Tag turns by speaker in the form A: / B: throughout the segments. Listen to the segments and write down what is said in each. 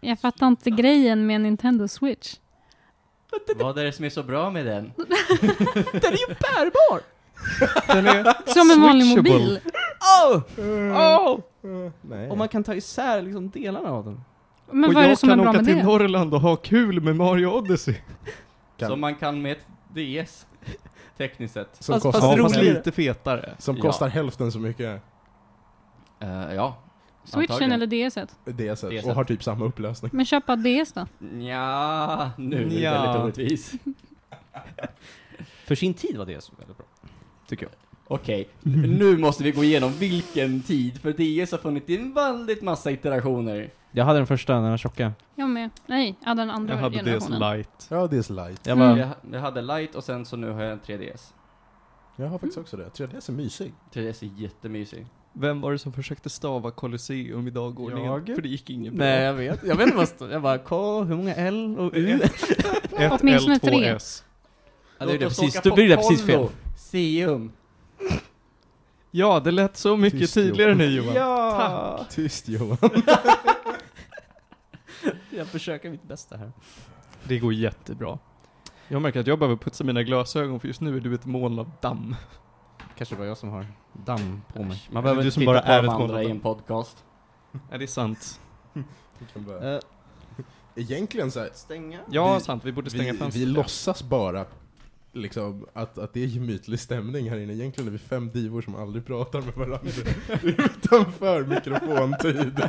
A: Jag fattar inte grejen med en Nintendo Switch.
B: Vad är det som är så bra med den?
C: Den är ju bärbar!
D: Den är...
A: Som en vanlig
D: Switchable.
A: mobil.
C: Oh!
E: Mm.
C: Oh!
D: Nej.
C: Och man kan ta isär liksom delarna av den.
A: Men
D: och
A: vad är det
D: jag
A: som är
D: kan
A: bra
D: åka
A: med
D: till
A: det?
D: Norrland och ha kul med Mario Odyssey. Kan.
B: Som man kan med ett DS. Tekniskt sett.
C: Som
E: Som,
C: Fast-
E: kostar,
C: kostar- fast
D: ja, fast
C: roligare.
D: lite fetare.
E: som
B: ja.
E: kostar hälften så mycket
B: Eh, ja.
A: Switchen
B: Antagligen.
A: eller DS-et?
E: DS
B: DS.
E: och har typ samma upplösning.
A: Men köpa DS då?
B: Nja, nu är det
D: Nja.
B: väldigt orättvis.
C: För sin tid var det så väldigt bra. Tycker jag.
B: Okej, nu måste vi gå igenom vilken tid, för DS har funnits i en väldigt massa iterationer.
C: Jag hade den första, den här tjocka.
A: Jag med. Nej, ja, den andra
D: Jag hade DS
A: generationen.
D: light.
E: Ja, DS Lite.
C: Jag bara,
B: Jag, jag hade Lite och sen så nu har jag en 3DS.
E: Jag har faktiskt också det. 3DS är mysig.
B: 3DS är jättemysig.
D: Vem var det som försökte stava Colosseum i dagordningen?
C: Jag?
D: För det gick inget bra.
C: Nej jag vet, jag vet inte vad stod. Jag bara K, hur många L och U?
D: Ett
A: Åtminstone
D: L, två
A: tre.
D: S.
C: Ja, det är
B: Låt
C: det
B: oss
C: precis,
B: åka
C: då blir det precis
B: Apollo.
C: fel.
B: Seum.
D: Ja, det lät så mycket
E: Tyst,
D: tydligare nu Johan.
C: Ja!
E: Tyst Johan.
C: Jag försöker mitt bästa här.
D: Det går jättebra. Jag märker att jag behöver putsa mina glasögon för just nu är du ett moln av damm.
C: Kanske det var jag som har damm på mig.
B: Man behöver
D: Du
B: inte
D: som
B: titta
D: bara
B: på
D: är
B: de
D: ett
B: andra
D: monopol.
B: i en podcast.
D: Ja, det är sant.
E: Vi kan bara-
C: Eh,
E: Egentligen så här,
B: Stänga?
D: Ja,
E: Vi-
D: sant. Vi borde stänga
E: vi, vi
D: fönstret.
E: låtsas bara liksom att, att det är gemytlig stämning här inne. Egentligen är vi fem divor som aldrig pratar med varandra utanför mikrofontid.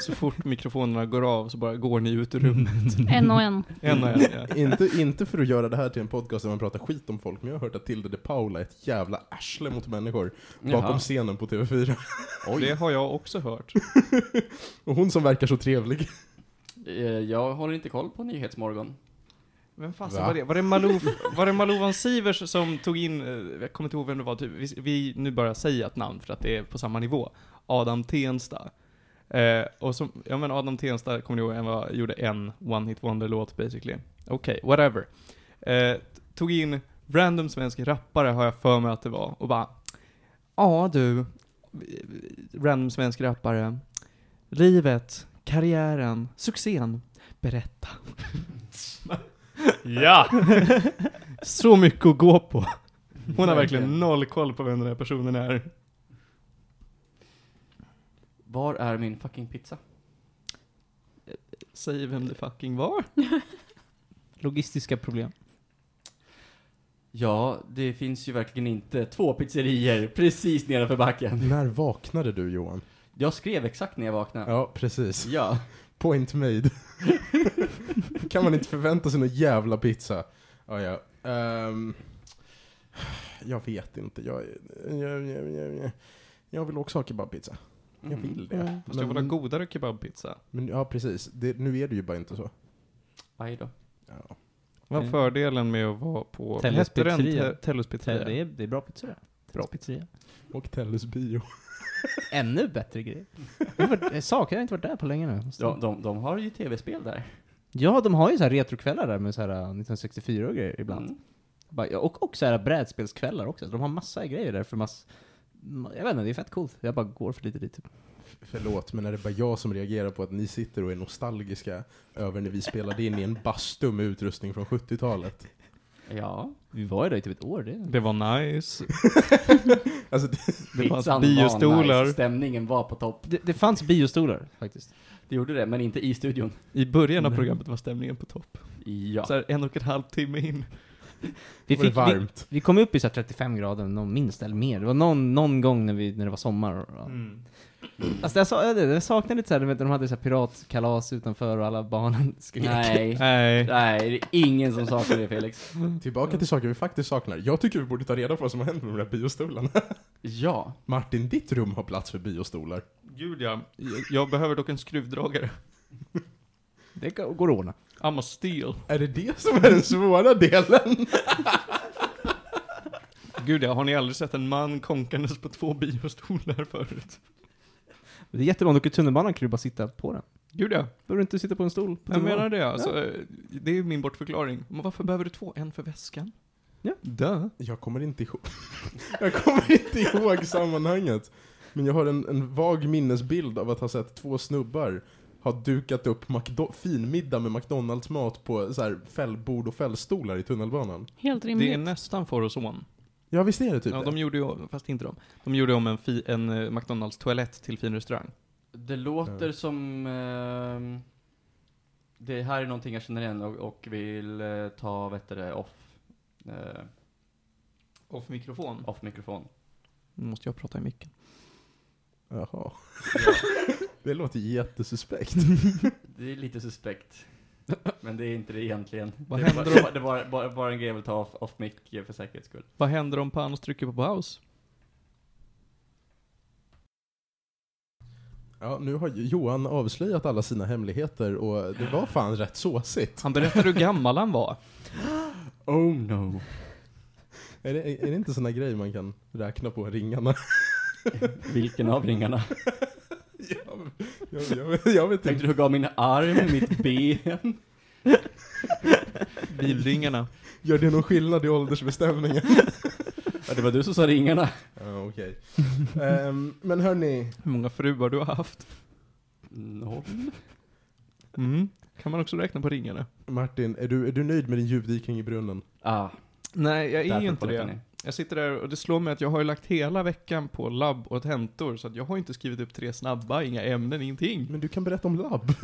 D: Så fort mikrofonerna går av så bara går ni ut ur rummet.
A: En och en.
D: En och en, ja.
E: inte, inte för att göra det här till en podcast där man pratar skit om folk, men jag har hört att Tilde de Paula är ett jävla arsle mot människor bakom
B: Jaha.
E: scenen på TV4.
D: Det har jag också hört.
E: Och hon som verkar så trevlig.
B: Eh, Jag håller inte koll på Nyhetsmorgon.
D: Vem fasen
E: Va?
D: var det? Var det, Malou, var det Malou von Sivers som tog in, eh, jag kommer inte ihåg vem det var, typ, vi, vi nu bara säger ett namn för att det är på samma nivå. Adam Tensta. Eh, och som, ja men Adam Tensta, kommer ni ihåg, han var, gjorde en One Hit Wonder-låt basically. Okej, whatever. Eh, tog in random svensk rappare har jag för mig att det var och bara, ja du, random svensk rappare, livet, karriären, succén, berätta. Ja! Så mycket att gå på. Hon har verkligen
B: Verkligen.
D: noll koll på vem den här personen är.
B: Var är min fucking pizza?
D: Säg vem det fucking var.
C: logistiska problem.
B: Ja, det finns ju verkligen inte två pizzerier precis nedanför backen.
E: När vaknade du Johan?
B: Jag skrev exakt när jag vaknade.
E: Ja, precis.
B: Ja.
E: Point made. kan man inte förvänta sig någon jävla pizza? Ja, ja. Ehm, jag vet inte. Jag, jag, jag, jag, jag, jag vill också ha kebabpizza.
B: Mm.
E: Jag vill det.
D: Mm. Fast jag vill ha
E: Men-
D: godare kebabpizza.
E: Men ja, precis. Det, nu är det ju bara inte så.
B: Aj då.
E: Ja.
D: Vad var
C: Mm.
D: fördelen med att vara på...
C: Tellus
D: hette den?
C: pizzeria.
D: Te- Tellus
C: Det
D: pizzeria.
C: är, det är bra pizzeria. Bra pizzeria.
E: Och Tellus bio.
C: Ännu bättre grej. Jag har varit- jag saknar jag har inte varit där på länge nu.
B: De, de, de har ju tv-spel där.
C: Ja, de har ju så här retrokvällar där med så här äh, 1964 och grejer ibland.
B: Mm.
C: Bara- ja, Och, och så här brädspelskvällar också. De har massa grejer där för mass... ma- Jag vet inte, det är fett coolt. Jag bara går för lite dit typ.
E: Förlåt, men är det bara jag som reagerar på att ni sitter och är nostalgiska över när vi spelade in i en bastu med utrustning från 70-talet?
B: Mm. Ja.
C: Vi var ju där i typ ett år. Det.
D: Det var nice.
E: Alltså, det,
D: Det fanns
B: Pizzan var
D: biostolar.
B: nice. Stämningen var på topp.
C: Det, det fanns biostolar faktiskt.
B: Det gjorde det, men inte i studion.
D: I början av programmet var stämningen på topp.
B: Ja.
D: Så här en och en halv timme in.
C: Vi,
E: var det
C: fick, vi,
E: varmt.
C: vi kom upp i så här 35 grader, någon minst eller mer. Det var någon, någon gång när, vi, när det var sommar. Och, ja.
D: Mm.
C: Alltså jag, sa, jag, jag saknade lite såhär, du vet när de hade så här piratkalas utanför och alla barnen skrek.
D: Eh.
B: Nej.
D: Nej.
B: Nej, det är ingen som saknar det Felix.
E: Tillbaka till saker vi faktiskt saknar. Jag tycker vi borde ta reda på vad som har hänt med de där biostolarna.
B: Ja.
E: Martin, ditt rum har plats för biostolar.
D: Gud ja. Jag- Jag behöver dock en skruvdragare.
C: Det går går att ordna.
D: I'm a steel.
E: Är det det som är den svåra delen?
D: Gud ja, har ni aldrig sett en man konkandes på två biostolar förut?
C: Det är jättebra, om du åker tunnelbanan kan du bara sitta på den.
D: Gud ja.
C: Behöver du inte sitta på en stol på
D: Jag
C: tunnelbanan.
D: menar det, alltså, eh, det är ju min bortförklaring. Men varför behöver du två? En för väskan?
C: Ja.
D: Dö.
E: Jag kommer inte ihåg. Jag kommer inte ihåg sammanhanget. Men jag har en, en vag minnesbild av att ha sett två snubbar har dukat upp McDo- finmiddag med McDonalds-mat på så här, fällbord och fällstolar i tunnelbanan.
A: Helt rimligt.
D: Det är nästan far och son.
E: Ja, visst är det typ
D: Ja,
E: det?
D: de gjorde ju, fast inte de. De gjorde om en, fi, en eh, McDonalds toalett till fin restaurang.
B: Det låter som... ehm, det här är någonting jag känner igen och, och vill eh, ta, vet du det, off, eh,
D: Off mikrofon.
B: off mikrofon.
D: Nu måste jag prata i micken.
E: Jaha. det låter jättesuspekt.
B: Det är lite suspekt. Men det är inte det egentligen.
D: Vad
B: det, är
D: händer
B: bara, det är bara, bara, bara en grej jag vill ta off, off mic eh, för säkerhets skull.
D: Vad händer om Panos trycker på paus?
E: Ja, nu har ju Johan avslöjat alla sina hemligheter och det var fan rätt såsigt.
D: Han berättar hur gammal han var.
B: Oh no.
E: Är det, är det inte såna grejer man kan räkna på ringarna?
B: Vilken av ringarna?
E: jag, jag, jag, jag vet
B: Tänkte
E: inte.
B: du hugga av min arm, mitt ben?
D: Bilringarna.
E: Gör det någon skillnad i åldersbestämningen?
B: Ja, det var du som sa ringarna.
E: Ja, okej. Ehm, men hörni,
D: Hur många fruar du har haft.
B: No.
D: Mm. Kan man också räkna på ringarna?
E: Martin, är du, är du nöjd med din djupdykning i brunnen?
B: Ah,
D: Nej, jag är
B: därför
D: ju inte
B: påverkar
D: det. Jag sitter där och det slår mig att jag har ju lagt hela veckan på labb och tentor, så att jag har inte skrivit upp tre snabba, inga ämnen, ingenting.
E: Men du kan berätta om labb.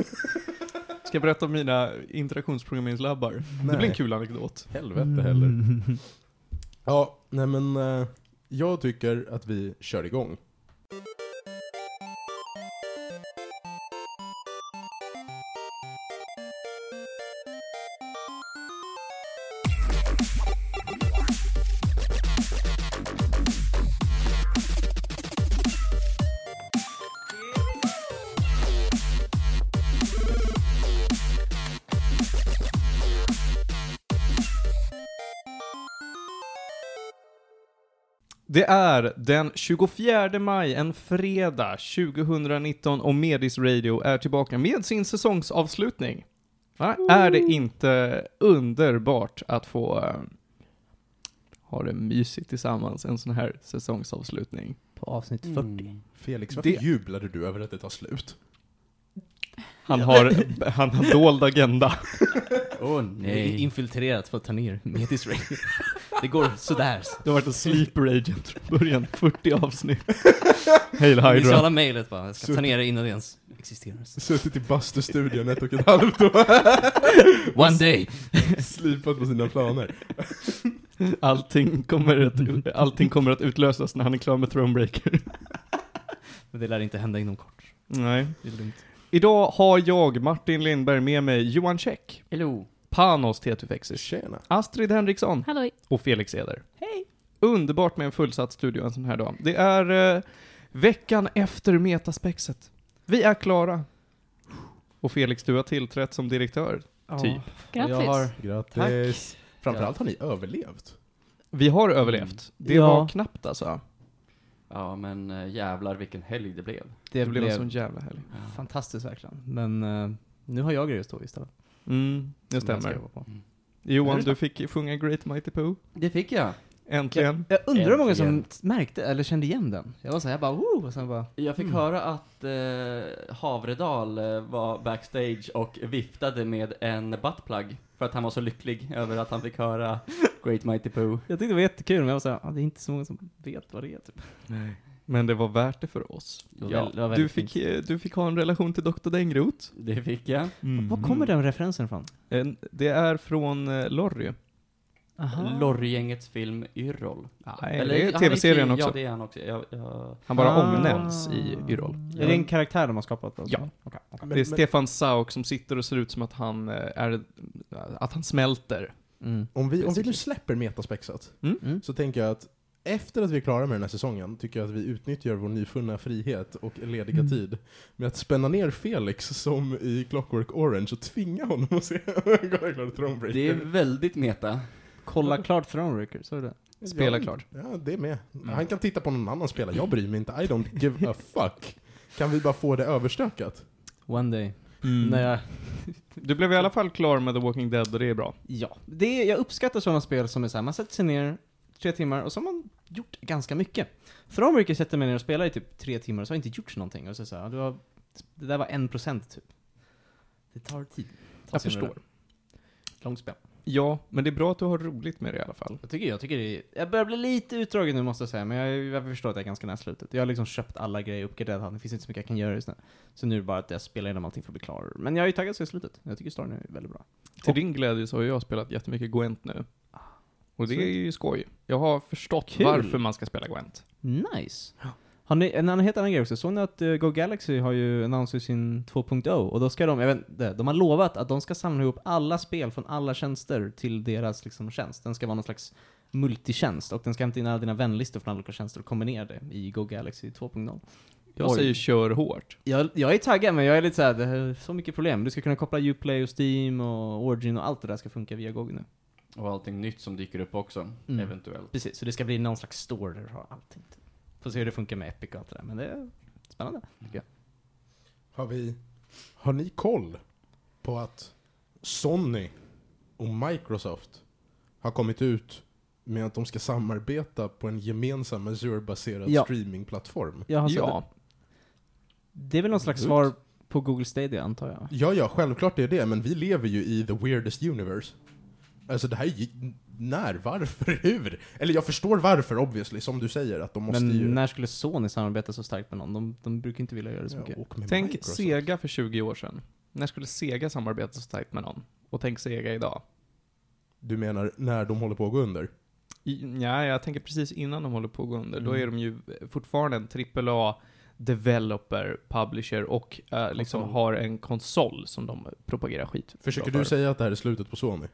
D: Ska jag berätta om mina interaktionsprogrammeringslabbar? Det blir en kul anekdot.
E: Helvete heller. Ja, nej men eh, jag tycker att vi kör igång.
D: Det är den 24 maj, en fredag 2019 och Medis Radio är tillbaka med sin säsongsavslutning. Va? Är det inte underbart att få eh, ha det mysigt tillsammans en sån här säsongsavslutning?
C: På avsnitt 40.
B: Mm.
E: Felix, varför
D: Det-
E: jublade du över att det tar slut?
D: Han har, han har dold agenda.
B: Åh oh,
C: Det är
B: nej.
C: infiltrerat för att ta ner Metis Radio. Det går sådär.
D: Det har varit en sleeper agent från början, 40 avsnitt. Hail Hydra.
C: Initiala mejlet bara. Jag ska ta ner det innan det ens existerar.
E: Suttit i bastustudion ett och ett halvt år
C: One day!
E: slipat på sina planer.
D: Allting kommer, att, allting kommer att utlösas när han är klar med Thronebreaker.
C: Men det lär inte hända inom kort.
D: Nej.
C: Det är lugnt.
D: Idag har jag, Martin Lindberg, med mig Johan Käck,
B: Hello.
D: Panos Tetufexis,
E: Tjena.
D: Astrid Henriksson
A: Halloj.
D: och Felix Eder. Hej! Underbart med en fullsatt studio en sån här dag. Det är eh, veckan efter metaspexet. Vi är klara. Och Felix, du har tillträtt som direktör. Typ.
A: Grattis.
C: Jag har...
E: Grattis. Framförallt har ni överlevt.
D: Vi har överlevt. Det
C: Mm. Ja.
D: var knappt alltså.
B: Ja men eh, jävlar vilken helg det blev.
D: Det,
C: Det
D: blev en
C: blev
D: sån jävla helg.
C: fantastiskt verkligen. Men eh, nu har jag grejer att stå i istället.
D: Mm, det
C: Som jag ska
D: stämmer.
C: jobba på.
D: Johan, du fick sjunga Great Mighty Pooh.
B: Det fick jag.
D: Äntligen.
C: Jag undrar hur många som
B: Äntligen.
C: märkte eller kände igen den. Jag var såhär, jag bara woo! Och sen bara...
B: Jag fick höra att eh, Havredal eh, var backstage och viftade med en buttplug för att han var så lycklig över att han fick höra Great Mighty Pooh.
C: Jag tyckte det var jättekul men jag var såhär, ah, det är inte så många som vet vad det är typ.
D: Men det var värt det för oss.
C: Det var
B: Ja,
C: väl- det var
D: Du
C: väldigt
D: fick,
C: fint.
D: eh, du fick ha en relation till Dr. Dengroth.
B: Det fick jag.
C: Var kommer den referensen ifrån?
D: En- Det är från eh, Lorry.
C: Aha.
B: Lorrygängets film Yrrol.
D: Nej,
B: Eller,
D: det är
B: han
D: tv-serien
B: ju- Ja,
D: också.
B: det är han också. Jag, jag...
D: Han bara
C: Ah.
D: omnämns i Yrrol.
C: Är det en karaktär de har skapat? Då?
D: Ja.
C: Okej, okej.
D: Det är Stefan Sauk som sitter och ser ut som att han eh, är, att han smälter.
C: Mm.
E: Om vi, om vi nu släpper metaspexet
C: Mm.
E: så tänker jag att efter att vi är klara med den här säsongen tycker jag att vi utnyttjar vår nyfunna frihet och lediga tid med att spänna ner Felix som i Clockwork Orange och tvinga honom att se Kolla klart Thronebreaker.
B: Det är väldigt meta.
C: Mm. Kolla klart Thronebreaker, så är det.
D: Spela
E: ja,
D: klart.
E: Ja, det är med. Han kan titta på någon annan spela, jag bryr mig inte. I don't give a fuck. Kan vi bara få det överstökat?
C: One day.
B: Mm.
C: När jag
D: Du blev i alla fall klar med The Walking Dead och det är bra.
C: Ja, det är, jag uppskattar sådana spel som är såhär, man sätter sig ner tre timmar och så har man gjort ganska mycket. "Ah, Thronebreaker sätter mig ner och spelar i typ tre timmar och så har jag inte gjort någonting. Och så är det så här, du har, det där var en procent typ. tar tid. Ta
D: Jag
C: sig ur det
D: förstår.
C: där. Långt spel.
D: Ja, men det är bra att du har roligt med det i alla fall.
C: Jag tycker, jag tycker det är, Jag börjar bli lite utdragen nu måste jag säga, men jag, jag förstår att jag är ganska nära slutet. Jag har liksom köpt alla grejer, uppgraderat allt, det finns inte så mycket jag kan göra just nu. Så nu är det bara att jag spelar igenom allting för att bli klar. Men jag är ju taggad så i slutet. Jag tycker storyn är väldigt bra.
D: Till
C: Och-
D: din glädje så har jag spelat jättemycket Gwent nu. Och det
C: Sweet.
D: är ju skoj. Jag har förstått
C: Kul.
D: varför man ska spela Gwent.
C: Nice! Har ni, en annan helt annan grej också, såg ni att eh, Go Galaxy har ju annonserat sin 2.0 och då ska de, jag vet inte, de har lovat att de ska samla ihop alla spel från alla tjänster till deras liksom, tjänst. Den ska vara någon slags multitjänst och den ska hämta in alla dina vänlistor från alla olika tjänster och kombinera det i Go Galaxy 2.0.
D: Jag
C: Oj.
D: säger kör hårt.
C: Jag, jag är taggad men jag är lite såhär, det här är så mycket problem. Du ska kunna koppla Uplay och Steam och Origin och allt det där ska funka via GOG nu.
B: Och allting nytt som dyker upp också, eventuellt.
C: Mm. Precis, så det ska bli någon slags store där du har allting. Får se hur det funkar med Epic och allt det där, men det är spännande.
E: Har vi... Har ni koll på att Sony och Microsoft har kommit ut med att de ska samarbeta på en gemensam Azure-baserad
C: Ja.
E: streamingplattform?
C: Jag har sett
D: Ja.
C: Det är väl någon slags
E: Sjukt.
C: svar på Google Stadia antar jag.
E: Ja, ja, självklart är det, men vi lever ju i the weirdest universe. Alltså det här är ju... När? Varför? Hur? Eller jag förstår varför obviously, som du säger, att de måste
C: Men
E: ju...
C: när skulle Sony samarbeta så starkt med någon? De, de brukar inte vilja göra det så
E: Ja,
C: mycket.
E: och med
D: Tänk
E: Microsoft.
D: Sega för 20 år sedan. När skulle Sega samarbeta så tajt med någon? Och tänk Sega idag.
E: Du menar när de håller på att gå under?
D: I, ja, jag tänker precis innan de håller på att gå under. Då
E: Mm.
D: är de ju fortfarande en AAA developer, publisher och eh, liksom
E: Konsol.
D: har en konsol som de propagerar skit
E: Försöker
D: för.
E: du säga att det här är slutet på Sony?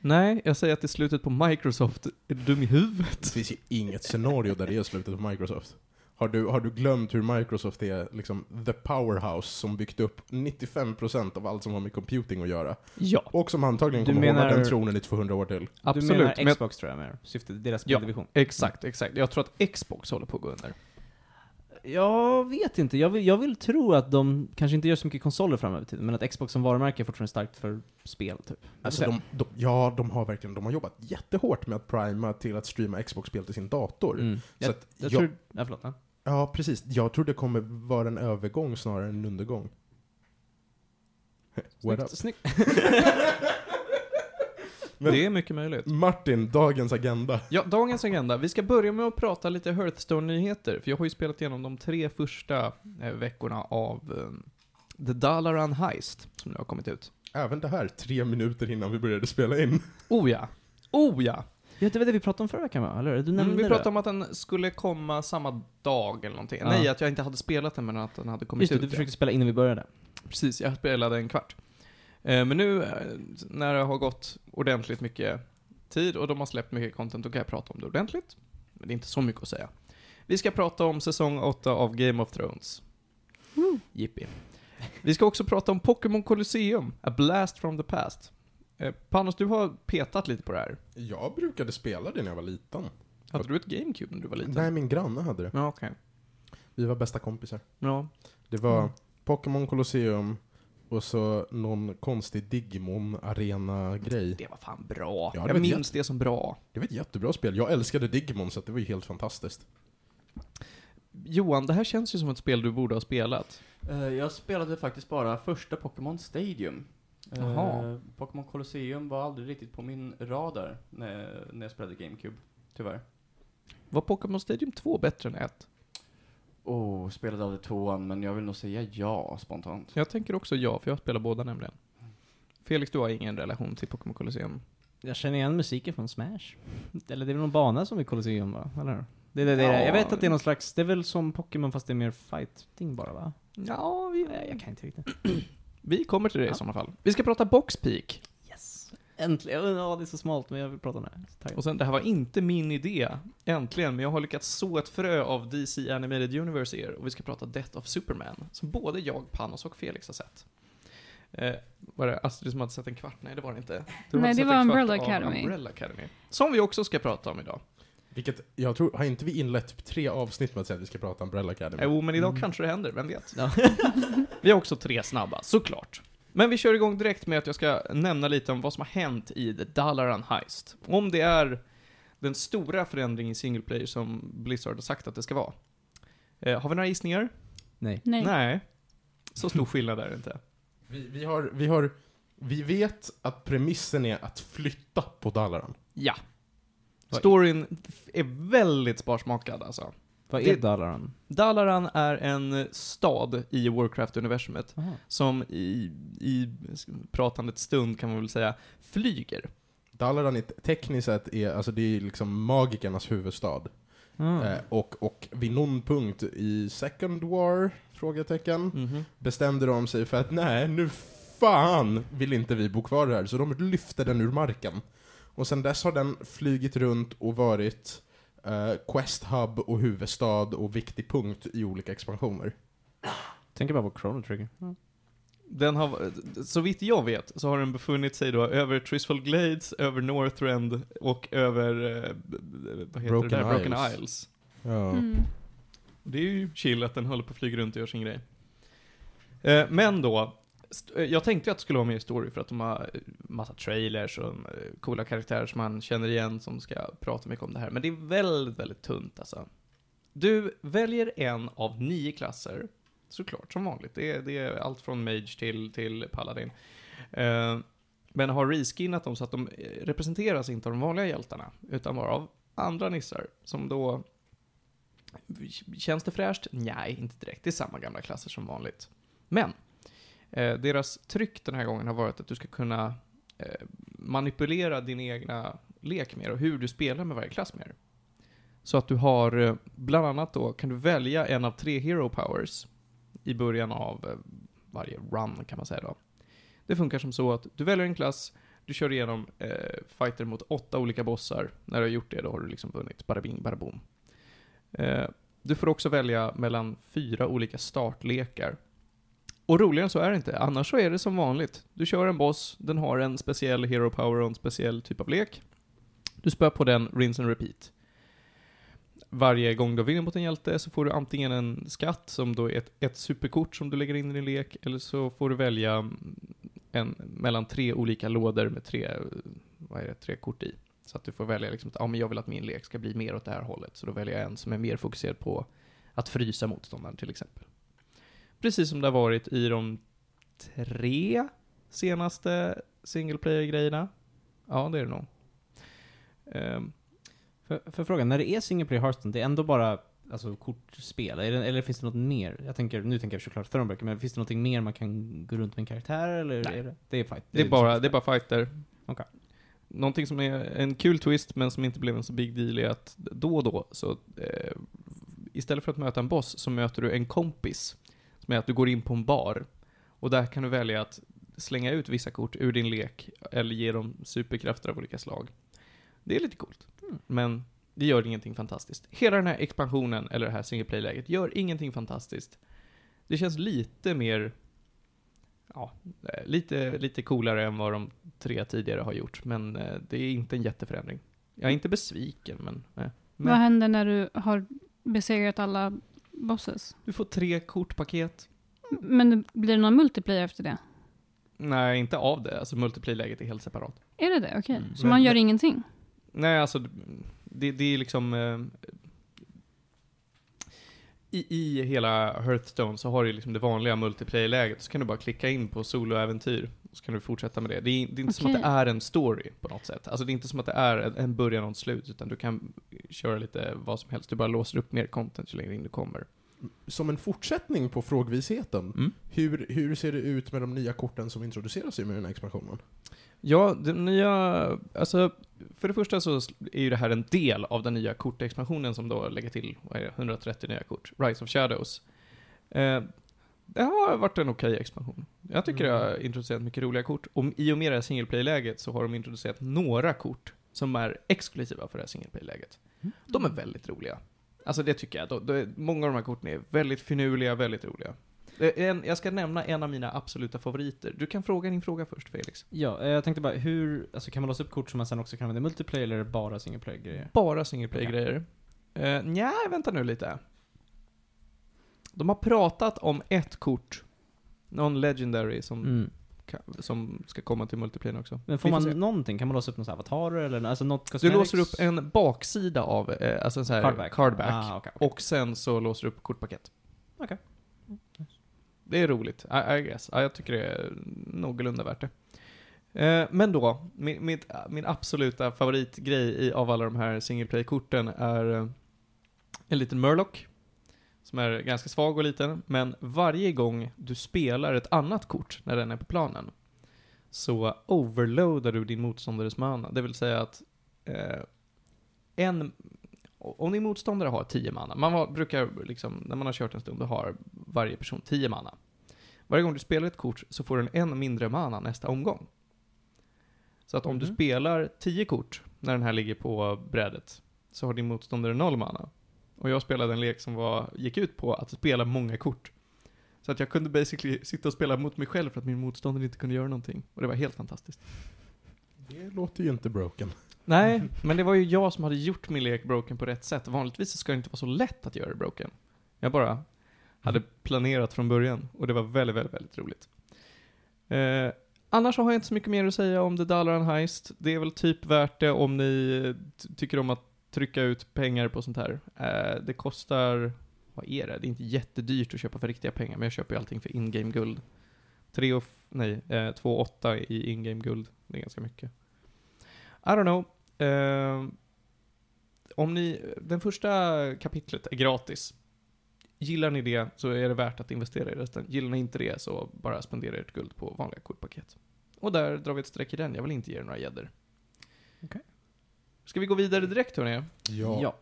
D: Nej, jag säger att det är slutet på Microsoft. Är du dum i huvudet?
E: Det finns ju inget scenario där det är slutet på Microsoft. Har du, har du glömt hur Microsoft är liksom the powerhouse som byggt upp 95% av allt som har med computing att göra?
D: Ja,
E: Och som antagligen
C: Du
E: kommer hålla
C: menar-
E: den tronen i 200 år till.
D: absolut.
C: Du menar
D: Men jag-
C: Xbox tror jag mer, syftet, deras
D: Ja.
C: speldivision.
D: Exakt, exakt. Jag tror att Xbox håller på att gå under.
C: Jag vet inte, jag vill, jag vill tro att de kanske inte gör så mycket konsoler framöver i tiden, typ. men att Xbox som varumärke är fortfarande starkt för spel typ.
E: Alltså de, de, ja, de har verkligen de har jobbat jättehårt med att prima till att streama Xbox-spel till sin dator.
C: Mm. Jag,
E: Så att
C: jag,
E: jag-
C: tror... Ja, förlåt. Ja.
E: Ja, precis. Jag tror det kommer vara en övergång snarare än en undergång. What up?
C: Snyggt, snyggt.
E: Men- Mm.
D: det är mycket möjligt.
E: Martin, dagens agenda.
D: Ja, dagens agenda. Vi ska börja med att prata lite Hearthstone-nyheter, för jag har ju spelat igenom de tre första eh, veckorna av eh, The Dalaran Heist, som nu har kommit ut.
E: Även det här tre minuter innan vi började spela in.
D: Oh ja! Oh ja!
C: Ja, det var det vi pratade om förra veckan va? Eller hur? Du nämnde
D: Mm, vi
C: det.
D: pratade om att den skulle komma samma dag eller någonting.
C: Ja.
D: Nej, att jag inte hade spelat den, men att den hade kommit
C: Just det,
D: ut.
C: du försökte spela innan vi började.
D: Precis, jag spelade en kvart. Eh, Men nu eh, när det har gått ordentligt mycket tid och de har släppt mycket content, då kan jag prata om det ordentligt. Men det är inte så mycket att säga. Vi ska prata om säsong 8 av Game of Thrones. Jippi. Vi ska också prata om Pokémon Colosseum, A Blast from the Past. Eh, Panos, du har petat lite på det här.
E: Jag brukade spela det när jag var liten.
D: Hade du ett GameCube när du var liten?
E: Nej, min granne hade det.
D: Ja, okej.
E: Vi var bästa kompisar.
D: Ja.
E: Det var
D: Mm.
E: Pokémon Colosseum och så någon konstig Digimon-arena-grej.
D: Det var fan bra.
E: Ja, det
D: jag
E: var
D: minns det som bra.
E: Det var ett jättebra spel. Jag älskade Digimon så att det var ju helt fantastiskt.
D: Johan, det här känns ju som ett spel du borde ha spelat.
B: Eh, jag spelade faktiskt bara första Pokémon Stadium. Eh,
D: Jaha.
B: Pokémon Colosseum var aldrig riktigt på min radar när, när jag spelade GameCube, tyvärr.
D: Var Pokémon Stadium 2 bättre än 1?
B: Oh, spelade aldrig tvåan, men jag vill nog säga ja spontant.
D: Jag tänker också ja, för jag spelar båda nämligen. Felix, du har ingen relation till Pokémon Colosseum.
C: Jag känner igen musiken från Smash. Eller det är väl någon bana som är Colosseum va? Eller hur? Det, det, det,
D: Ja.
C: Jag vet att det är någon slags, det är väl som Pokémon fast det är mer fighting bara va?
D: Ja, vi,
C: Nej, jag kan inte riktigt.
D: vi kommer till det
C: Ja.
D: i sådana fall. Vi ska prata Boxpeak.
C: Yes! Äntligen! Jag undrar, ja, det är så smalt men jag vill prata om det här. Så taggad.
D: Och sen, det här var inte min idé, äntligen, men jag har lyckats så ett frö av DC Animated Universe i er och vi ska prata Death of Superman, som både jag, Panos och Felix har sett. Eh, var det Astrid som hade sett en kvart? Nej, det var det inte. Du hade
A: Nej, det
D: sett en
A: var
D: kvart
A: Umbrella
D: av
A: Academy.
D: Umbrella Academy. Som vi också ska prata om idag.
E: Vilket, jag tror, har inte vi inlett typ tre avsnitt med att säga att vi ska prata om Umbrella Academy?
D: Jo, men idag
C: Mm.
D: kanske det händer, vem vet?
C: Ja.
D: Vi har också tre snabba, såklart. Men vi kör igång direkt med att jag ska nämna lite om vad som har hänt i The Dalaran Heist. Om det är den stora förändring i single player som Blizzard har sagt att det ska vara. Eh, har vi några gissningar?
C: Nej.
A: Nej.
D: Så stor skillnad är det inte.
E: Vi, vi, har, vi, har, vi vet att premissen är att flytta på Dalaran.
D: Ja.
C: Vad-
D: Storyn är väldigt sparsmakad alltså.
C: Vad
D: Det-
C: är Dalaran?
D: Dalaran är en stad i Warcraft-universumet som i, i pratandets stund kan man väl säga flyger.
E: Dalaran är tekniskt sett är, alltså det är liksom magikernas huvudstad.
D: Mm.
E: Eh, och, och vid någon punkt i Second War, frågetecken, bestämde de sig för att nej, nu fan vill inte vi bo kvar här. Så de lyfte den ur marken. Och sen dess har den flugit runt och varit eh, Quest Hub och huvudstad och viktig punkt i olika expansioner.
C: Tänker bara på Chrono Trigger.
D: Den har, så vitt jag vet så har den befunnit sig då över Tristful Glades, över Northrend och över, eh, b- b- vad heter
E: Broken
D: det där? Broken
E: Isles.
D: Isles.
E: Ja.
A: Mm.
D: Det är ju chill att den håller på att flyga runt och gör sin grej. Eh, Men då, st- eh, jag tänkte ju att det skulle vara mer story för att de har eh, massa trailers och eh, coola karaktärer som man känner igen som ska prata mycket om det här. Men det är väldigt, väldigt tunt alltså. Du väljer en av nio klasser, såklart som vanligt. Det är, det är allt från Mage till, till Paladin. Eh, Men har reskinnat dem så att de eh, representeras inte av de vanliga hjältarna, utan bara av andra nissar som då Känns det fräscht? Nej, inte direkt. Det är samma gamla klasser som vanligt. Men eh, deras tryck den här gången har varit att du ska kunna eh, manipulera din egna lek mer och hur du spelar med varje klass mer. Så att du har, eh, bland annat då, kan du välja en av tre hero powers i början av eh, varje run kan man säga då. Det funkar som så att du väljer en klass, du kör igenom eh, fighter mot åtta olika bossar. När du har gjort det då har du liksom vunnit, bara bing, bara boom. Eh, du får också välja mellan fyra olika startlekar. Och roligare än så är det inte, annars så är det som vanligt. Du kör en boss, den har en speciell hero power och en speciell typ av lek. Du spöar på den, rinse and repeat. Varje gång du vinner mot en hjälte så får du antingen en skatt som då är ett, ett superkort som du lägger in i din lek, eller så får du välja en, mellan tre olika lådor med tre, eh, vad är det, tre kort i. Så att du får välja liksom, att ah, men jag vill att min lek ska bli mer åt det här hållet. Så då väljer jag en som är mer fokuserad på att frysa motståndaren till exempel. Precis som det har varit i de tre senaste single player-grejerna. Ja, det är det nog. Ehm,
C: För, för frågan, när det är single player Hearthstone, det är ändå bara alltså, kortspel? Är det, eller finns det något mer? Jag tänker, nu tänker jag såklart Thronebreaker, men finns det något mer man kan gå runt med en karaktär? Eller
D: Nej.
C: Är det, det är fight?
D: det, är bara, det är bara fighter.
C: Okej.
D: Någonting som är en kul twist, men som inte blev en så big deal, är att då och då, så eh, istället för att möta en boss, så möter du en kompis. Som är att du går in på en bar. Och där kan du välja att slänga ut vissa kort ur din lek, eller ge dem superkrafter av olika slag. Det är lite coolt. Men det gör ingenting fantastiskt. Hela den här expansionen, eller det här single play-läget, gör ingenting fantastiskt. Det känns lite mer... Ja, eh, lite, lite coolare än vad de tre tidigare har gjort. Men eh, det är inte en jätteförändring. Jag är inte besviken, men... Eh.
A: Vad händer när du har besegrat alla bosses?
D: Du får tre kortpaket.
A: Men blir det någon multiplayer efter det?
D: Nej, inte av det. Alltså multiplay-läget är helt separat.
A: Är det det? Okej.
C: Mm.
A: Så
E: Men-
A: man gör
E: men-
A: ingenting?
D: Nej, alltså det, det är liksom... Eh, i, I hela Hearthstone så har du liksom det vanliga multiplayer-läget, så kan du bara klicka in på soloäventyr, och så kan du fortsätta med det. Det är, det är inte som att
A: Okej.
D: det är en story på något sätt. Alltså det är inte som att det är en- en början och ett slut, utan du kan köra lite vad som helst. Du bara låser upp mer content så länge in du kommer.
E: Som en fortsättning på frågvisheten,
D: Mm.
E: hur, hur ser det ut med de nya korten som introduceras i och med den här expansionen?
D: Ja, den nya... Alltså, för det första så är ju det här en del av den nya kortexpansionen som då lägger till vad är det, 130 nya kort, Rise of Shadows. Eh, det har varit en okej expansion. Jag tycker det har introducerat mycket roliga kort. Och i och med det här single play-läget så har de introducerat några kort som är exklusiva för det här single play-läget. De är väldigt roliga. Alltså det tycker jag. De, de, många av de här korten är väldigt finurliga, väldigt roliga. Det är En, jag ska nämna en av mina absoluta favoriter. Du kan fråga din fråga först, Felix.
C: Ja, eh, jag tänkte bara, hur, alltså kan man låsa upp kort som man sen också kan använda i multiplayer, eller är det bara single player-grejer?
D: Bara single player-grejer. Eh, Nja, vänta nu lite. De har pratat om ett kort. Någon legendary som,
C: Mm.
D: ka- som ska komma till multiplayer också.
C: Men får
D: Vi
C: man
D: se.
C: någonting? Kan man låsa upp några så här avatarer eller alltså något
D: Du
C: cosmetics?
D: låser upp en baksida av, eh, alltså en sån här
C: Cardback.
D: cardback.
C: Ah, okej, okej.
D: Och sen så låser du upp kortpaket.
C: Okej.
D: det är roligt, I, I guess. Ja, jag tycker det är någorlunda värt det. Eh, Men då, min, mitt, min absoluta favoritgrej i, av alla de här single play-korten är eh, en liten Murloc. Som är ganska svag och liten, men varje gång du spelar ett annat kort när den är på planen så overloadar du din motståndares mana. Det vill säga att eh, en... Om din motståndare har 10 mana, man var, brukar liksom, när man har kört en stund, då har varje person 10 mana. Varje gång du spelar ett kort så får den en mindre mana nästa omgång. Så att om du
C: Mhm.
D: spelar 10 kort när den här ligger på brädet så har din motståndare 0 mana. Och jag spelade en lek som var, gick ut på att spela många kort. Så att jag kunde basically sitta och spela mot mig själv för att min motståndare inte kunde göra någonting. Och det var helt fantastiskt.
E: Det låter ju inte broken.
D: Nej, men det var ju jag som hade gjort min lek broken på rätt sätt. Vanligtvis så ska det inte vara så lätt att göra det broken. Jag bara hade planerat från början och det var väldigt, väldigt, väldigt roligt. Eh, annars så har jag inte så mycket mer att säga om The Dollar and Heist. Det är väl typ värt det om ni eh, ty- tycker om att trycka ut pengar på sånt här. Eh, det kostar, vad är det? Det är inte jättedyrt att köpa för riktiga pengar, men jag köper ju allting för in-game guld. 3 och, f- nej, eh, 2 8 i in-game guld. Det är ganska mycket. I don't know. Eh, om ni, den första kapitlet är gratis. Gillar ni det så är det värt att investera i resten. Gillar ni inte det så bara spendera ert guld på vanliga kortpaket. Och där drar vi ett streck i den. Jag vill inte ge er några gäddor.
C: Okej.
D: Ska vi gå vidare direkt hörni?
E: Ja.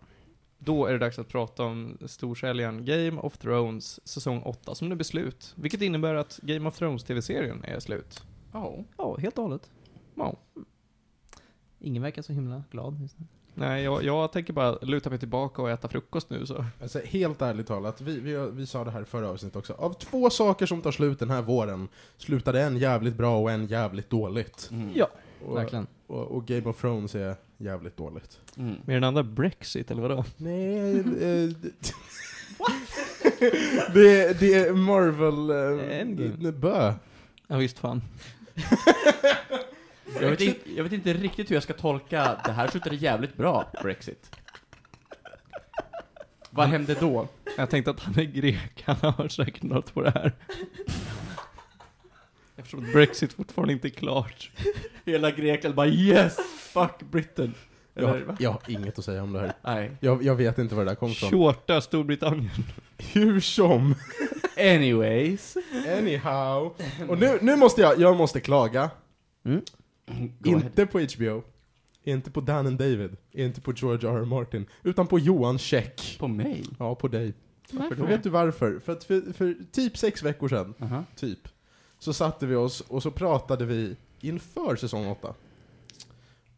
D: Då är det dags att prata om storsäljaren Game of Thrones säsong 8 som nu är slut. Vilket innebär att Game of Thrones TV-serien är slut.
B: Oh.
C: Ja, helt och hållet. Mm.
D: Ja.
C: Ingen verkar så himla glad just nu.
D: Nej, jag, jag tänker bara luta mig tillbaka och äta frukost nu så.
E: Alltså, helt ärligt talat, vi, vi, vi sa det här i förra avsnittet också. Av två saker som tar slut den här våren slutade en jävligt bra och en jävligt dåligt.
B: Mm.
C: Ja,
E: Och,
C: verkligen.
E: och, och Game of Thrones är jävligt dåligt.
B: Mm.
D: Med den andra Brexit, eller vadå?
E: Nej, eh, det- det, det är Marvel... Eh,
C: Endgame.
E: Bö.
D: Ja, visst fan.
B: Jag, vet inte, jag vet inte riktigt hur jag ska tolka det här slutade jävligt bra, Brexit. Vad hände då?
D: Jag tänkte att han är grek, han har säkert något på det här. Eftersom Brexit fortfarande inte är klart.
B: Hela Grekland bara yes, fuck Britain. Eller,
E: Jag,
B: va?
E: jag har inget att säga om det här.
B: Nej.
E: Jag, jag vet inte var det där kom från.
D: Shorta Storbritannien.
E: Hur som.
B: Anyways.
E: Anyhow. Och nu, nu måste jag, jag måste klaga.
B: Go ahead.
E: inte på HBO. Inte på Dan and David. Inte på George R. R. Martin. Utan på Johan Käck.
B: På mig?
E: Ja, på dig.
A: Varför?
E: Och vet du varför? För att för, för typ sex veckor sedan,
B: Aha.
E: typ, så satte vi oss och så pratade vi inför säsong 8.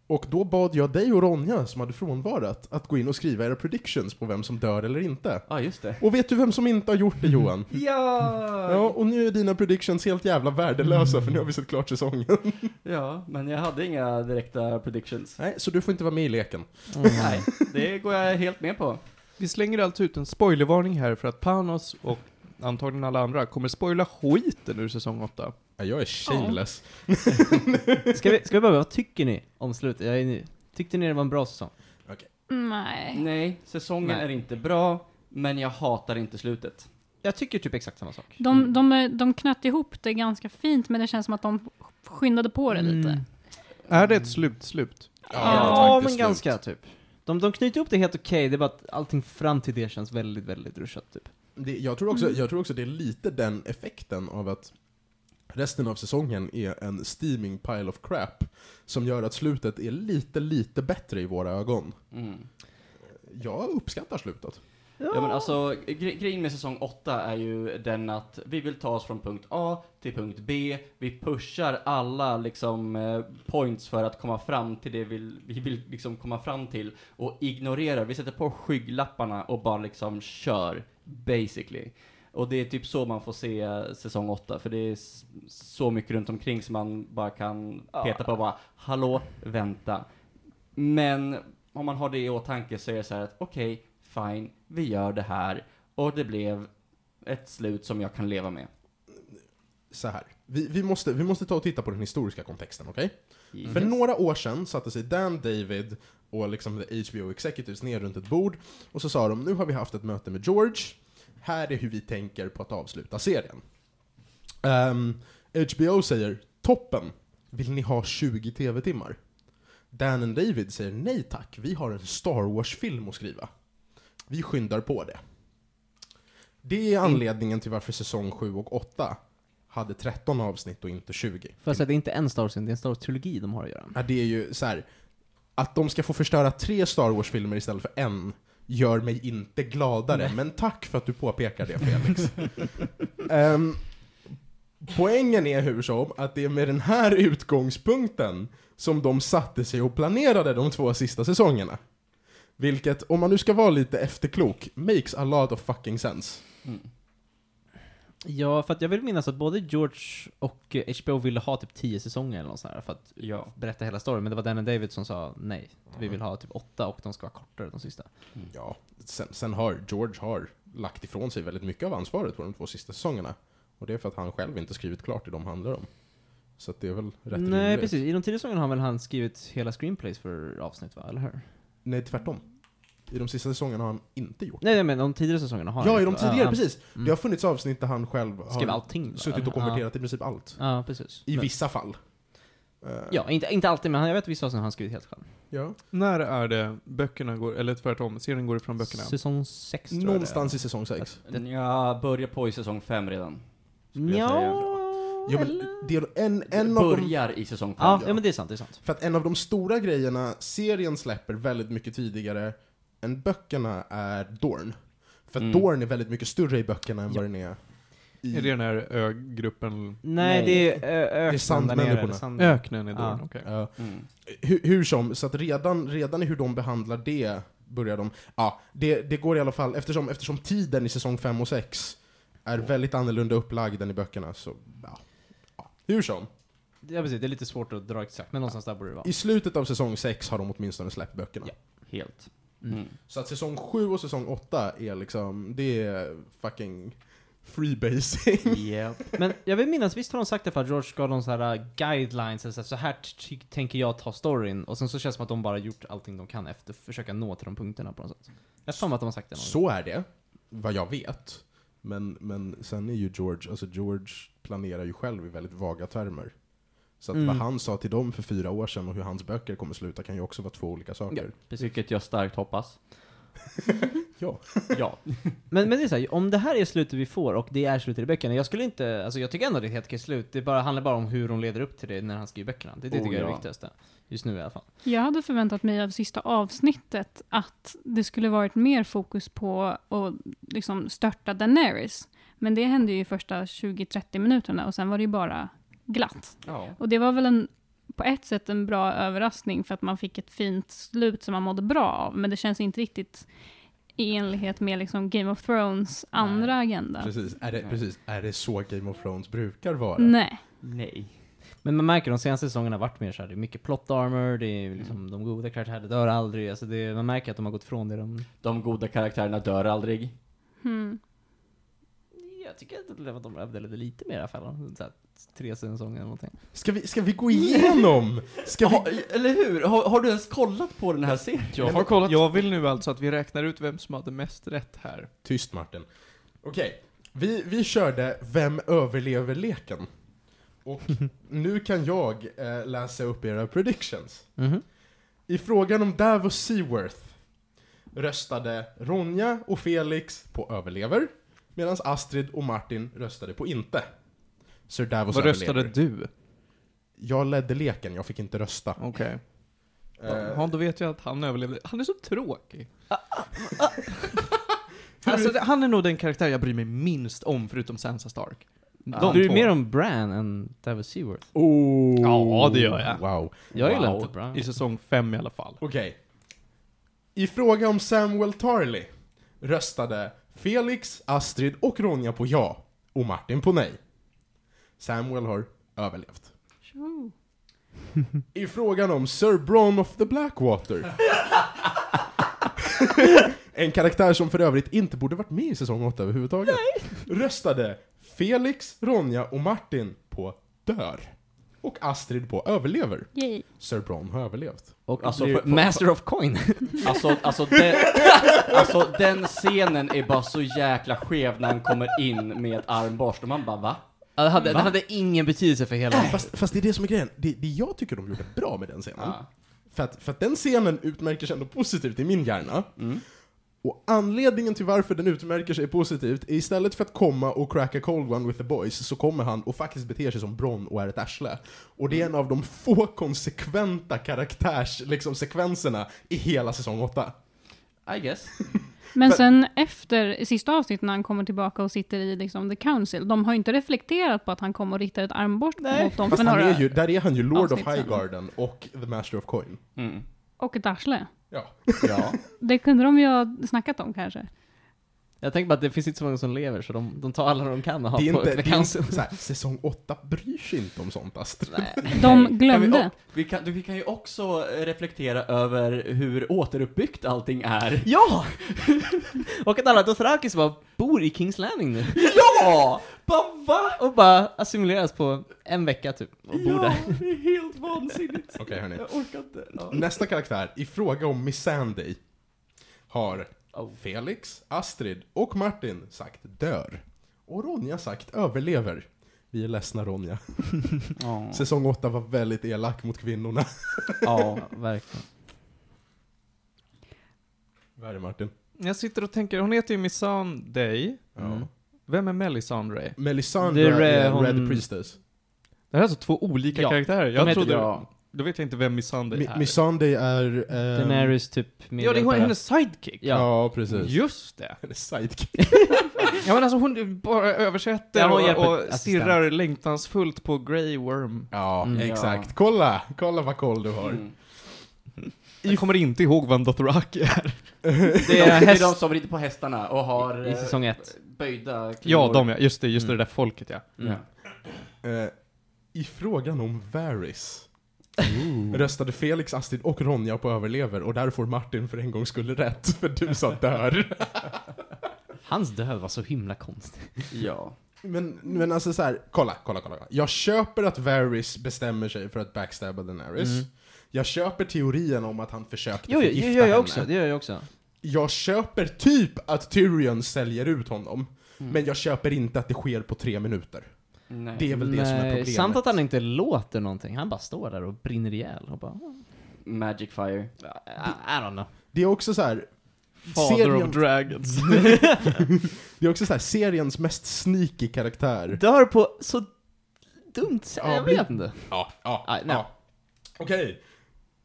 E: Och då bad jag dig och Ronja, som hade frånvarat, att gå in och skriva era predictions på vem som dör eller inte.
B: Ja, just det.
E: Och vet du vem som inte har gjort det Johan?
B: Ja!
E: Ja, och nu är dina predictions helt jävla värdelösa för nu har vi sett klart säsongen.
B: Ja, men jag hade inga direkta predictions.
E: Nej, så du får inte vara med i leken.
B: Nej, det går jag helt med på.
D: Vi slänger alltså ut en spoilervarning här för att Panos och antagligen alla andra kommer spoila skiten ur säsong 8.
E: Ja, jag är shameless.
C: Ska vi, ska vi börja med, vad tycker ni om slutet? Jag är ny. Tyckte ni det var en bra säsong?
A: Nej.
B: Nej, säsongen
C: Nej.
B: är inte bra, men jag hatar inte slutet.
C: Jag tycker typ exakt samma sak.
A: De,
B: Mm.
A: de, är- de knöt ihop det ganska fint, men det känns som att de skyndade på det lite.
D: Är det ett slut-slut?
A: Ja,
C: Ja,
E: faktiskt
C: men
E: slut.
C: ganska typ. De, de knyter ihop det helt okej, det är bara att allting fram till det känns väldigt, väldigt ruschat typ.
E: Det, jag, tror också,
A: Mm.
E: jag tror också det är lite den effekten av att resten av säsongen är en steaming pile of crap som gör att slutet är lite, lite bättre i våra ögon.
B: Mm.
E: Jag uppskattar slutet.
B: Ja men alltså, gre- grejen med säsong 8 är ju den att vi vill ta oss från punkt A till punkt B. Vi pushar alla liksom eh, points för att komma fram till det vi, vi vill liksom komma fram till och ignorerar, vi sätter på skygglapparna och bara liksom kör, basically. Och det är typ så man får se eh, säsong 8, för det är s- så mycket runt omkring som man bara kan peta på och bara, hallå, vänta. Men om man har det i åtanke så är det så här att okej, fine, vi gör det här. Och det blev ett slut som jag kan leva med.
E: Så här. Vi, vi, måste, vi måste ta och titta på den historiska kontexten, okej?
B: Yes.
E: För några år sedan satte sig Dan David och liksom the HBO Executives ner runt ett bord och så sa de nu har vi haft ett möte med George, här är hur vi tänker på att avsluta serien. Ehm, HBO säger toppen, vill ni ha 20 tv-timmar? Dan and David säger nej tack, vi har en Star Wars-film att skriva. Vi skyndar på det. Det är anledningen till varför säsong 7 och 8 hade 13 avsnitt och inte 20.
C: Fast att det är inte en Star Wars, det är en Star Wars-trilogi de har att göra.
E: Ja, det är ju så här. Att de ska få förstöra tre Star Wars-filmer istället för en gör mig inte gladare, men tack för att du påpekar det Felix. Ehm, poängen är hur som att det är med den här utgångspunkten som de satte sig och planerade de två sista säsongerna. Vilket, om man nu ska vara lite efterklok, makes a lot of fucking sense.
B: Mm.
C: Ja, för att jag vill minnas att både George och eh, HBO ville ha typ 10 säsonger eller något sånt här för att
B: Ja.
C: berätta hela storyn, men det var Dan och David som sa nej. Vi vill ha typ åtta och de ska vara kortare de sista.
E: Ja, sen, sen har George har lagt ifrån sig väldigt mycket av ansvaret på de två sista säsongerna. Och det är för att han själv inte skrivit klart det de handlar om. Så att det är väl rätt
C: nej,
E: rimligt.
C: precis. I de tidigare säsongerna har väl han skrivit hela screenplays för avsnitt va, eller hur?
E: Nej, tvärtom. I de sista säsongerna har han inte gjort
C: Nej, nej men de tidigare säsongerna har
E: Ja,
C: han
E: i
C: gjort
E: de
C: det. Ja,
E: tidigare,
C: han
E: precis.
C: Mm.
E: Det har funnits avsnitt där han själv har
C: Skrev allting. va?
E: suttit och konverterat i princip allt.
C: Ja, ja precis.
E: I
C: Men-
E: vissa fall. Eh,
C: Ja, inte, inte alltid, men han- jag vet vissa avsnitt har han skrivit helt själv.
E: ja.
D: När är det böckerna går, eller tvärtom, serien går ifrån böckerna?
C: Säsong 6 tror jag
E: Någonstans
C: det
E: i säsong
C: Alltså,
E: 6.
B: Jag börjar på i säsong fem redan.
C: är.
B: skulle jag säga.
C: Ja,
E: Ja, men
C: eller?
E: det är en, en av de
B: börjar i säsong fem.
C: Ja, ja, men det är sant, det är sant.
E: För att en av de stora grejerna serien släpper väldigt mycket tidigare än böckerna är Dorn. För att
B: Mm.
E: Dorn är väldigt mycket större i böckerna än vad den är i...
D: Är det den här ögruppen?
C: Nej,
B: Nej.
C: det är ö- öknen
E: sandmänniskorna.
C: där nere, sand-
D: Öknen i Dorn,
C: Ja.
D: okej.
E: Ja.
B: Mm.
E: hur, hur som, så att redan, redan i hur de behandlar det börjar de... Ja, det, det går i alla fall, eftersom, eftersom tiden i säsong 5 och 6 är väldigt annorlunda upplagd än i böckerna så, ja. ja. Hur som,
C: Ja precis, det är lite svårt att dra exakt, men någonstans där borde det vara.
E: i slutet av säsong 6 har de åtminstone släppt böckerna.
C: Ja.
B: Helt.
C: Mm.
B: Mm.
E: Så att säsong 7 och säsong 8 är liksom, det är fucking freebasing.
B: Japp.
C: Men jag vill minnas, visst har de sagt det för att George gav någon så här uh, guidelines, eller så här, så här t- ty- tänker jag ta storyn, och sen så känns det som att de bara gjort allting de kan efter, försöka nå till de punkterna på något sätt. Jag har för mig att de har sagt det någon gång.
E: Så är det, vad jag vet. Men, men sen är ju George, alltså George planerar ju själv i väldigt vaga termer. Så att
C: Mm.
E: vad han sa till dem för fyra år sedan och hur hans böcker kommer sluta kan ju också vara två olika
C: Ja,
E: saker.
C: precis.
B: Vilket jag starkt hoppas.
E: Ja.
B: Ja.
C: Men, men det är så här, om det här är slutet vi får, och det är slutet i böckerna, jag skulle inte, alltså jag tycker ändå det är ett helt okej slut, det bara, handlar bara om hur de leder upp till det när han skriver böckerna. Det, det
B: Oh,
C: tycker jag är det
B: ja.
C: viktigaste. Just nu i alla fall.
A: Jag hade förväntat mig av sista avsnittet att det skulle varit mer fokus på att liksom störta Daenerys. Men det hände ju i första 20-30 minuterna och sen var det ju bara glatt.
B: ja.
A: Och det var väl en, på ett sätt en bra överraskning för att man fick ett fint slut som man mådde bra av. Men det känns inte riktigt i enlighet med liksom Game of Thrones andra agenda.
E: Precis. Är det,
B: Ja.
E: precis. Är det så Game of Thrones brukar vara?
A: Nej.
B: Nej.
C: Men man märker de senaste säsongerna har varit mer såhär, det är mycket plot armor, det är liksom
B: Mm.
C: de goda karaktärerna dör aldrig, alltså det, man märker att de har gått från det de...
B: De goda karaktärerna dör aldrig.
A: Hmm.
C: Jag tycker att de överlevde lite mer i alla fall, såhär, tre säsonger eller någonting.
E: Ska vi, ska vi gå igenom? Ska vi...
B: eller hur? Har, har du ens kollat på den här serien?
D: Jag har kollat. Jag vill nu alltså att vi räknar ut vem som hade mest rätt här.
E: Tyst Martin. Okej, vi, vi körde Vem överlever leken? Och nu kan jag eh, läsa upp era predictions.
C: Mhm.
E: I frågan om Davos Seaworth röstade Ronja och Felix på överlever, medan Astrid och Martin röstade på inte. Sir Davos
D: Vad röstade
E: överlever.
D: du?
E: Jag ledde leken, jag fick inte rösta.
D: Okej.
E: Eh,
D: Ja, då vet jag att han överlevde. Han är så tråkig. alltså, det- han är nog den karaktär jag bryr mig minst om, förutom Sansa Stark.
C: De bryr dig mer om Bran än Davos Seaworth.
E: oh,
D: Ja, det gör jag.
E: Wow.
C: Jag gillar
B: Wow.
C: inte Bran.
D: I säsong fem i alla fall.
E: Okej. I fråga om Samuel Tarly röstade Felix, Astrid och Ronja på ja och Martin på nej. Samuel har överlevt.
A: Tjo.
E: I frågan om Sir Bron of the Blackwater. en karaktär som för övrigt inte borde varit med i säsong 8 överhuvudtaget. Röstade Felix, Ronja och Martin på dör. Och Astrid på överlever.
A: Yay.
E: Sir Bron har överlevt.
C: Och
B: Alltså,
C: blir
B: för- för-
C: Master of Coin.
B: Alltså, alltså, den, alltså den scenen är bara så jäkla skev när han kommer in med ett armborst och man bara va?
C: Ja, det, hade, det hade ingen betydelse för hela...
E: Nej, fast, fast det är det som är grejen. Det, det jag tycker de gjorde bra med den scenen.
B: Ja.
E: För, att, för att den scenen utmärker sig ändå positivt i min hjärna.
B: Mm.
E: Och anledningen till varför den utmärker sig positivt är istället för att komma och cracka cold one with the boys så kommer han och faktiskt beter sig som Bron och är ett arsle. Och det är en av de få konsekventa karaktärs, liksom, sekvenserna i hela säsong 8.
B: I guess.
A: Men
E: För-
A: sen efter i sista avsnittet när han kommer tillbaka och sitter i liksom, The Council, de har ju inte reflekterat på att han kom och riktade ett armborst mot dem
E: Fast
A: för
E: han
A: några,
E: är ju, där är han ju Lord of
A: avsnitt sen.
E: Highgarden och The Master of Coin.
B: Mm.
A: och ett arsle.
E: Ja.
B: Ja.
A: Det kunde de ju ha snackat om kanske.
C: Jag tänker bara att det finns inte så många som lever, så de, de tar alla de kan och har
E: Det är
C: på
E: inte,
C: The
E: det är
C: Council.
E: inte så här, säsong 8 bryr sig inte om sånt Astrid.
A: De
B: Nej.
A: glömde.
B: Kan vi, vi, kan, vi kan ju också reflektera över hur återuppbyggt allting är.
C: Ja! och att alla Dothrakis bara bor i Kings Landing nu.
B: Ja! Bara va?
C: Och bara assimileras på en vecka typ, och bor
B: ja,
C: där.
B: det är helt vansinnigt.
E: Okej hörni.
B: Jag orkar inte. Ja.
E: Nästa karaktär i fråga om Miss Sandy har
C: Oh.
E: Felix, Astrid och Martin sagt dör. Och Ronja sagt överlever. Vi är ledsna Ronja.
B: Ja.
E: Säsong 8 var väldigt elak mot kvinnorna.
C: Ja, verkligen.
E: Vad är det Martin?
D: Jag sitter och tänker, hon heter ju Missandei.
E: Ja.
C: Mm.
D: Vem är Melisandre?
E: Melisandre
C: Det är, eh,
E: är
C: hon-
E: Red Priestess.
D: Det här är alltså två olika
C: Ja,
D: karaktärer.
C: de
D: Jag
C: heter-
D: trodde...
C: ja.
D: Då vet jag inte vem Missandei
E: Mi-
D: är.
E: Miss Sandy är... ehm,
C: Daenerys typ med
D: ja, det är hon-
C: hjälp av-
D: hennes sidekick.
C: Ja.
E: Ja, precis.
D: Just det.
E: Hennes sidekick.
D: Ja men alltså hon bara översätter
C: Ja, hon hjälper
D: och, och
C: assistent.
D: stirrar längtansfullt på Grey Worm.
E: Ja,
C: Mm.
E: exakt. Kolla! Kolla vad koll du har.
B: Mm.
D: Jag kommer inte ihåg vad en Dothraki är.
B: Det
C: Det
B: är,
C: är
B: de, det
C: häst-
B: är de som rider på hästarna och har
C: I
B: eh,
C: säsong ett.
B: böjda klingor.
D: Ja, de ja. Just det, just det, det där folket ja.
C: Mm.
B: Ja.
E: Eh, I frågan om Varys röstade Felix, Astrid och Ronja på överlever och där får Martin för en gång skulle rätt för du sa dör.
C: Hans död var så himla konstig.
B: ja.
E: men, men alltså så här, kolla, kolla, kolla. kolla. Jag köper att Varys bestämmer sig för att backstabba Daenerys. Jag köper teorien om att han försökte
C: Jo, jo,
E: förgifta
C: det gör
E: henne.
C: jag också. Det gör jag också.
E: Jag köper typ att Tyrion säljer ut honom. Men jag köper inte att det sker på tre minuter.
B: Nej.
E: Det är väl det som är
C: Nej,
E: problemet.
C: Samt att han inte låter någonting. Han bara står där och brinner ihjäl och bara...
B: Magic Fire.
C: I, I don't know.
E: Det är också så här,
D: Father
E: Serien-
D: of Dragons.
E: det är också så här seriens mest sneaky karaktär.
C: Dör på så dumt sätt.
E: Ja,
C: jag
E: blir-
C: vet inte.
E: Ja, ja,
C: Ah, nej.
E: ja. Okej.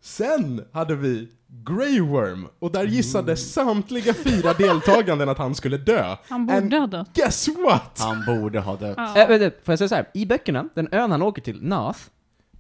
E: Sen hade vi Grey Worm, och där gissade samtliga fyra deltaganden att han skulle dö.
A: Han borde ha dött.
E: Guess what?
B: Han borde ha dött.
A: Ja.
C: Äh, vänta, får jag säga så här? I böckerna, den ön han åker till, Nath,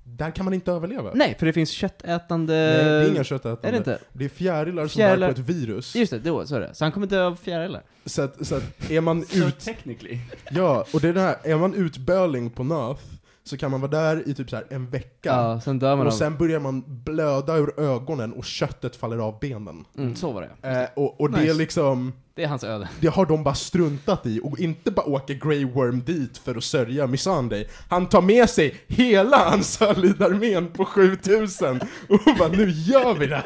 E: Där kan man inte överleva.
C: nej, för det finns köttätande...
E: Nej, det är inga köttätande.
C: Är det inte?
E: Det är fjärilar som
C: Fjärilar-
E: bär på ett virus.
C: Just det, då, så är det. Så han kommer dö av fjärilar.
E: Så att, så att är man
B: Så
E: ut...
B: technically.
E: Ja, och det är det här, är man utböling på Nath så kan man vara där i typ så här en vecka.
C: Ja, sen dör man
E: och
C: av...
E: sen börjar man blöda ur ögonen och köttet faller av benen.
C: Mm, så var det.
E: Eh, och och det är
C: Nice.
E: liksom...
C: Det är hans öde.
E: Det har de bara struntat i och inte bara åker Grey Worm dit för att sörja Missandei. Han tar med sig hela Ansalidarmén på 7000 och bara nu gör vi det!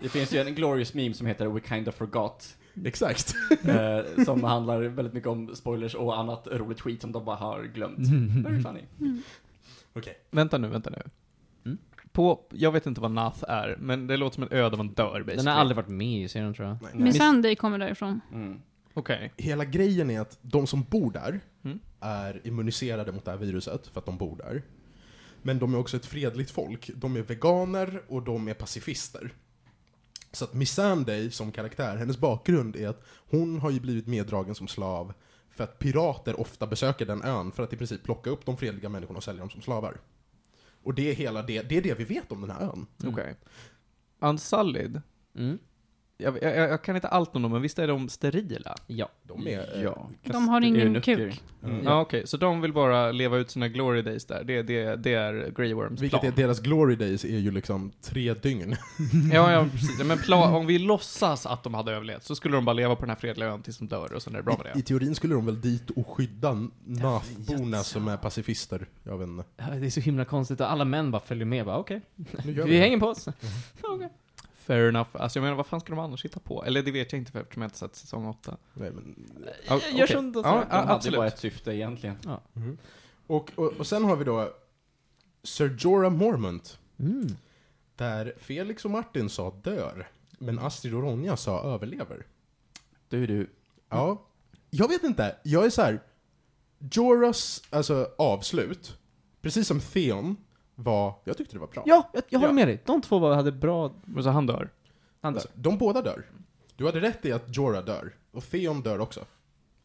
B: Det finns ju en glorious meme som heter We Kind of Forgot.
E: Exakt.
B: eh, som handlar väldigt mycket om spoilers och annat roligt skit som de bara har glömt. Very funny.
A: Mm.
E: Okej.
D: vänta nu, vänta nu.
C: Mm.
D: På, jag vet inte vad Nath är, men det låter som en ö där man dör basically.
C: Den har aldrig varit med i serien tror jag.
A: Miss Sandy kommer därifrån.
B: Mm.
D: Okej.
E: Hela grejen är att de som bor där
D: Mm.
E: är immuniserade mot det här viruset för att de bor där. Men de är också ett fredligt folk. De är veganer och de är pacifister. Så att Missandei som karaktär, hennes bakgrund är att hon har ju blivit meddragen som slav för att pirater ofta besöker den ön för att i princip plocka upp de fredliga människorna och sälja dem som slavar. Och det är, hela det, det, är det vi vet om den här ön.
D: Okej. Unsullied.
C: Mm.
D: Jag, jag, jag kan inte allt om dem, men visst är de sterila?
C: Ja.
E: De är... eh,
B: Ja.
A: De har ingen
B: Eunucker.
A: kuk.
D: Ja,
E: Mm.
D: okej. Så de vill bara leva ut sina glory days där. Det, det, det är Grey Worms
E: Vilket är
D: plan.
E: deras glory days är ju liksom tre dygn.
D: Ja, ja, precis. Ja, Men plan, om vi låtsas att de hade överlevt så skulle de bara leva på den här fredliga ön tills de dör och sen är det bra med
E: I
D: det.
E: teorin skulle de väl dit och skydda Nathborna
C: Jatsa.
E: som är pacifister. Jag vet inte.
C: Det är så himla konstigt och alla män bara följer med. Bara, Okej,
E: Nu gör
C: vi hänger på oss. Okej.
D: Fair enough. Alltså jag menar, vad fan ska de annars hitta på? Eller det vet jag inte för eftersom jag inte sett säsong 8.
E: Nej, men,
D: Ja,
C: Gör
D: okej.
C: som de
E: Ja,
C: säger.
B: De hade
D: absolut.
B: bara ett syfte egentligen.
E: mhm. och, och, och sen har vi då Sir Jorah Mormont.
C: Mm.
E: Där Felix och Martin sa dör. Men Astrid och Ronja sa överlever.
B: Du, du.
E: Ja. Jag vet inte. Jag är så här. Joras alltså, avslut, precis som Theon, var... Jag tyckte det var bra.
C: Ja, jag, jag håller
E: Ja.
C: med dig. De två var, hade bra...
D: Men så han dör.
C: Andra.
E: Alltså, de båda dör. Du hade rätt i att Jorah dör. Och Theon dör också.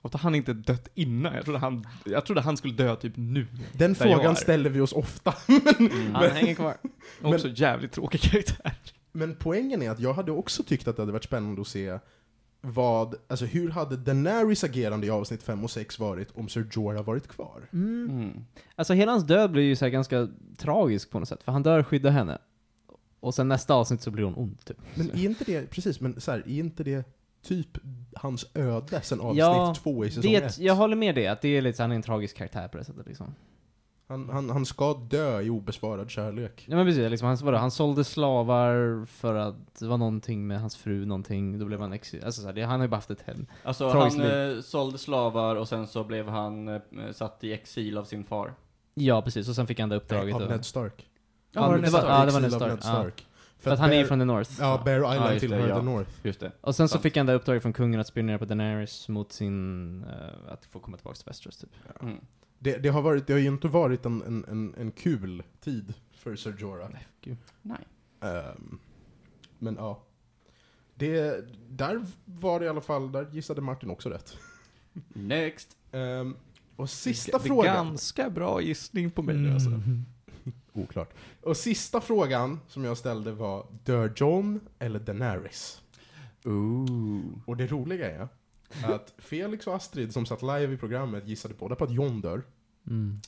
D: Och att han inte dött innan. Jag trodde han, jag trodde han skulle dö typ nu.
E: Den
D: Där jag
E: frågan
D: är.
E: ställer vi oss ofta.
C: Han hänger kvar.
E: Men-
D: Också jävligt tråkig karaktär.
E: Men poängen är att jag hade också tyckt att det hade varit spännande att se vad, alltså hur hade Daenerys agerande i avsnitt 5 och 6 varit om Sir Jorah varit kvar?
C: Mm.
B: Mm.
C: Alltså hela hans död blir ju så här ganska tragisk på något sätt, för han dör och skyddar henne. Och sen nästa avsnitt så blir hon ond, typ.
E: Men är inte det, precis, men så här, är inte det typ hans öde sen
C: Ja,
E: avsnitt 2 i säsong
C: Det,
E: ett?
C: jag håller med dig, att det är lite så här, han är en tragisk karaktär på det sättet liksom.
E: Han, han, han ska dö i obesvarad kärlek.
C: Ja men precis, liksom, han, vadå, han sålde slavar för att det var någonting med hans fru, någonting, då blev han exil. Alltså så här, det, han har ju bara haft ett hem.
B: Alltså
C: Tragiskt
B: han eh, sålde slavar och sen så blev han eh, satt i exil av sin far.
C: Ja precis, och sen fick han det uppdraget.
E: Av
C: och-
E: Ned Stark.
C: Ja, var det Ned Stark? Ja, det var Ned
E: Exil av
C: Stark. Ja.
E: För,
C: för att han är
E: Bear-
C: ju från the North.
E: Ja, Bear Island
B: Ja, just
E: tillhör
B: det, ja.
E: The North.
B: Just det.
C: Och sen så
B: Sant.
C: fick han det uppdraget från kungen att spionera på Daenerys mot sin, eh, att få komma tillbaka till Westeros typ.
B: Mm.
E: Det, det, har varit, det har ju inte varit en, en, en, en kul tid för Sir Jorah.
C: gud.
B: Nej.
E: Ehm, men ja. Det, där var det i alla fall, där gissade Martin också rätt.
B: Next.
E: Ehm, och sista
D: det är
E: frågan.
D: Ganska bra gissning på mig nu alltså.
E: Oklart. Och sista frågan som jag ställde var, dör John eller Daenerys?
B: Ooh.
E: Och det roliga är att Felix och Astrid som satt live i programmet gissade båda på att John dör.
C: Mm.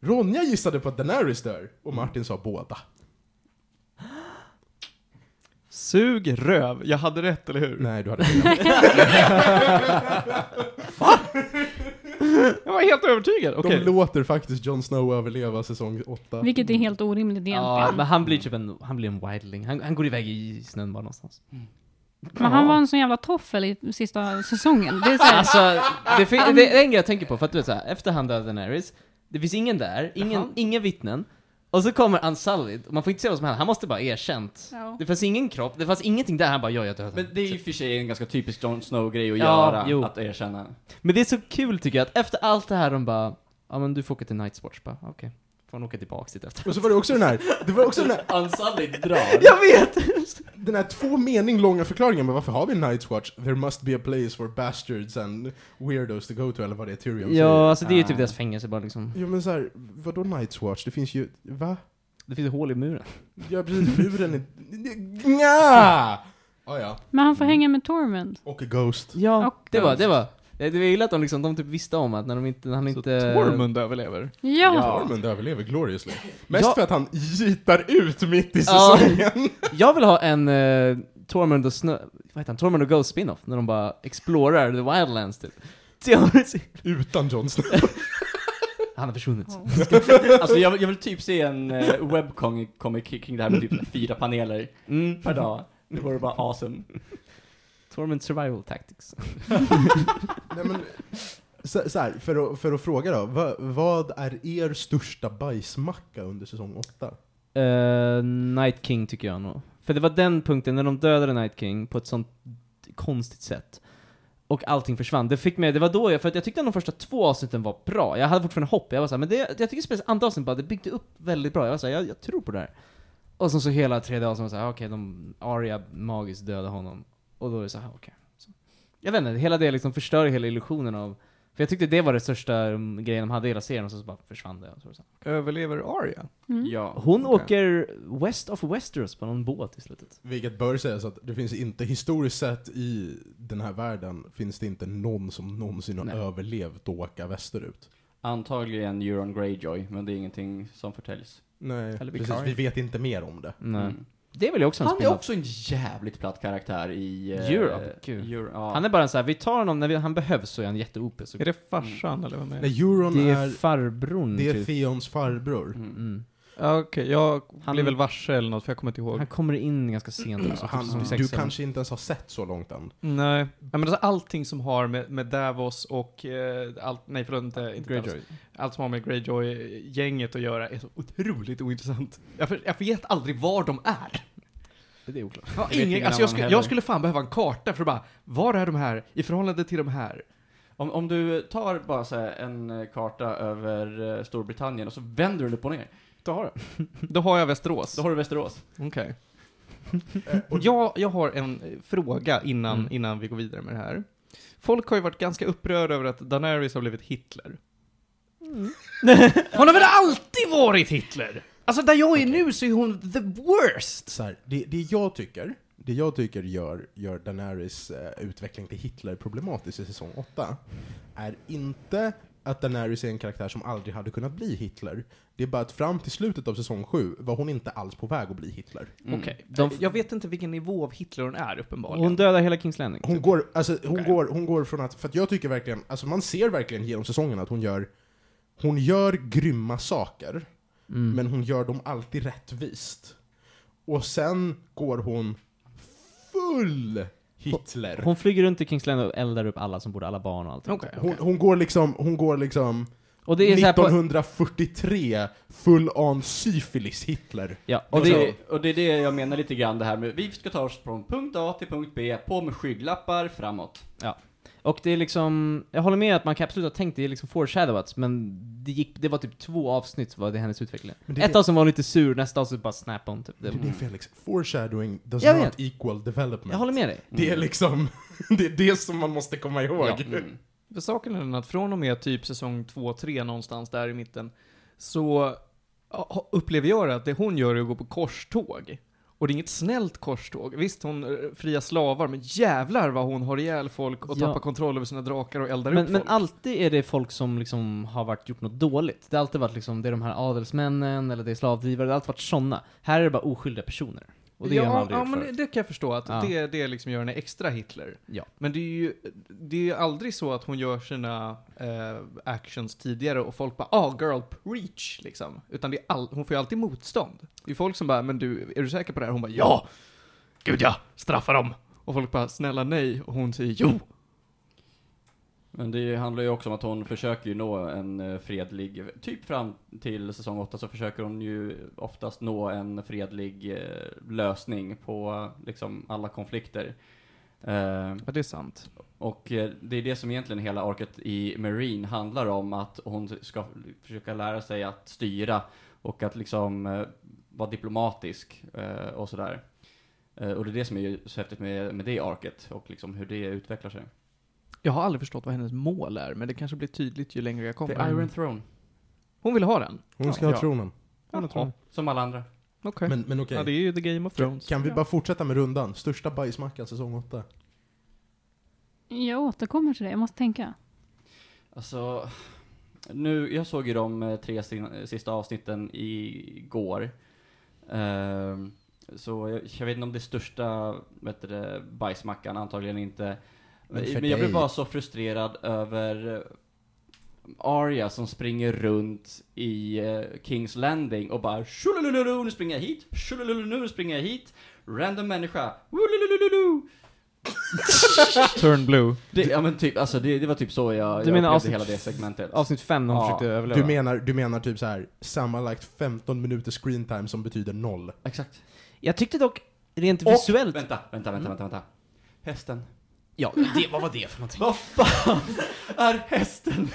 E: Ronja gissade på att Daenerys dör. Och Martin sa båda.
D: Sug röv. Jag hade rätt, eller hur?
E: Nej, du hade fel.
D: Jag var helt övertygad. Okej.
E: De låter faktiskt Jon Snow överleva säsong 8.
A: Vilket är helt orimligt
C: Ja,
A: egentligen.
C: men han blir typ en, han blir en wildling. Han, han går iväg i snön bara någonstans.
A: men han var en sån jävla toffel i sista säsongen. Det är så här,
C: Alltså, det, fin- det är en grej jag tänker på, för att du vet såhär, efter han dödade Daenerys, det finns ingen där, ingen, inga vittnen. Och så kommer Unsullied, och man får inte se vad som händer, han måste bara ha erkänt.
A: Ja.
C: Det fanns ingen kropp, det fanns ingenting där, han bara ja, jag dödade
B: Men det är ju för sig en ganska typisk Jon Snow-grej att
C: Ja,
B: göra,
C: jo.
B: att erkänna.
C: Men det är så kul tycker jag, att efter allt det här de bara, ja men du får åka till Nightwatch, bara okej. Får han åka tillbaks dit efter.
E: Och så var det också den här, det var också den här,
B: Unsullied drar.
C: Jag vet!
E: den här två mening långa förklaringen, men varför har vi Night's Watch? There must be a place for bastards and weirdos to go to, eller vad det är Tyrion
C: Ja, alltså det är ju typ
B: Ah.
C: deras fängelse bara liksom.
E: Jo men såhär, vadå Night's Watch? Det finns ju, va?
C: Det finns hål i muren.
E: Ja precis, muren är... Nja! Ah, ja.
A: men han får hänga med Tormund.
E: Och Ghost.
C: Ja,
A: Och-
C: det var, det var. Det det var illa att de liksom, de typ visste om att när de inte, när han
D: Så
C: inte...
D: Tormund överlever.
A: Ja,
B: Ja.
E: Tormund överlever gloriously. Mest
C: Ja.
E: för att han gitar ut mitt i
C: Ja.
E: säsongen.
C: Jag vill ha en eh, Tormund och Snö... Vad heter han? Tormund och Ghost spin-off, när de bara explorar the wildlands typ.
E: Utan Jon Snow.
C: Han har försvunnit.
B: Alltså jag, jag vill typ se en eh, webcom kommer k- kring det här med typ fyra paneler
C: Mm.
B: per dag. Det vore bara awesome.
C: Tormund survival tactics.
E: Nej, men, så, så här, för, att, för att fråga då. Vad, vad är er största bajsmacka under säsong 8?
C: Eh, Night King tycker jag nog. För det var den punkten, när de dödade Night King på ett sånt konstigt sätt. Och allting försvann. Det fick mig, det var då jag, för att jag tyckte att de första två avsnitten var bra. Jag hade fortfarande hopp. Jag var såhär, men det, jag tycker speciellt andra avsnittet bara, det byggde upp väldigt bra. Jag var såhär, jag, jag tror på det här. Och sen så hela tredje avsnittet var såhär, okej, de, Arya magiskt dödade honom. Och då är det såhär, okej. Så. Jag vet inte, hela det liksom förstör hela illusionen av... För jag tyckte det var det största um, grejen de hade i hela serien, och så, så bara försvann det. Och så, var det så. här.
D: Överlever Arya?
A: Mm.
B: Ja.
C: Hon
D: Okej.
C: åker west of Westeros på någon båt i slutet.
E: Vilket bör sägas att det finns inte, historiskt sett i den här världen, finns det inte någon som någonsin har
C: Nej.
E: överlevt att åka västerut.
B: Antagligen Euron Greyjoy, men det är ingenting som förtäljs.
E: Nej,
C: Eller
E: precis.
C: Vicario.
E: Vi vet inte mer om det.
C: Nej.
B: Mm.
C: Det vill jag också ha en
B: Han är
C: spin-off.
B: också en jävligt platt karaktär i... eh,
C: Europe, gud.
B: Euro, ja.
C: Han är bara en så här, vi tar honom när vi, han behövs så är han jätte-OP. Så
D: Är det farsan, eller vem är det?
E: Mm. Nej, Euron
C: det är
E: är,
C: farbrorn
E: det är
C: typ.
E: Theons farbror.
B: Mm.
C: Mm.
D: Ja, Ah, Okej, jag
C: Han-
D: blev väl varse eller något för jag kommer inte ihåg.
C: Han kommer in ganska sent också. typ
E: Ja, Mm. han,
C: 2016.
E: du kanske inte ens har sett så långt än.
D: Nej. Ja, Men alltså allting som har med, med Davos och eh, allt, nej förlåt inte, inte
B: Alltså,
D: Davos.
C: Greyjoy.
D: Allt som har med Greyjoy-gänget att göra är så otroligt ointressant. Jag, för, jag vet aldrig var de är.
C: Det är oklart.
D: Jag, har
C: vet ingen
D: ingen, alltså jag,
C: annan
D: skulle,
C: heller.
D: jag skulle fan behöva en karta för att bara, var är de här i förhållande till de här?
B: Om, om du tar bara så här en eh, karta över eh, Storbritannien och så vänder du den upp och ner.
D: Då har Då har jag Västerås.
B: Då har du Västerås.
D: Okej.
E: Eh, och
D: Jag, jag har en eh, fråga innan,
C: Mm.
D: innan vi går vidare med det här. Folk har ju varit ganska upprörda över att Daenerys har blivit Hitler. Mm. hon har väl alltid varit Hitler? Alltså där jag är nu så är hon the worst.
E: så här, det, det jag tycker, det jag tycker gör, gör Daenerys eh, utveckling till Hitler problematisk i säsong 8 är inte att Daenerys är en karaktär som aldrig hade kunnat bli Hitler. Det är bara att fram till slutet av säsong 7 var hon inte alls på väg att bli Hitler.
B: Mm.
D: Okej.
C: De-
D: Eh, Jag vet inte vilken nivå av Hitler hon är uppenbarligen.
C: Hon dödar hela Kings Landing.
E: Hon går, alltså, hon,
D: Okej.
E: går, hon går från att, för att jag tycker verkligen, alltså man ser verkligen genom säsongen att hon gör, hon gör grymma saker.
C: Mm.
E: men hon gör dem alltid rättvist. Och sen går hon full Hitler. Hon,
C: Hon flyger runt i Kings Landing och eldar upp alla som bor där, alla barn och allting.
D: Okej, okej.
E: hon, går liksom, hon går liksom
C: Och det är så här på...
E: 1943 full on syfilis Hitler.
C: Ja,
B: Och
C: och
B: det,
C: det
B: är, och det är det jag menar lite grann det här med, vi ska ta oss från punkt A till punkt B, på med skygglappar framåt.
C: Och det är liksom, jag håller med att man kan absolut ha tänkt det är liksom foreshadowat, men det, gick, det var typ två avsnitt var det hennes utveckling.
E: Men det är
C: Ett
E: det-
C: avsnitt var hon lite sur, nästa avsnitt bara snap on typ.
E: Det
C: Det,
E: är det Felix, foreshadowing does
C: Jag
E: not equal development.
C: jag håller med dig.
E: Det är liksom, det är det som man måste komma ihåg.
C: Ja.
B: Mm.
D: För saken är den att från och med typ säsong 2-3 någonstans där i mitten så ja, upplever jag att det hon gör är att gå på korståg. Och det är inget snällt korståg. Visst, hon eh, friar slavar, men jävlar vad hon har ihjäl folk och
C: Ja.
D: tappar kontroll över sina drakar och eldar upp
C: Men, men
D: folk.
C: alltid är det folk som liksom har varit, gjort något dåligt. Det har alltid varit liksom, det är de här adelsmännen, eller det är slavdrivare, det har alltid varit sådana. Här är det bara oskyldiga personer. Och det
D: ja,
C: har hon aldrig
D: ja,
C: gjort förut.
D: men det kan jag förstå att
C: Ja.
D: det, det liksom gör henne extra Hitler.
C: Ja.
D: Men det är ju det är ju aldrig så att hon gör sina eh, actions tidigare och folk bara ah girl preach liksom. Utan det är all, hon får ju alltid motstånd. Det är ju folk som bara men du, är du säker på det här? Hon bara ja! Gud ja, straffa dem! Och folk bara snälla nej och hon säger jo!
B: Men det handlar ju också om att hon försöker ju nå en eh, fredlig, typ fram till säsong 8 så försöker hon ju oftast nå en fredlig eh, lösning på liksom alla konflikter. Eh,
D: Ja det är sant.
B: Och eh, det är det som egentligen hela arket i Marine handlar om, att hon ska försöka lära sig att styra och att liksom eh, vara diplomatisk eh, och sådär. Eh, och det är det som är ju så häftigt med, med det arket och liksom hur det utvecklar sig.
D: Jag har aldrig förstått vad hennes mål är men det kanske blir tydligt ju längre jag
B: The
D: kommer.
B: Iron Throne,
D: Hon vill ha den.
E: Hon ska ha
D: Ja.
E: tronen.
D: Jaha,
C: tror jag.
D: okej.
B: som alla andra.
E: Men, men okej,
D: Ja det är ju The Game of Thrones.
E: kan vi bara fortsätta med rundan? Största bajsmackan säsong 8.
A: Jag återkommer till det, jag måste tänka.
B: Alltså, nu, jag såg ju de eh, tre sin, sista avsnitten igår. Ehm, så jag, jag vet inte om det är största vad heter det, bajsmackan, antagligen inte.
E: Men
B: Men,
E: för
B: jag blev
E: dig.
B: bara så frustrerad över eh, Arya som springer runt i eh, Kings Landing och bara "Tjolululu, nu springer jag hit, "Tjolululu, nu springer jag hit, random människa, "Wululululu."
D: Turn blue.
B: det, ja men typ, alltså det, det var typ så jag,
C: Du
B: jag upplevde
C: menar avsnitt,
B: hela det segmentet.
C: avsnitt fem när hon
B: Ja,
C: försökte överleva?
E: Du menar, du menar typ så här sammanlagt 15 minuter screentime som betyder noll.
B: Exakt.
C: Jag tyckte dock, rent
B: Och-
C: Typ visuellt...
B: Vänta, vänta, vänta, vänta, vänta. Hästen.
C: Ja, det, vad var det för någonting?
B: Vad fan är hästen?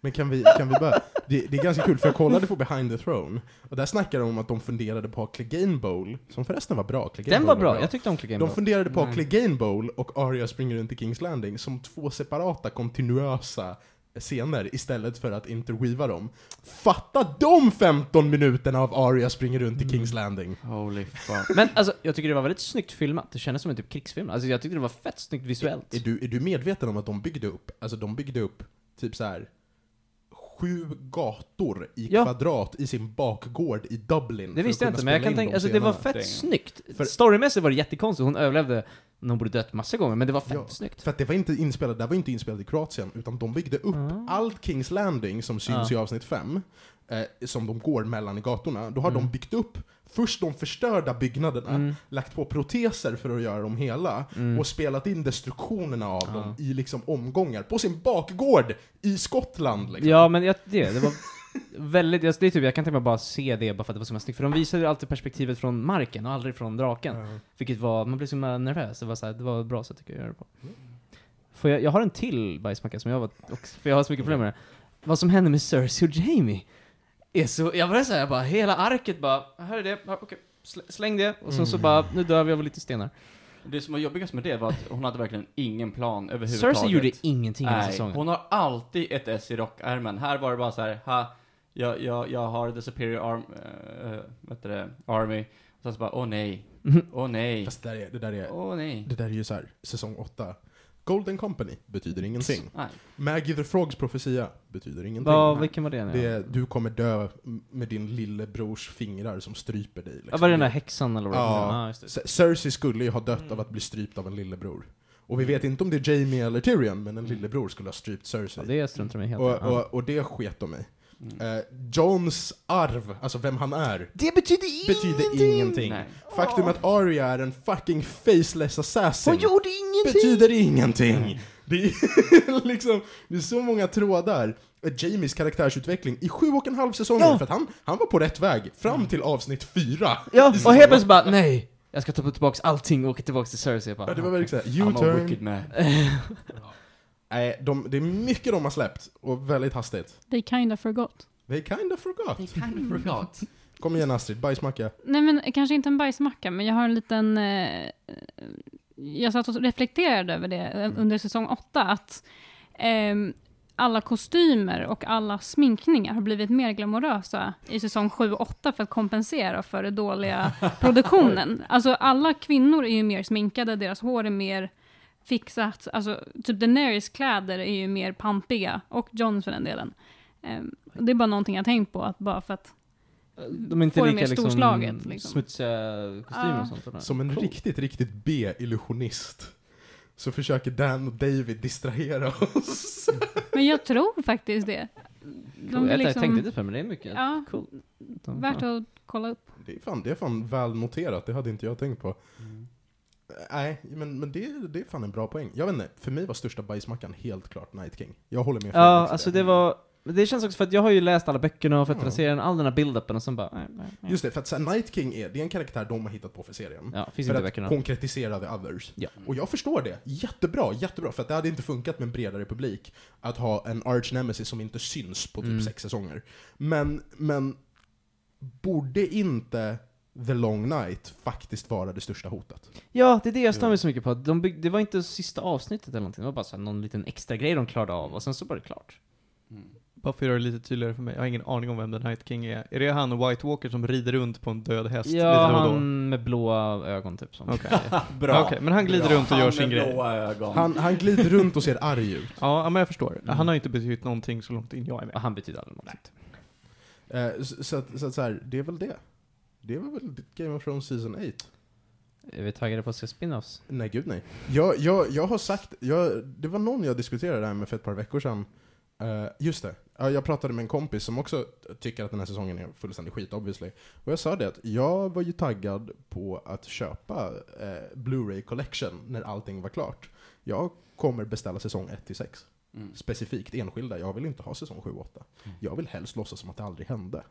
E: Men kan vi, kan vi bara, det, det är ganska kul för jag kollade på Behind the Throne och där snackade de om att de funderade på att ha Clegane Bowl, som förresten var bra. Clegane
C: Den var
E: Bowl
C: bra, jag tyckte om Click Game
E: De funderade på att ha
B: Nej.
E: Clegane Bowl och Arya springer runt i Kings Landing som två separata kontinuösa scener istället för att interweava dem. Fatta de 15 minuterna av Arya springer runt i Kings Landing!
B: Holy fuck.
C: Men alltså, jag tycker det var väldigt snyggt filmat. Det kändes som en typ krigsfilm. Alltså jag tyckte det var fett snyggt visuellt.
E: Är du, är du medveten om att de byggde upp, alltså de byggde upp typ så här sju gator i
C: Ja.
E: kvadrat i sin bakgård i Dublin?
C: Det
E: för att
C: visste jag
E: kunna
C: inte, men jag
E: spela
C: kan
E: in
C: tänka,
E: de
C: alltså det var
E: scenerna.
C: fett
B: Det-
C: snyggt.
E: För-
C: Storymässigt var det jättekonstigt, hon överlevde, men hon borde dött massa gånger, men det var fett
E: Ja,
C: snyggt.
E: För att det var inte
C: Mm.
E: inspelat, det här var inte inspelat i Kroatien, utan de byggde upp allt Kings Landing som syns i avsnitt 5. eh, som de går mellan i gatorna, då har
C: Mm.
E: de byggt upp först de förstörda byggnaderna,
C: Mm.
E: lagt på proteser för att göra dem hela,
C: Mm.
E: och spelat in destruktionerna av
C: Ja.
E: dem i liksom omgångar, på sin bakgård i Skottland liksom.
C: Ja, men jag, det, det var väldigt, jag, det är typ, jag kan tänka mig bara se det bara för att det var så himla snyggt. För de visade ju alltid perspektivet från marken och aldrig från draken.
E: Eh,
C: Vilket var, man blev så himla nervös. Det var, så här, det var ett bra sätt tycker jag att göra det på. Får jag, jag har en till bajsmacka som jag var, också, för jag har så mycket problem med det. Vad som hände med Cersei och Jamie. Är så, jag var såhär, bara hela arket bara, här är det, ja, okej, sl- släng det. Och sen så
E: Mm.
C: bara, nu dör vi av lite stenar.
B: Det som var jobbigast med det var att hon hade verkligen ingen plan överhuvudtaget.
C: Cersei gjorde ingenting i den här
B: Nej,
C: säsongen.
B: hon har alltid ett S i rockärmen. Här var det bara så här, ha, jag, jag, jag har the superior arm, eh, vad heter det, army. Och sen så bara, åh nej,
C: Mhm.
B: åh nej,
E: Fast det där är, det där är,
B: åh nej.
E: det där är ju så här, säsong 8. Golden Company betyder ingenting.
B: Nej.
E: Maggie the Frogs profetia betyder ingenting.
C: Vad, vilken var det nu?
E: Det är, du kommer dö m- med din lillebrors fingrar som stryper dig. Liksom.
C: Ja, var det den där häxan eller vad det
E: Ja.
C: var? Ja, just det.
E: C- Cersei skulle ju ha dött av att bli strypt av en lillebror. Och vi vet inte om det är Jamie eller Tyrion, men en lillebror skulle ha strypt
C: Ja,
E: Cersei.
C: det struntar de i helt
E: och,
C: Ja.
E: och, och det sket de i.
B: Mm.
E: Eh, Johns arv, alltså vem han är,
C: Det betyder
E: betyder ingenting.
B: Nej.
E: Faktum att Arya är en fucking faceless assassin.
C: gjorde ingenting!
E: betyder ingenting. Det är, liksom, det är så många trådar. Jamies karaktärsutveckling i sju och en halv säsonger,
C: Ja.
E: för att han, han var på rätt väg fram till avsnitt fyra.
C: Ja, och helt plötsligt bara nej! Jag ska ta tillbaks allting och åka tillbaks till Cersei. Jag bara,
E: Ja, det var verkligen såhär,
B: I'm a
E: U-turn.
B: wicked man.
E: Nej, de, det är mycket de har släppt, och väldigt hastigt.
A: They kinda forgot.
E: They kind of forgot.
B: kind of forgot.
E: Kom igen Astrid, bajsmacka.
A: Nej men kanske inte en bajsmacka, men jag har en liten... Eh, jag satt och reflekterade över det eh,
C: Mm.
A: under säsong åtta, att ehm, alla kostymer och alla sminkningar har blivit mer glamorösa i säsong 7 och 8 för att kompensera för den dåliga produktionen. Alltså alla kvinnor är ju mer sminkade, deras hår är mer fixat, alltså typ Daenerys kläder är ju mer pampiga, och John för den delen. Ehm, det är bara någonting jag tänkt på, att bara för att
C: de är inte
A: Får det
C: lika
A: mer
C: liksom,
A: storslaget, liksom.
C: smutsiga kostymer
A: Ja.
C: och sånt. eller?
E: Som en
C: Cool.
E: riktigt, riktigt B-illusionist. Så försöker Dan och David distrahera oss.
A: Men jag tror faktiskt det. De
C: Cool.
A: är
C: Jag,
A: liksom,
C: tänkte inte på det, men det är mycket
A: Ja.
C: coolt. De-
A: värt att kolla upp.
E: Det är fan, det är fan väl noterat, det hade inte jag tänkt på. Nej, men, men det, det är fan en bra poäng. Jag vet inte, för mig var största bajsmackan helt klart Night King. Jag håller med Felix
C: Ja,
E: där.
C: alltså det var... men Det känns också för att jag har ju läst alla böckerna och fått
E: Ja.
C: mm. serien, all den här build-upen och sen bara... Nej, nej, nej.
E: Just det, för att så här, Night King är, det är en karaktär de har hittat på för serien.
C: Ja, finns inte i
E: för
C: böckerna.
E: att konkretisera the others.
C: Ja.
E: Och jag förstår det. Jättebra, jättebra. För att det hade inte funkat med en bredare publik att ha en arch nemesis som inte syns på typ
C: Mm.
E: sex säsonger. Men, men borde inte The Long Night faktiskt vara det största hotet?
C: Ja, det är det jag stör mig så mycket på. att De bygg, det var inte sista avsnittet eller någonting, det var bara så här någon liten extra grej de klarade av och sen så var det klart.
B: Mm.
D: Bara för att göra det lite tydligare för mig, jag har ingen aning om vem den Night King är. Är det han White Walker som rider runt på en död häst
C: Ja,
D: lite då och då?
C: han med blåa ögon typ. Som
D: Okej.
B: Bra.
D: Okej, men han glider runt och gör sin
B: Han med
D: grej.
B: blåa ögon.
E: Han, han glider runt och ser arg ut.
D: Ja, men jag förstår.
C: Mm.
D: Han har ju inte betytt någonting så långt in jag är
C: Ja,
D: med.
C: Han betyder aldrig någonting.
E: Eh, så, så, att, så, att, så här, det är väl det. Det var väl Game of Thrones Season 8.
C: Är vi taggade på att se spin-offs?
E: Nej, gud nej. Jag, jag, jag har sagt, jag, det var någon jag diskuterade det här med för ett par veckor sedan. Eh, just det, Ja, jag pratade med en kompis som också tycker att den här säsongen är fullständigt skit obviously. Och jag sa det att jag var ju taggad på att köpa eh, Blu-ray collection när allting var klart. Jag kommer beställa säsong 1-6.
B: Mm.
E: Specifikt enskilda, jag vill inte ha säsong 7-8.
B: Mm.
E: Jag vill helst låtsas som att det aldrig hände.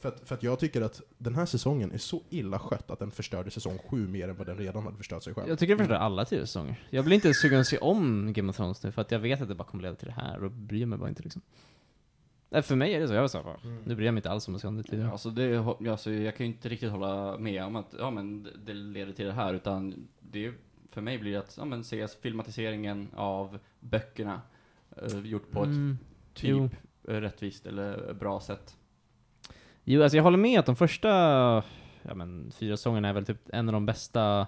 E: För att, för att jag tycker att den här säsongen är så illa skött att den förstörde säsong 7 mer än vad den redan hade förstört sig själv.
C: Jag tycker det förstör alla tio säsonger. Jag blir inte sugen att se om Game of Thrones nu, för att jag vet att det bara kommer leda till det här och bryr mig bara inte liksom. Nej, för mig är det så. Jag var såhär, nu bryr jag mig inte alls om att se om det tidigare.
B: Alltså, det, alltså, jag kan ju inte riktigt hålla med om att ja, men det- det leder till det här, utan det för mig blir att ja, men, se filmatiseringen av böckerna eh, gjort på ett
C: Mm.
B: typ
C: jo.
B: eh, rättvist eller bra sätt.
C: Jo, alltså jag håller med att de första ja, men, fyra säsongerna är väl typ en av de bästa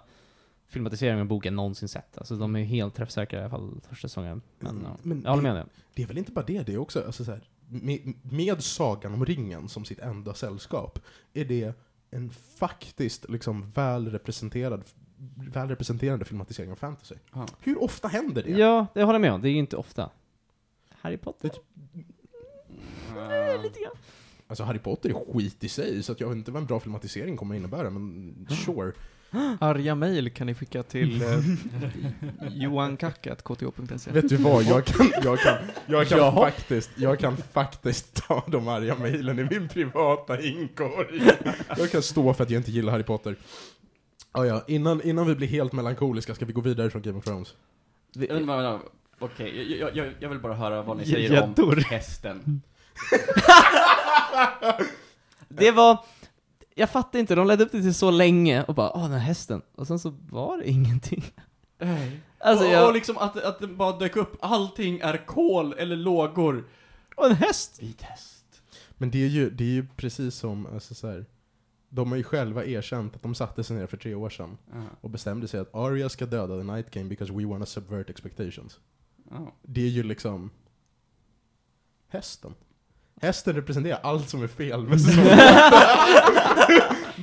C: filmatiseringarna av boken någonsin sett. Alltså de är helt träffsäkra i alla fall första säsongen. Men, ja,
E: Men-
C: jag håller med om det.
E: Det är väl inte bara det, det är också alltså, så här, med, med Sagan om ringen som sitt enda sällskap, är det en faktiskt liksom väl representerad väl representerande filmatisering av fantasy.
B: Ja.
E: Hur ofta händer det?
C: Ja, det håller jag med om. Det är ju inte ofta. Harry Potter?
E: Det-
B: Eh,
C: Lite grann.
E: typ- Alltså Harry Potter är skit i sig, så att jag vet inte vad en bra filmatisering kommer innebära, men sure.
D: Arga mejl kan ni skicka till eh, johankackat.kth.se.
E: Vet du vad, jag kan, jag kan, jag kan, faktiskt, jag kan faktiskt ta de arga mejlen i min privata inkorg. Jag kan stå för att jag inte gillar Harry Potter. Ah, ja, innan, innan vi blir helt melankoliska ska vi gå vidare från Game of Thrones.
B: Jag vill bara- Okej, jag, jag, jag vill bara höra vad ni
D: J-
B: säger
D: jättor.
B: om hästen.
C: Det var... Jag fattar inte, de ledde upp det till så länge och bara åh den här hästen. Och sen så var det ingenting. Alltså
B: och, och
C: jag...
B: liksom att, att den bara dök upp, allting är kol eller lågor.
C: Åh en häst!
B: Vit häst.
E: Men det är ju, det är ju precis som, alltså, så här, de har ju själva erkänt att de satte sig ner för tre år sedan
B: Ja.
E: och bestämde sig att Arya ska döda The Night King because we wanna subvert expectations.
B: Ja.
E: det är ju liksom hästen. Hästen representerar allt som är fel med säsongen.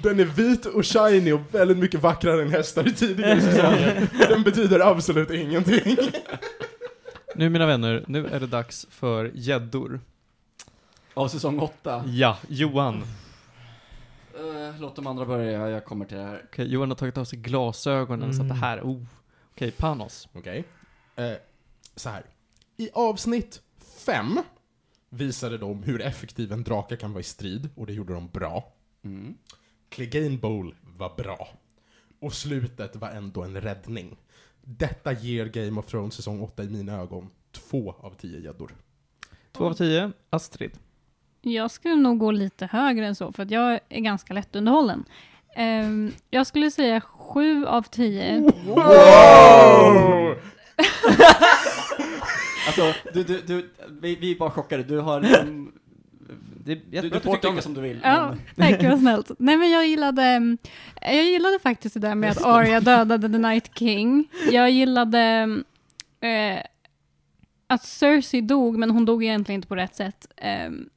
E: Den är vit och shiny och väldigt mycket vackrare än hästar i tidigare säsonger. Den betyder absolut ingenting.
D: Nu mina vänner, nu är det dags för gäddor.
B: Av säsong 8.
D: Ja, Johan.
B: Eh, låt de andra börja, jag kommer till det här.
D: Okej, Johan har tagit av sig glasögonen så
C: Mm.
D: att det här, oh. Okej, Panos.
E: Okej. Eh, så här. I avsnitt fem visade de hur effektiv en drake kan vara i strid och det gjorde de bra.
B: Mm.
E: Clegane Bowl var bra. Och slutet var ändå en räddning. Detta ger Game of Thrones säsong 8 i mina ögon två av tio gäddor.
D: Två av tio, Astrid.
A: Jag skulle nog gå lite högre än så, för att jag är ganska lättunderhållen. Ehm, jag skulle säga sju av tio.
B: Alltså, du, du, du, vi, vi är bara chockade, du har liksom,
C: Det är
B: du,
C: jättebra
B: du
C: att
B: får
C: tyckte om
B: tycka som du vill.
A: Ja,
B: men-
A: tack, vad snällt. Nej, men jag gillade, mm, jag gillade faktiskt det där med att Arya dödade The Night King. Jag gillade mm, eh, att Cersei dog, men hon dog egentligen inte på rätt sätt. Ehm,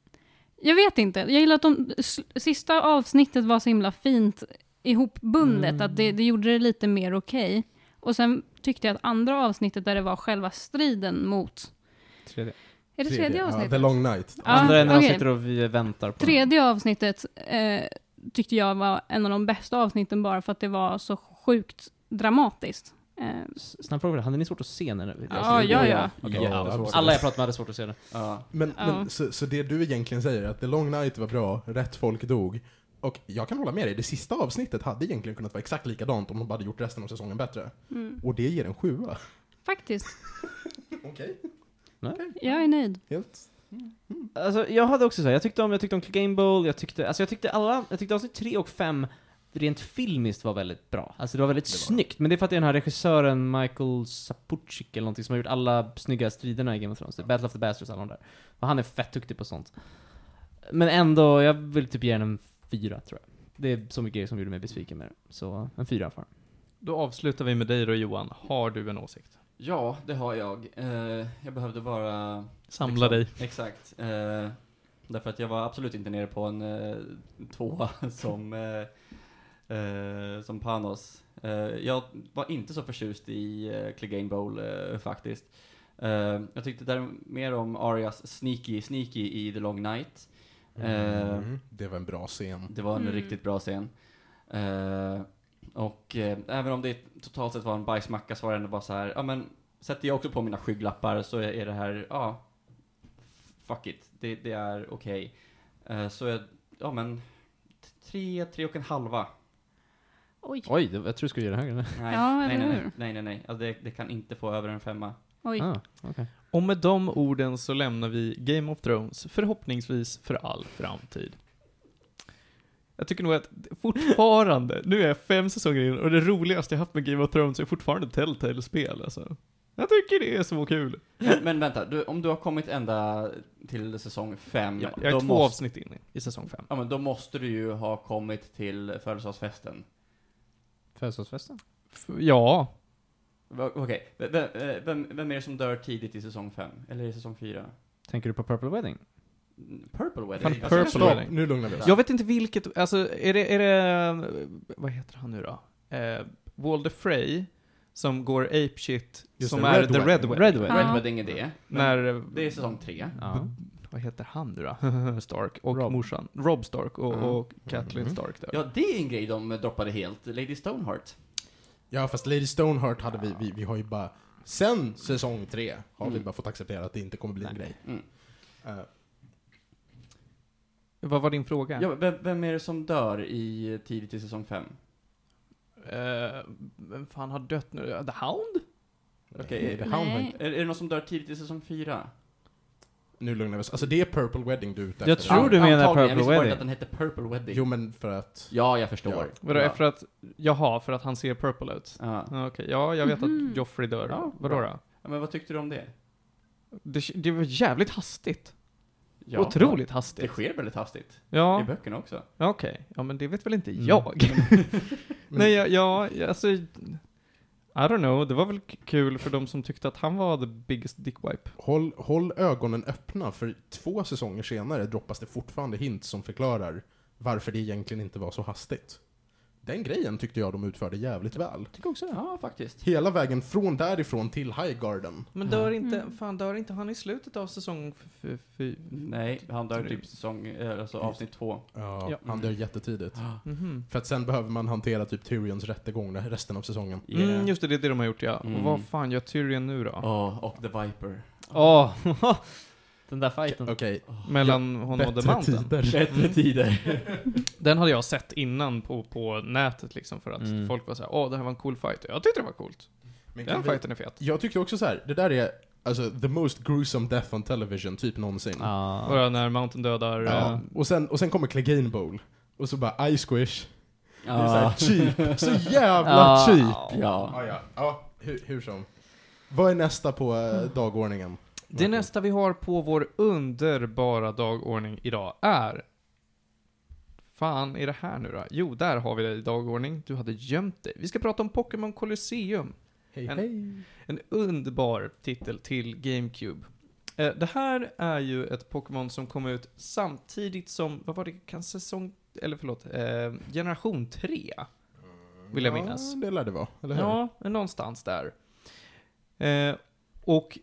A: jag vet inte. Jag gillade att de, s- sista avsnittet var så himla fint ihopbundet, att det, det gjorde det lite mer okej. Och sen tyckte jag att andra avsnittet där det var själva striden mot...
C: det. Tredje.
A: Är det tredje,
E: Ja,
A: avsnittet?
E: The Long Night.
A: Ja,
C: Andra är när de
A: okej.
C: sitter och vi väntar på
A: Tredje avsnittet eh, tyckte jag var en av de bästa avsnitten bara för att det var så sjukt dramatiskt. Eh,
C: S- Snabb fråga, hade ni svårt att se när det Alltså,
A: Ja, ja, ja.
B: Okej,
E: Ja,
B: jättesvårt.
C: Alla jag pratade med hade svårt att se det.
B: Ja.
E: Men,
A: Ja.
E: men så, så det du egentligen säger är att The Long Night var bra, rätt folk dog. Och jag kan hålla med dig, det sista avsnittet hade egentligen kunnat vara exakt likadant om de bara hade gjort resten av säsongen bättre.
A: mm,
E: Och det ger en sjua.
A: faktiskt,
E: Okej,
A: jag är nöjd.
E: helt.
C: Alltså, jag hade också så här, jag tyckte om, jag tyckte om Game Bowl, jag tyckte, alltså jag tyckte alla, jag tyckte avsnitt 3 och 5 rent filmiskt var väldigt bra. Alltså det var väldigt
E: Det var det.
C: snyggt, men det är för att det är den här regissören Michael Sapuchik eller någonting som har gjort alla snygga striderna i Game of Thrones, typ Battle of the Bastards och alla de där. Och han är fett duktig på sånt. Men ändå, jag vill typ ge den en fyra tror jag. Det är så mycket grejer som gjorde mig besviken med den. Så, en fyra för den.
D: Då avslutar vi med dig då Johan. Har du en åsikt?
B: ja, det har jag. Eh, jag behövde bara
D: Samla
C: Liksom.
D: dig.
B: Exakt, Exakt. Eh, därför att jag var absolut inte nere på en eh, tvåa som, eh, eh, som Panos. Eh, jag var inte så förtjust i eh, Clegane Bowl eh, faktiskt. Eh, jag tyckte där mer om Arias sneaky, sneaky i The Long Night. Eh,
E: Mm, det var en bra scen.
B: det var en
A: Mm.
B: riktigt bra scen. Eh, och eh, även om det totalt sett var en bajsmacka så var det ändå bara så här, ja men sätter jag också på mina skygglappar så är det här, ja, fuck it, det, det är okej. Eh, så jag, ja men, t- tre, tre och en halva.
A: Oj,
C: Oj, det- jag tror du skulle ge den högre.
B: Nej,
A: Ja,
B: nej,
A: eller
B: nej, nej,
A: hur?
B: nej, nej, nej. Alltså, det, det kan inte få över en femma.
A: oj.
C: Ah, okej.
D: Och med de orden så lämnar vi Game of Thrones, förhoppningsvis för all framtid. Jag tycker nog att det- fortfarande, nu är jag fem säsonger in och det roligaste jag haft med Game of Thrones är fortfarande Telltale-spel alltså. Jag tycker det är så kul.
B: Men, men vänta, du, om du har kommit ända till säsong fem,
D: Ja, jag är
B: då,
D: två
B: måste,
D: avsnitt in i- i säsong fem.
B: ja, men då måste du ju ha kommit till födelsedagsfesten.
C: Födelsedagsfesten?
D: F- Ja,
B: Va- Okej, V- vem, eh, vem, vem är det som dör tidigt i säsong 5? Eller i säsong 4?
C: Tänker du på Purple Wedding?
B: Purple
D: Fan,
B: Wedding?
D: Purple
B: Alltså,
E: Stopp,
D: Wedding.
E: nu lugnar vi oss.
D: Jag vet inte vilket, alltså är det, är det vad heter han nu då? Eh, Walder Frey, som går apeshit,
E: Just
D: som
E: det,
D: är
E: Red
D: The Red
E: Wedding.
D: Wedding.
C: Red Wedding?
B: Red
A: Ja.
B: Wedding är det. Men
D: När,
B: Det är säsong 3.
C: Ja.
D: vad heter han nu då? Stark och
C: Rob.
D: morsan. Rob Stark och,
E: Mm.
D: och Kathleen
E: Mm.
D: Stark där.
B: Ja, det är en grej de droppade helt. Lady Stoneheart.
E: Ja, fast Lady Stoneheart hade vi, vi, vi har ju bara, sen säsong tre har vi
B: Mm.
E: bara fått acceptera att det inte kommer bli en grej.
B: Mm.
E: Eh,
D: Vad var din fråga?
B: Ja, vem, vem är det som dör i tidigt i säsong 5?
D: Eh, vem fan har dött nu? The Hound?
B: Okej,
E: nej, det
A: Nej.
E: handlar inte-
B: Är, är det någon som dör tidigt i säsong 4?
E: Nu lugnar vi oss. Alltså det är Purple Wedding du är ute
C: Jag
E: efter.
C: tror du menar Purple
B: Jag visste bara
C: Wedding.
B: inte att den hette Purple Wedding.
E: Jo men för att...
B: Ja, jag förstår.
D: Vadå,
B: ja.
D: för att, jaha, för att han ser purple ut?
B: Ja.
D: Ja, Okej, ja, jag vet
A: Mhm.
D: att Joffrey dör.
B: Ja,
D: Vadå
B: bra.
D: då?
B: Ja, men vad tyckte du om det?
D: Det, det var jävligt hastigt.
B: Ja.
D: Otroligt
B: Det
D: hastigt.
B: sker väldigt hastigt. I
D: Ja,
B: böckerna också.
D: ja, okej. Ja, men det vet väl inte
C: Mm.
D: jag? Nej, ja, ja, alltså... I don't know, det var väl k- kul för de som tyckte att han var the biggest dickwipe.
E: Håll, håll ögonen öppna för två säsonger senare droppas det fortfarande hint som förklarar varför det egentligen inte var så hastigt. Den grejen tyckte jag de utförde jävligt väl.
D: Tycker också det.
B: Ja, faktiskt.
E: Hela vägen från därifrån till Highgarden.
D: Men dör
A: Mm.
D: inte, fan dör inte han i slutet av säsong f- f- fy-
B: Nej, han dör typ säsong, eh, alltså avsnitt två.
E: Ja,
D: Ja.
E: han dör jättetidigt.
D: Mhm.
E: För att sen behöver man hantera typ Tyrions rättegång där- resten av säsongen.
D: Mm, just det, det är det de har gjort ja.
B: Mm.
D: Och vad fan gör Tyrion nu då?
B: Ja, och The Viper.
C: Åh! den där
D: Mm.
C: fighten.
E: Okej,
D: Mellan honom och The
E: bättre
D: Mountain?
E: tider.
B: Bättre tider.
D: Den hade jag sett innan på, på nätet liksom för att
C: Mm.
D: folk var såhär, åh det här var en cool fight. Jag tyckte det var coolt.
E: Men
D: Den
E: kan vi,
D: fighten är fet.
E: jag tyckte också så här. det där är alltså the most gruesome death on television typ någonsin.
D: Och ja, när Mountain dödar...
E: Ja.
D: eh,
E: Och, sen, och sen kommer Clegane Bowl. Och så bara I squish. Det är så här
B: Ja.
E: cheap. Så jävla cheap.
B: Ja.
E: Ja, ja. ja hur, hur som. Vad är nästa på eh, dagordningen?
D: Det nästa vi har på vår underbara dagordning idag är... Fan, är det här nu då? Jo, där har vi det i dagordning. Du hade gömt dig. Vi ska prata om Pokémon Colosseum.
E: Hej,
D: En-
E: hej.
D: En underbar titel till GameCube. Eh, Det här är ju ett Pokémon som kom ut samtidigt som, vad var det, kan säsong, eller förlåt, eh, generation 3? Vill jag minnas.
E: Ja, det lär det vara, eller hur?
D: Ja, men någonstans där. Eh, och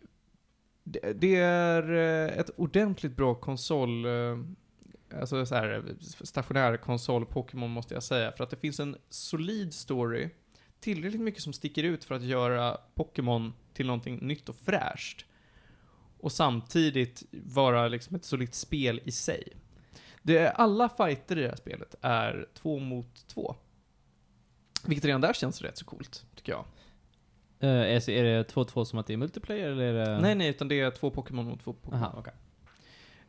D: det, det är eh, ett ordentligt bra konsol, eh, alltså så här, stationär konsol Pokémon måste jag säga, för att det finns en solid story, tillräckligt mycket som sticker ut för att göra Pokémon till någonting nytt och fräscht. Och samtidigt vara liksom ett solitt spel i sig. Det är, alla fighter i det här spelet är två mot två. Vilket redan där känns rätt så coolt, tycker jag.
C: Eh, är, så- är det 2-2 som att det är multiplayer eller är det...
D: Nej, nej, utan det är två Pokémon mot två Pokémon.
C: Aha, okej.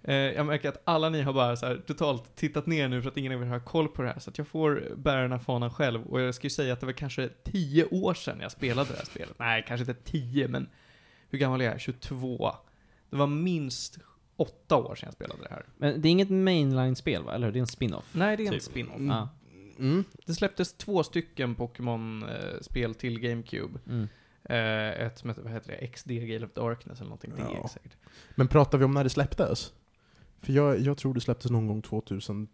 D: Eh, jag märker att alla ni har bara så här totalt tittat ner nu för att ingen av er har koll på det här. Så att jag får bära den här fanan själv. Och jag ska ju säga att det var kanske 10 år sedan jag spelade det här spelet. Nej, kanske inte 10, men hur gammal är jag? 22. Det var minst 8 år sedan jag spelade det här.
C: Men det är inget mainline-spel va? Eller hur? Det är en spin-off?
D: Nej, det är en
C: Typ.
D: spin-off.
C: Ja.
E: Mm.
D: Det släpptes två stycken Pokémon-spel till GameCube.
C: Mm.
D: Eh, ett som heter, vad heter det, XD Gale of Darkness eller någonting. Det
E: Ja.
D: är säkert.
E: Men pratar vi om när det släpptes? För jag, jag tror det släpptes någon gång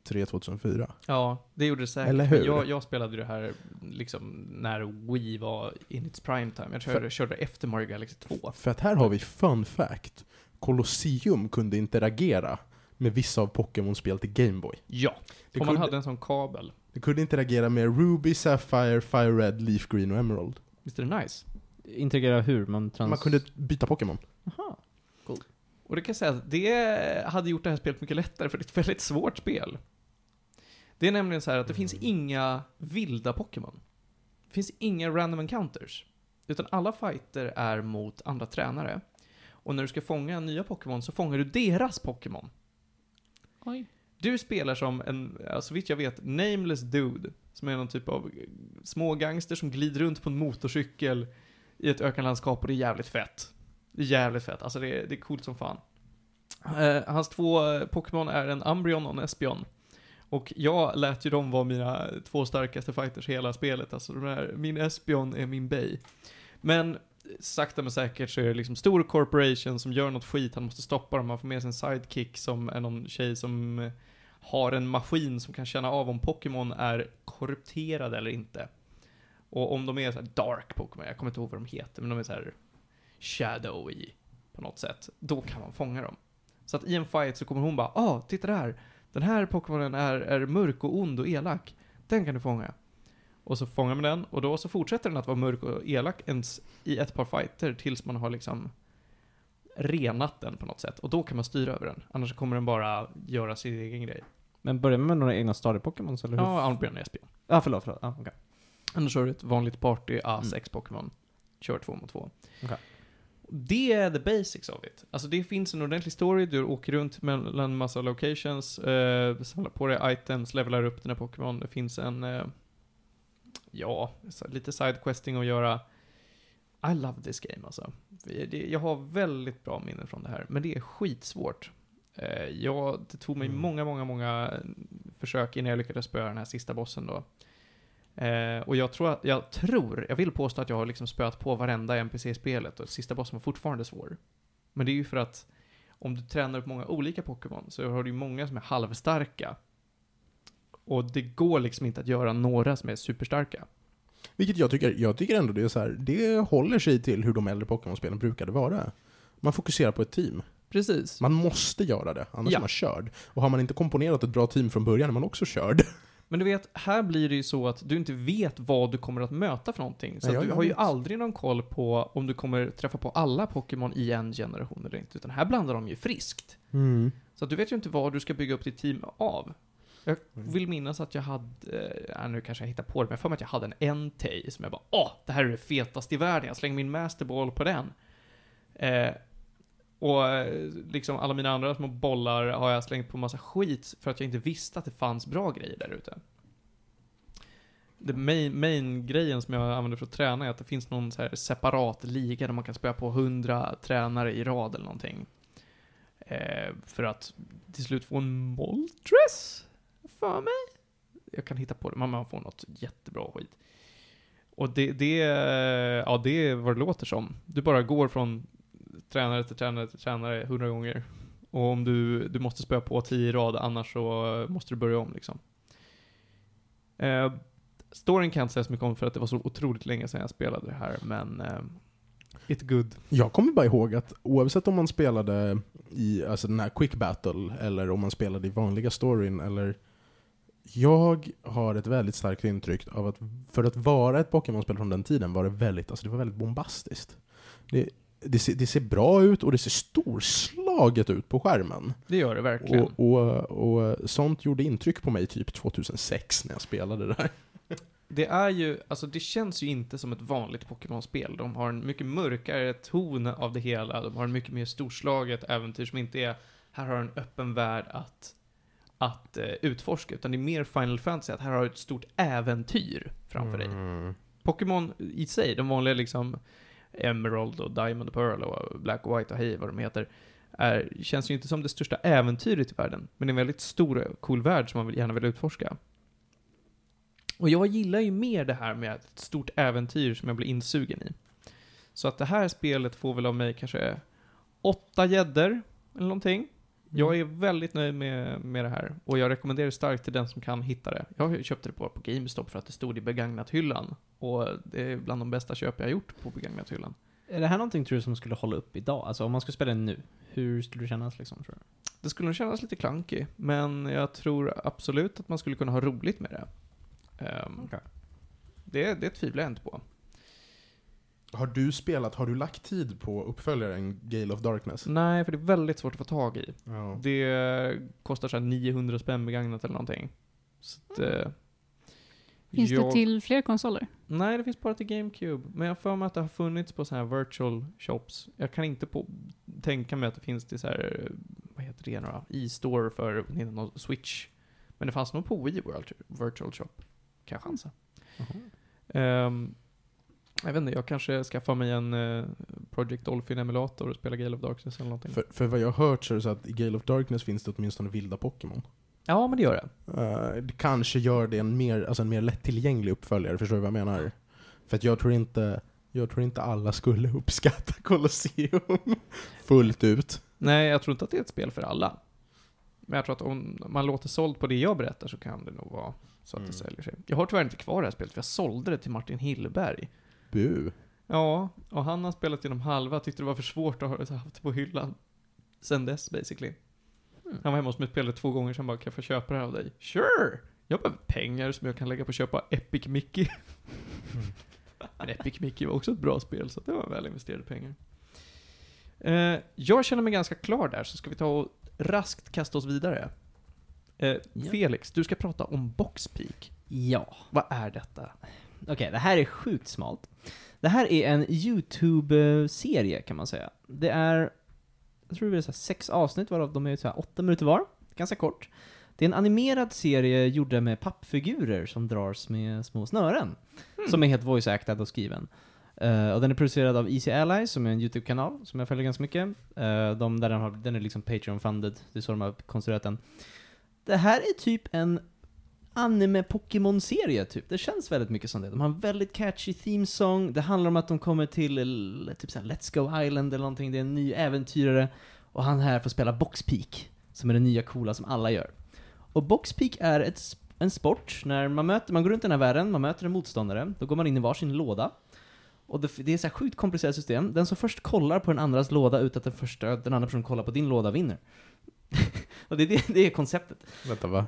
E: 2003-2004.
D: Ja, det gjorde det säkert.
E: Eller
D: Men
E: hur?
D: Jag, jag spelade ju det här liksom när Wii var in its prime time. Jag körde,
E: För-
D: körde efter Mario Galaxy 2.
E: För att här har vi fun fact. Colosseum kunde interagera med vissa av Pokémons spel till Gameboy.
D: Ja,
E: Det
D: och man
E: kunde,
D: hade en sån kabel.
E: det kunde interagera med Ruby, Sapphire, Fire Red, Leaf Green och Emerald.
D: Visst är det nice?
C: Integrera hur? Man, trans...
E: Man kunde byta Pokémon.
C: Aha.
D: Och det kan jag säga att det hade gjort det här spelet mycket lättare, för det är ett väldigt svårt spel. Det är nämligen så här att det finns
E: Mm.
D: inga vilda Pokémon. Det finns inga random encounters. Utan alla fighter är mot andra tränare. Och när du ska fånga nya Pokémon så fångar du deras Pokémon.
A: Oj.
D: Du spelar som en, ja, så vitt jag vet, nameless dude. Som är någon typ av smågangster som glider runt på en motorcykel i ett ökenlandskap och det är jävligt fett. Det är jävligt fett, alltså det är, det är coolt som fan. Eh, hans två eh, Pokémon är en Umbreon och en Espeon. Och jag lät ju dem vara mina två starkaste fighters i hela spelet. Alltså de här, min Espeon är min Bay. Men sakta men säkert så är det liksom stor corporation som gör något skit, han måste stoppa dem, han får med sig en sidekick som är någon tjej som eh, har en maskin som kan känna av om Pokémon är korrupterade eller inte. Och om de är så här dark Pokémon, jag kommer inte ihåg vad de heter, men de är så här shadowy på något sätt, då kan man fånga dem. Så att i en fight så kommer hon bara ah, titta där. Den här Pokémonen är, är mörk och ond och elak. Den kan du fånga. Och så fångar man den och då så fortsätter den att vara mörk och elak ens i ett par fighter tills man har liksom renat den på något sätt. Och då kan man styra över den. Annars kommer den bara göra sin egen grej.
C: Men börjar man med några egna Starter-Pokémons eller hur?
D: Ja, Albion och Espeon.
C: ah, förlåt, förlåt. Ah, okej.
D: Annars har du ett vanligt party, As, mm. X-Pokémon. Kör två mot två.
C: Okej.
D: Det är the basics of it. Alltså det finns en ordentlig story, du åker runt mellan massa locations, eh, samlar på dig items, levelar upp dina Pokémon. Det finns en, eh, ja, så- lite sidequesting att göra. I love this game alltså. Det- det- Jag har väldigt bra minnen från det här, men det är skitsvårt. Eh, jag, det tog mig
C: Mm.
D: många, många, många försök innan jag lyckades spöa den här sista bossen då. Eh, och jag tror, att- jag tror, jag vill påstå att jag har liksom spöat på varenda NPC i spelet och sista bossen var fortfarande svår. Men det är ju för att om du tränar upp många olika Pokémon så har du ju många som är halvstarka. Och det går liksom inte att göra några som är superstarka.
E: Vilket jag tycker, jag tycker ändå det är så här, det håller sig till hur de äldre Pokémon-spelen brukade vara. Man fokuserar på ett team.
D: Precis.
E: Man måste göra det, annars
D: Ja.
E: är man körd. Och har man inte komponerat ett bra team från början är man också körd.
D: Men du vet, här blir det ju så att du inte vet vad du kommer att möta för någonting. Så
E: Nej,
D: att
E: jag-
D: du
E: jag
D: har ju
E: vet.
D: aldrig någon koll på om du kommer träffa på alla Pokémon i en generation eller inte. Utan här blandar de ju friskt. Så att du vet ju inte vad du ska bygga upp ditt team av. Jag
E: Mm.
D: vill minnas att jag hade, eh, ja, nu kanske jag hittar på det, men jag har för mig att jag hade en Entei som jag bara åh, det här är det fetaste i världen, jag slänger min masterball på den. Eh, och eh, liksom alla mina andra små bollar har jag slängt på massa skit för att jag inte visste att det fanns bra grejer där ute. Det main, main grejen som jag använder för att träna är att det finns någon så här separat liga där man kan spöa på hundra tränare i rad eller någonting. Eh, för att till slut få en Moltres för mig. Jag kan hitta på det, men man får något jättebra skit. Och det, det, ja det är vad det låter som. Du bara går från tränare till tränare till tränare hundra gånger. Och om du, du måste spöa på tio i rad, annars så måste du börja om liksom. Eh, storyn kan jag inte säga så mycket om för att det var så otroligt länge sedan jag spelade det här, men eh, it's good.
E: Jag kommer bara ihåg att oavsett om man spelade i alltså den här quick battle eller om man spelade i vanliga storyn eller jag har ett väldigt starkt intryck av att för att vara ett Pokémon-spel från den tiden var det väldigt, alltså det var väldigt bombastiskt. Det, det, ser, det ser bra ut och det ser storslaget ut på skärmen.
D: Det gör det verkligen.
E: Och, och, och sånt gjorde intryck på mig typ 2006 när jag spelade det där.
D: Det är ju, alltså det känns ju inte som ett vanligt Pokémon-spel. De har en mycket mörkare ton av det hela. De har en mycket mer storslaget äventyr som inte är, här har du en öppen värld att, att eh, utforska. Utan det är mer Final Fantasy, att här har du ett stort äventyr framför
E: Mm.
D: dig. Pokémon i sig, de vanliga liksom Emerald och Diamond och Pearl och Black och White och hej vad de heter, är, känns ju inte som det största äventyret i världen. Men det är en väldigt stor och cool värld som man vill- gärna vill utforska. Och jag gillar ju mer det här med ett stort äventyr som jag blir insugen i. Så att det här spelet får väl av mig kanske åtta gäddor eller någonting. Jag är väldigt nöjd med, med det här och jag rekommenderar det starkt till den som kan hitta det. Jag köpte det på, på GameStop för att det stod i begagnat hyllan och det är bland de bästa köp jag har gjort på begagnat hyllan.
C: Är det här någonting tror du som skulle hålla upp idag? Alltså om man skulle spela den nu, hur skulle det kännas liksom? Tror du?
D: Det skulle nog kännas lite clunky, men jag tror absolut att man skulle kunna ha roligt med det. Ehm,
C: Okej.
D: det, det tvivlar jag inte på.
E: Har du spelat, har du lagt tid på uppföljaren Gale of Darkness?
D: Nej, för det är väldigt svårt att få tag i.
E: Ja.
D: Mm. Det kostar så här 900 spänn begagnat eller någonting. Så att, eh,
A: Finns det
D: jag-
A: till fler konsoler?
D: Nej, det finns bara till GameCube. Men jag har för mig att det har funnits på så här virtual shops. Jag kan inte på, tänka mig att det finns till så här, eh, vad heter det nu då? E-store för Nintendo Switch. Men det fanns nog på Wii World virtual shop. Kan jag chansa. Ehm, jag vet inte, jag kanske skaffar mig en eh, Project Dolphin-emulator och spelar Gale of Darkness eller någonting.
E: För, för vad jag har hört så är det så att i Gale of Darkness finns det åtminstone vilda Pokémon.
D: Ja, men det gör det.
E: Eh, det kanske gör det en mer, alltså en mer lättillgänglig uppföljare, förstår du vad jag menar? För att jag tror inte, jag tror inte alla skulle uppskatta Colosseum fullt ut.
D: Nej, jag tror inte att det är ett spel för alla. Men jag tror att om man låter såld på det jag berättar så kan det nog vara så att
E: Mm.
D: det säljer sig. Jag har tyvärr inte kvar det här spelet för jag sålde det till Martin Hillberg.
E: Bu.
D: Ja, och han har spelat genom halva, tyckte det var för svårt att ha det så här haft på hyllan. sen dess basically. Han var hemma hos mig och spelade två gånger, sen bara kan jag få köpa det här av dig? Sure! Jag behöver pengar som jag kan lägga på att köpa Epic Mickey. Mm. Men Epic Mickey var också ett bra spel, så det var väl investerade pengar. Eh, jag känner mig ganska klar där, så ska vi ta och raskt kasta oss vidare. Eh,
C: Ja.
D: Felix, du ska prata om Boxpeak.
C: Ja.
D: Vad är detta?
C: Okej, det här är sjukt smalt. Det här är en YouTube-serie kan man säga. Det är, jag tror det är så här sex avsnitt varav de är så här åtta minuter var. Ganska kort. Det är en animerad serie gjord med pappfigurer som dras med små snören.
D: Hmm.
C: Som är helt voice-actad och skriven. Eh, och den är producerad av Easy Allies som är en YouTube-kanal som jag följer ganska mycket. Eh, de, där den, har, den är liksom Patreon-funded, det är så de har konstruerat den. Det här är typ en anime-Pokémon-serie typ. Det känns väldigt mycket som det. De har en väldigt catchy theme song. Det handlar om att de kommer till eh, typ såhär Let's Go Island eller någonting. Det är en ny äventyrare. Och han här får spela Box Peak. Som är det nya coola som alla gör. Och Box Peak är ett, sp- en sport när man möter, man går runt i den här världen, man möter en motståndare. Då går man in i varsin låda. Och det, det är så här sjukt komplicerat system. Den som först kollar på den andras låda utan att den, första, den andra personen kollar på din låda vinner. och det, är det, det är konceptet.
E: Vänta va?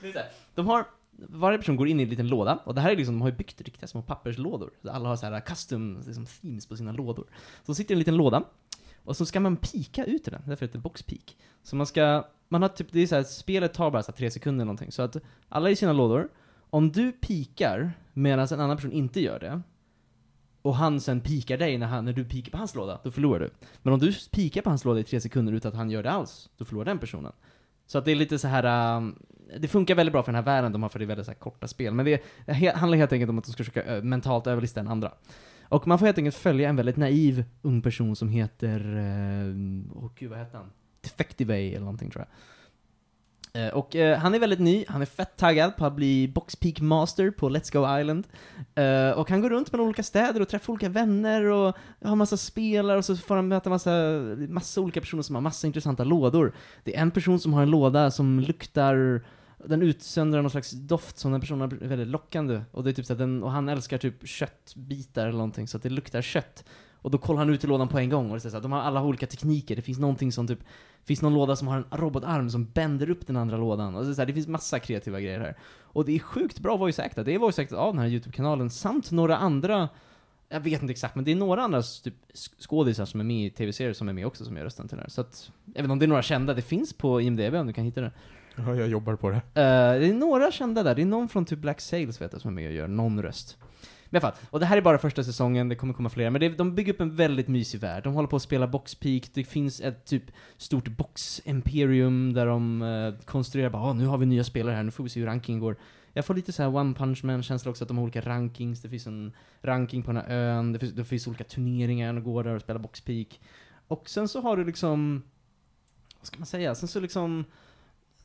C: Det är så här, de har, varje person går in i en liten låda, och det här är liksom, de har ju byggt riktiga små papperslådor. Så alla har så här custom liksom, themes på sina lådor. Så de sitter i en liten låda, och så ska man pika ut i den, därför heter det box peak. Så man ska, man har typ, det är så här, spelet tar bara så här, tre sekunder eller någonting, så att alla är i sina lådor. Om du pikar medan en annan person inte gör det, och han sen pikar dig när, han, när du pikar på hans låda, då förlorar du. Men om du pikar på hans låda i tre sekunder utan att han gör det alls, då förlorar den personen. Så att det är lite så här. ehm, det funkar väldigt bra för den här världen de har för det är väldigt så här korta spel. Men det he- handlar helt enkelt om att de ska försöka eh, mentalt överlista den andra. Och man får helt enkelt följa en väldigt naiv ung person som heter... eh, Åh gud, vad heter han? Defectivey eller någonting tror jag. Eh, Och eh, han är väldigt ny, han är fett taggad på att bli Box Peak Master på Let's Go Island. Eh, och han går runt mellan olika städer och träffar olika vänner och har massa spelare och så får han möta massa, massa olika personer som har massa intressanta lådor. Det är en person som har en låda som luktar, den utsöndrar någon slags doft som den personen är väldigt lockande. Och, det är typ så att den, och han älskar typ köttbitar eller någonting så att det luktar kött. Och då kollar han ut i lådan på en gång och det är så här, de har alla olika tekniker. Det finns någonting som typ, finns någon låda som har en robotarm som bänder upp den andra lådan. Och det, är så här, det finns massa kreativa grejer här. Och det är sjukt bra voice-actat. Det är voice-actat av den här YouTube-kanalen samt några andra jag vet inte exakt, men det är några andra typ, sk- skådisar som är med i tv-serier som är med också som gör rösten till den här. Så att, även om det är några kända, det finns på IMDB om du kan hitta det.
E: Ja, jag jobbar på det.
C: Eh, det är några kända där. Det är någon från typ Black Sails vet jag som är med och gör någon röst. Men i alla fall, och det här är bara första säsongen, det kommer komma fler. Men det, de bygger upp en väldigt mysig värld. De håller på att spela Box Peak, det finns ett typ stort box-imperium där de eh, konstruerar bara "Ah, nu har vi nya spelare här, nu får vi se hur rankingen går. Jag får lite så här One Punch Man-känsla också, att de har olika rankings. Det finns en ranking på den här ön, det finns, det finns olika turneringar, och går där och spelar Box Peak. Och sen så har du liksom, vad ska man säga, sen så liksom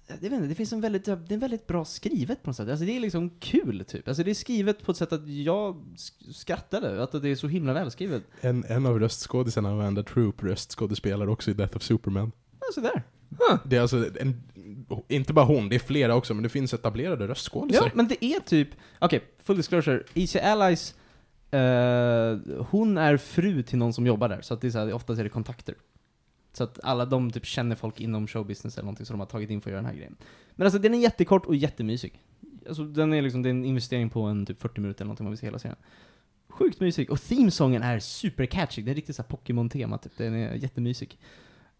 C: jag vet inte, det finns en väldigt, det är en väldigt bra skrivet på något sätt. Alltså det är liksom kul typ. Alltså det är skrivet på ett sätt att jag sk- skrattade, att det är så himla välskrivet.
E: En, en av röstskådisarna var Enda Troop röstskådespelare också i Death of Superman.
C: Alltså där.
E: Det är alltså en, inte bara hon, det är flera också, men det finns etablerade röstskådisar.
C: Ja, men det är typ, okej, full disclosure, Easy Allies, eh, hon är fru till någon som jobbar där, så att det är så här, oftast är det kontakter. Så att alla de typ känner folk inom showbusiness eller någonting som de har tagit in för att göra den här grejen. Men alltså den är jättekort och jättemysig. Alltså den är liksom, det är en investering på en typ 40 minuter eller någonting om vi ser hela serien. Sjukt mysig. Och themesången är supercatchig, det är riktigt såhär Pokémon-tema typ. Den är jättemysig.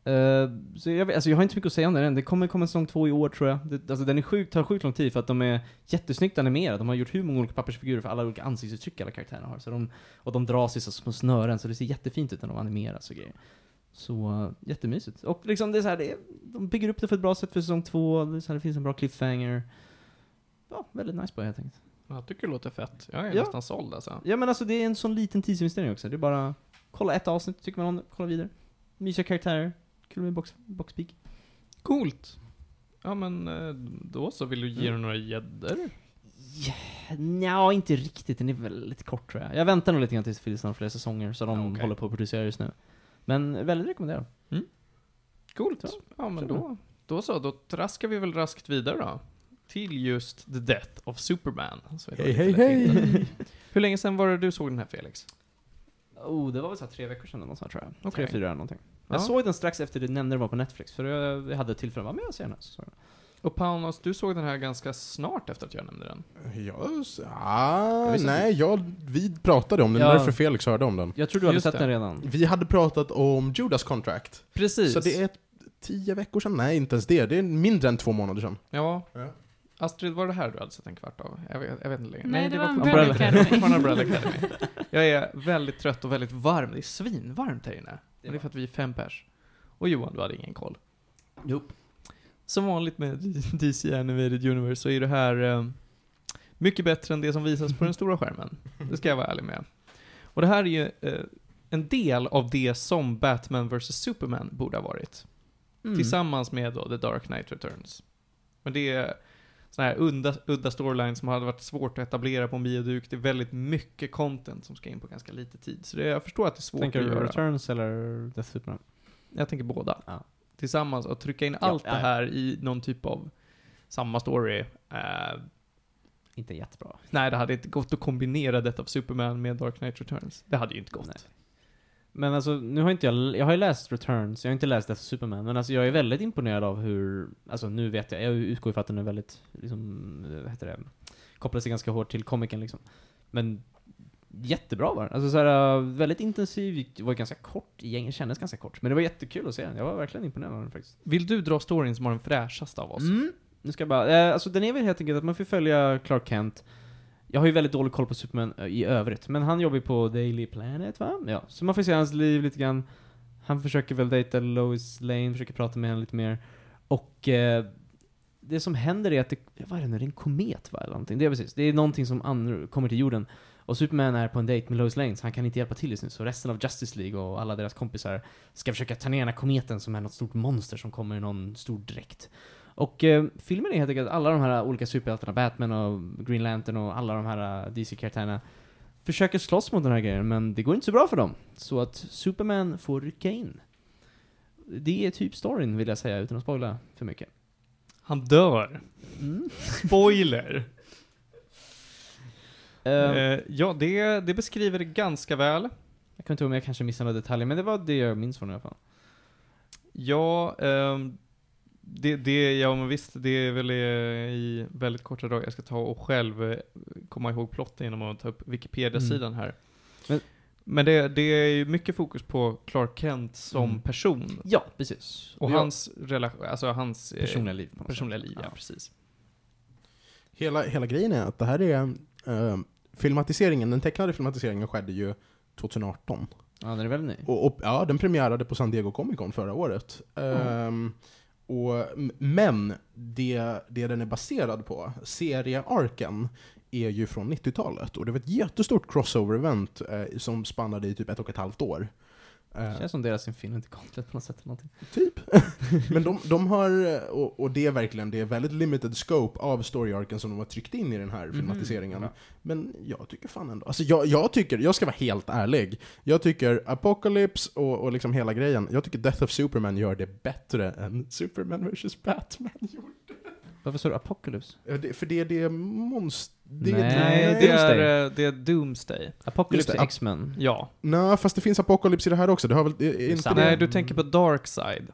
C: Eh, så jag, vet- alltså jag har inte så mycket att säga om den än. Det kommer komma en säsong två i år tror jag. Det, alltså den är sjukt, tar sjukt lång tid för att de är jättesnyggt animerade. De har gjort hur många olika pappersfigurer för alla olika ansiktsuttryck alla karaktärerna har. Så de, och de dras i så små snören så det ser jättefint ut när de animeras och grejer. Så eh, jättemysigt. Och liksom det är så här, det är, de bygger upp det för ett bra sätt för säsong två. Det, är så här, det finns en bra cliffhanger. Ja, väldigt nice på det helt enkelt.
D: Jag tycker det låter fett. Jag är
C: Ja.
D: nästan såld alltså.
C: Ja men alltså det är en sån liten tidsinvestering också. Det är bara, kolla ett avsnitt, tycker man om det, kolla vidare. Mysiga karaktärer, kul med box, boxpeak.
D: Coolt. Ja men eh, då så, vill du ge
C: Mm.
D: dig några gäddor?
C: Yeah, Nja, inte riktigt. Den är väl lite kort tror jag. Jag väntar nog lite grann tills det finns några fler säsonger, så de
D: Ja, okej.
C: håller på att producera just nu. Men väldigt rekommenderad.
D: Coolt.
C: Ja,
D: Ja men
C: kör
D: då, då så, då traskar vi väl raskt vidare då. Till just The Death of Superman. Så är det
E: Hej,
D: lite
E: hej,
D: lätt
E: hej.
D: hittat. Hur länge sedan var det du såg den här Felix?
C: Oh, det var väl så här tre veckor sedan eller något sånt, tror jag.
D: Okej.
C: Tre, fyra eller någonting. Jag
D: Ja.
C: såg den strax efter du nämnde den var på Netflix, för jag jag hade tillfälle att vara med och se den. här säsongen.
D: Och Panos, du såg den här ganska snart efter att jag nämnde den.
E: Jag, s- ah,
D: Jag visste
E: nej, jag, vi pratade om den,
C: Ja.
E: därför Felix hörde om den.
C: Jag tror du hade
D: Just
C: sett
D: det.
C: den redan.
E: Vi hade pratat om Judas Contract,
D: Precis.
E: så det är ett, tio veckor sedan? Nej, inte ens det. Det är mindre än två månader sedan.
D: Ja.
E: Ja.
D: Astrid, var det här du hade sett en kvart av? Jag vet, jag vet inte längre.
A: Nej, det var
D: fortfarande-
A: Umbrella Academy.
D: det var fortfarande Umbrella Academy. Jag är väldigt trött och väldigt varm. Det är svinvarmt här inne. Det är för att vi är fem pers. Och Johan, du hade ingen koll.
B: Jo.
D: Som vanligt med DC Animated Universe så är det här eh, mycket bättre än det som visas på den stora skärmen. Det ska jag vara ärlig med. Och det här är ju eh, en del av det som Batman vs. Superman borde ha varit.
C: Mm.
D: Tillsammans med då The Dark Knight Returns. Men det är sådana här udda, udda storylines som hade varit svårt att etablera på en bioduk. Det är väldigt mycket content som ska in på ganska lite tid. Så det, jag förstår att det är svårt
C: Tänker
D: att
C: du
D: göra.
C: Returns eller Death Superman?
D: Jag tänker båda.
C: Ja.
D: Tillsammans och trycka in
C: Ja,
D: allt
C: ja,
D: det
C: ja.
D: här i någon typ av samma story. Eh,
C: Inte jättebra.
D: nej, det hade inte gått att kombinera detta av Superman med Dark Knight Returns. Det hade ju inte gått.
C: Nej. Men alltså, nu har inte jag, jag har ju läst Returns, jag har inte läst Death of Superman, men alltså jag är väldigt imponerad av hur, alltså nu vet jag, jag utgår ju från att den är väldigt, liksom, eh, vad heter det, kopplar sig ganska hårt till komikern liksom. Men jättebra var den. Alltså så här, eh, väldigt intensiv, gick- var ganska kort i gängen, kändes ganska kort. Men det var jättekul att se den, jag var verkligen imponerad av den faktiskt.
D: Vill du dra storyn som har den fräschaste av oss?
C: Mm. Nu ska jag bara, eh, alltså den är väl helt enkelt att man får följa Clark Kent. Jag har ju väldigt dålig koll på Superman eh, i övrigt, men han jobbar ju på Daily Planet va? Ja, så man får se hans liv lite grann. Han försöker väl dejta Lois Lane, försöker prata med henne lite mer. Och eh, det som händer är att det, vad är det nu, det är en komet va? Eller någonting. Det är precis, det är någonting som anr- kommer till jorden. Och Superman är på en dejt med Lois Lane, så han kan inte hjälpa till just nu. Så resten av Justice League och alla deras kompisar ska försöka ta ner den här kometen som är något stort monster som kommer i någon stor dräkt. Och eh, filmen är helt enkelt att alla de här olika superhjältarna, Batman och Green Lantern och alla de här eh, DC-karaktärerna försöker slåss mot den här grejen, men det går inte så bra för dem. Så att Superman får rycka in. Det är typ storyn, vill jag säga, utan att spoila för mycket.
D: Han dör.
C: Mm.
D: Spoiler!
C: Eh,
D: Eh, ja, det, det beskriver det ganska väl.
C: Jag kommer inte ihåg om jag kanske missade några detaljer, men det var det jag minns från i alla fall.
D: Ja, ehm, det, det, ja men visst, det är väl eh, i väldigt korta drag. Jag ska ta och själv eh, komma ihåg plotten genom att ta upp Wikipedia-sidan här. Men,
C: Mm. Men-
D: det, det är ju mycket fokus på Clark Kent som
C: Mm.
D: person.
C: Ja, precis.
D: Och
C: Ja,
D: hans relation, alltså hans eh,
C: personliga liv. på något
D: personliga
C: sätt.
D: liv, ja,
C: Ja.
D: precis.
E: Hela, hela grejen är att det här är... eh, filmatiseringen, den tecknade filmatiseringen skedde ju 2018.
C: Ja, den är väldigt ny.
E: Och, och, ja, den premiärade på San Diego Comic Con förra året. Ehm, och, m- men det, det den är baserad på, seriearken, är ju från 90-talet. Och det var ett jättestort crossover-event eh, som spannade i typ ett och ett halvt år. Eh,
C: Det känns som deras Infinity Gauntlet på något sätt eller någonting.
E: Typ. Men de, de har, och, och det är verkligen, det är väldigt limited scope av storyarken som de har tryckt in i den här filmatiseringen.
C: bra.
E: Men jag tycker fan ändå, alltså jag, jag tycker, jag ska vara helt ärlig. Jag tycker Apocalypse och, och liksom hela grejen, jag tycker Death of Superman gör det bättre än Superman vs Batman.
C: Varför sa du Apocalypse?
E: Ja, det- För det är det monster... Det,
C: Nej,
D: Nej, det
C: det är-
D: är, eh, det är Doomsday.
C: Apocalypse
E: Just det,
C: är X-Men.
D: Ja.
E: Nej, fast det finns Apocalypse i det här också. Det har väl... Är, är inte
C: samma.
E: det-
D: Nej, du tänker på Darkseid.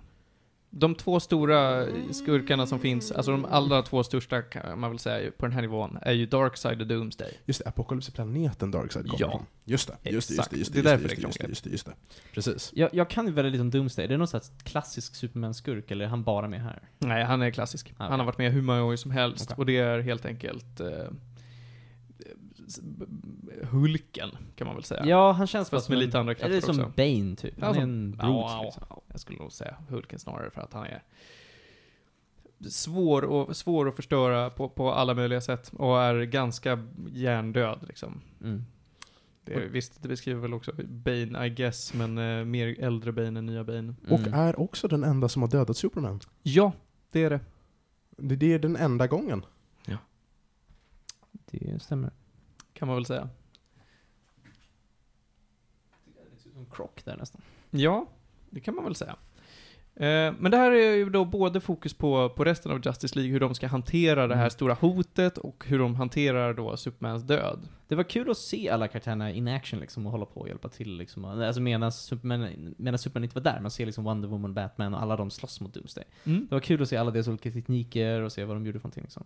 D: De två stora eh, skurkarna som finns, alltså de allra två största kan man väl säga på den här nivån, är ju Darkseid och Doomsday.
E: Just det, Apocalypse är planeten Darkseid kommer
D: Ja.
E: från. Just det, just det, just
D: Exakt.
E: det, just
D: Det
E: det,
D: är
E: just det,
D: därför
E: just
D: det
E: det,
D: är
E: just det, just det, just det. Precis.
C: Jag, jag kan ju väldigt lite om Doomsday. Det är någon slags klassisk Superman-skurk, eller är han bara med här?
D: Nej, han är klassisk.
C: Ah,
D: Han har
C: okej.
D: varit med hur många gånger som helst
C: Okej.
D: och det är helt enkelt eh, s- b- Hulken, kan man väl säga.
C: Ja, han känns
D: Fast
C: som
D: med
C: en-
D: lite andra krafter
C: Eller som
D: också.
C: Bane, typ.
D: Ja,
C: Han är
D: som-
C: en
D: Ja,
C: brute, liksom.
D: ja, Jag skulle nog säga Hulken snarare för att han är svår, och, svår att förstöra på, på alla möjliga sätt och är ganska hjärndöd liksom.
C: Mm.
D: Det, är- visst, det beskriver väl också Bane, I guess, men eh, mer äldre Bane än nya Bane.
E: Och
C: Mm.
E: är också den enda som har dödat Superman.
D: Ja, det är det.
E: Det, det är den enda gången.
C: Det stämmer.
D: Kan man väl säga.
C: Som Croc där nästan.
D: Ja, det kan man väl säga. Eh, Men det här är ju då både fokus på, på resten av Justice League, hur de ska hantera det här
C: Mm.
D: stora hotet och hur de hanterar då Supermans död.
C: Det var kul att se alla karaktärerna in action liksom och hålla på och hjälpa till liksom. Alltså medan Superman, medan Superman inte var där, man ser liksom Wonder Woman, Batman och alla de slåss mot Doomsday.
D: Mm.
C: Det var kul att se alla deras olika tekniker och se vad de gjorde för någonting liksom.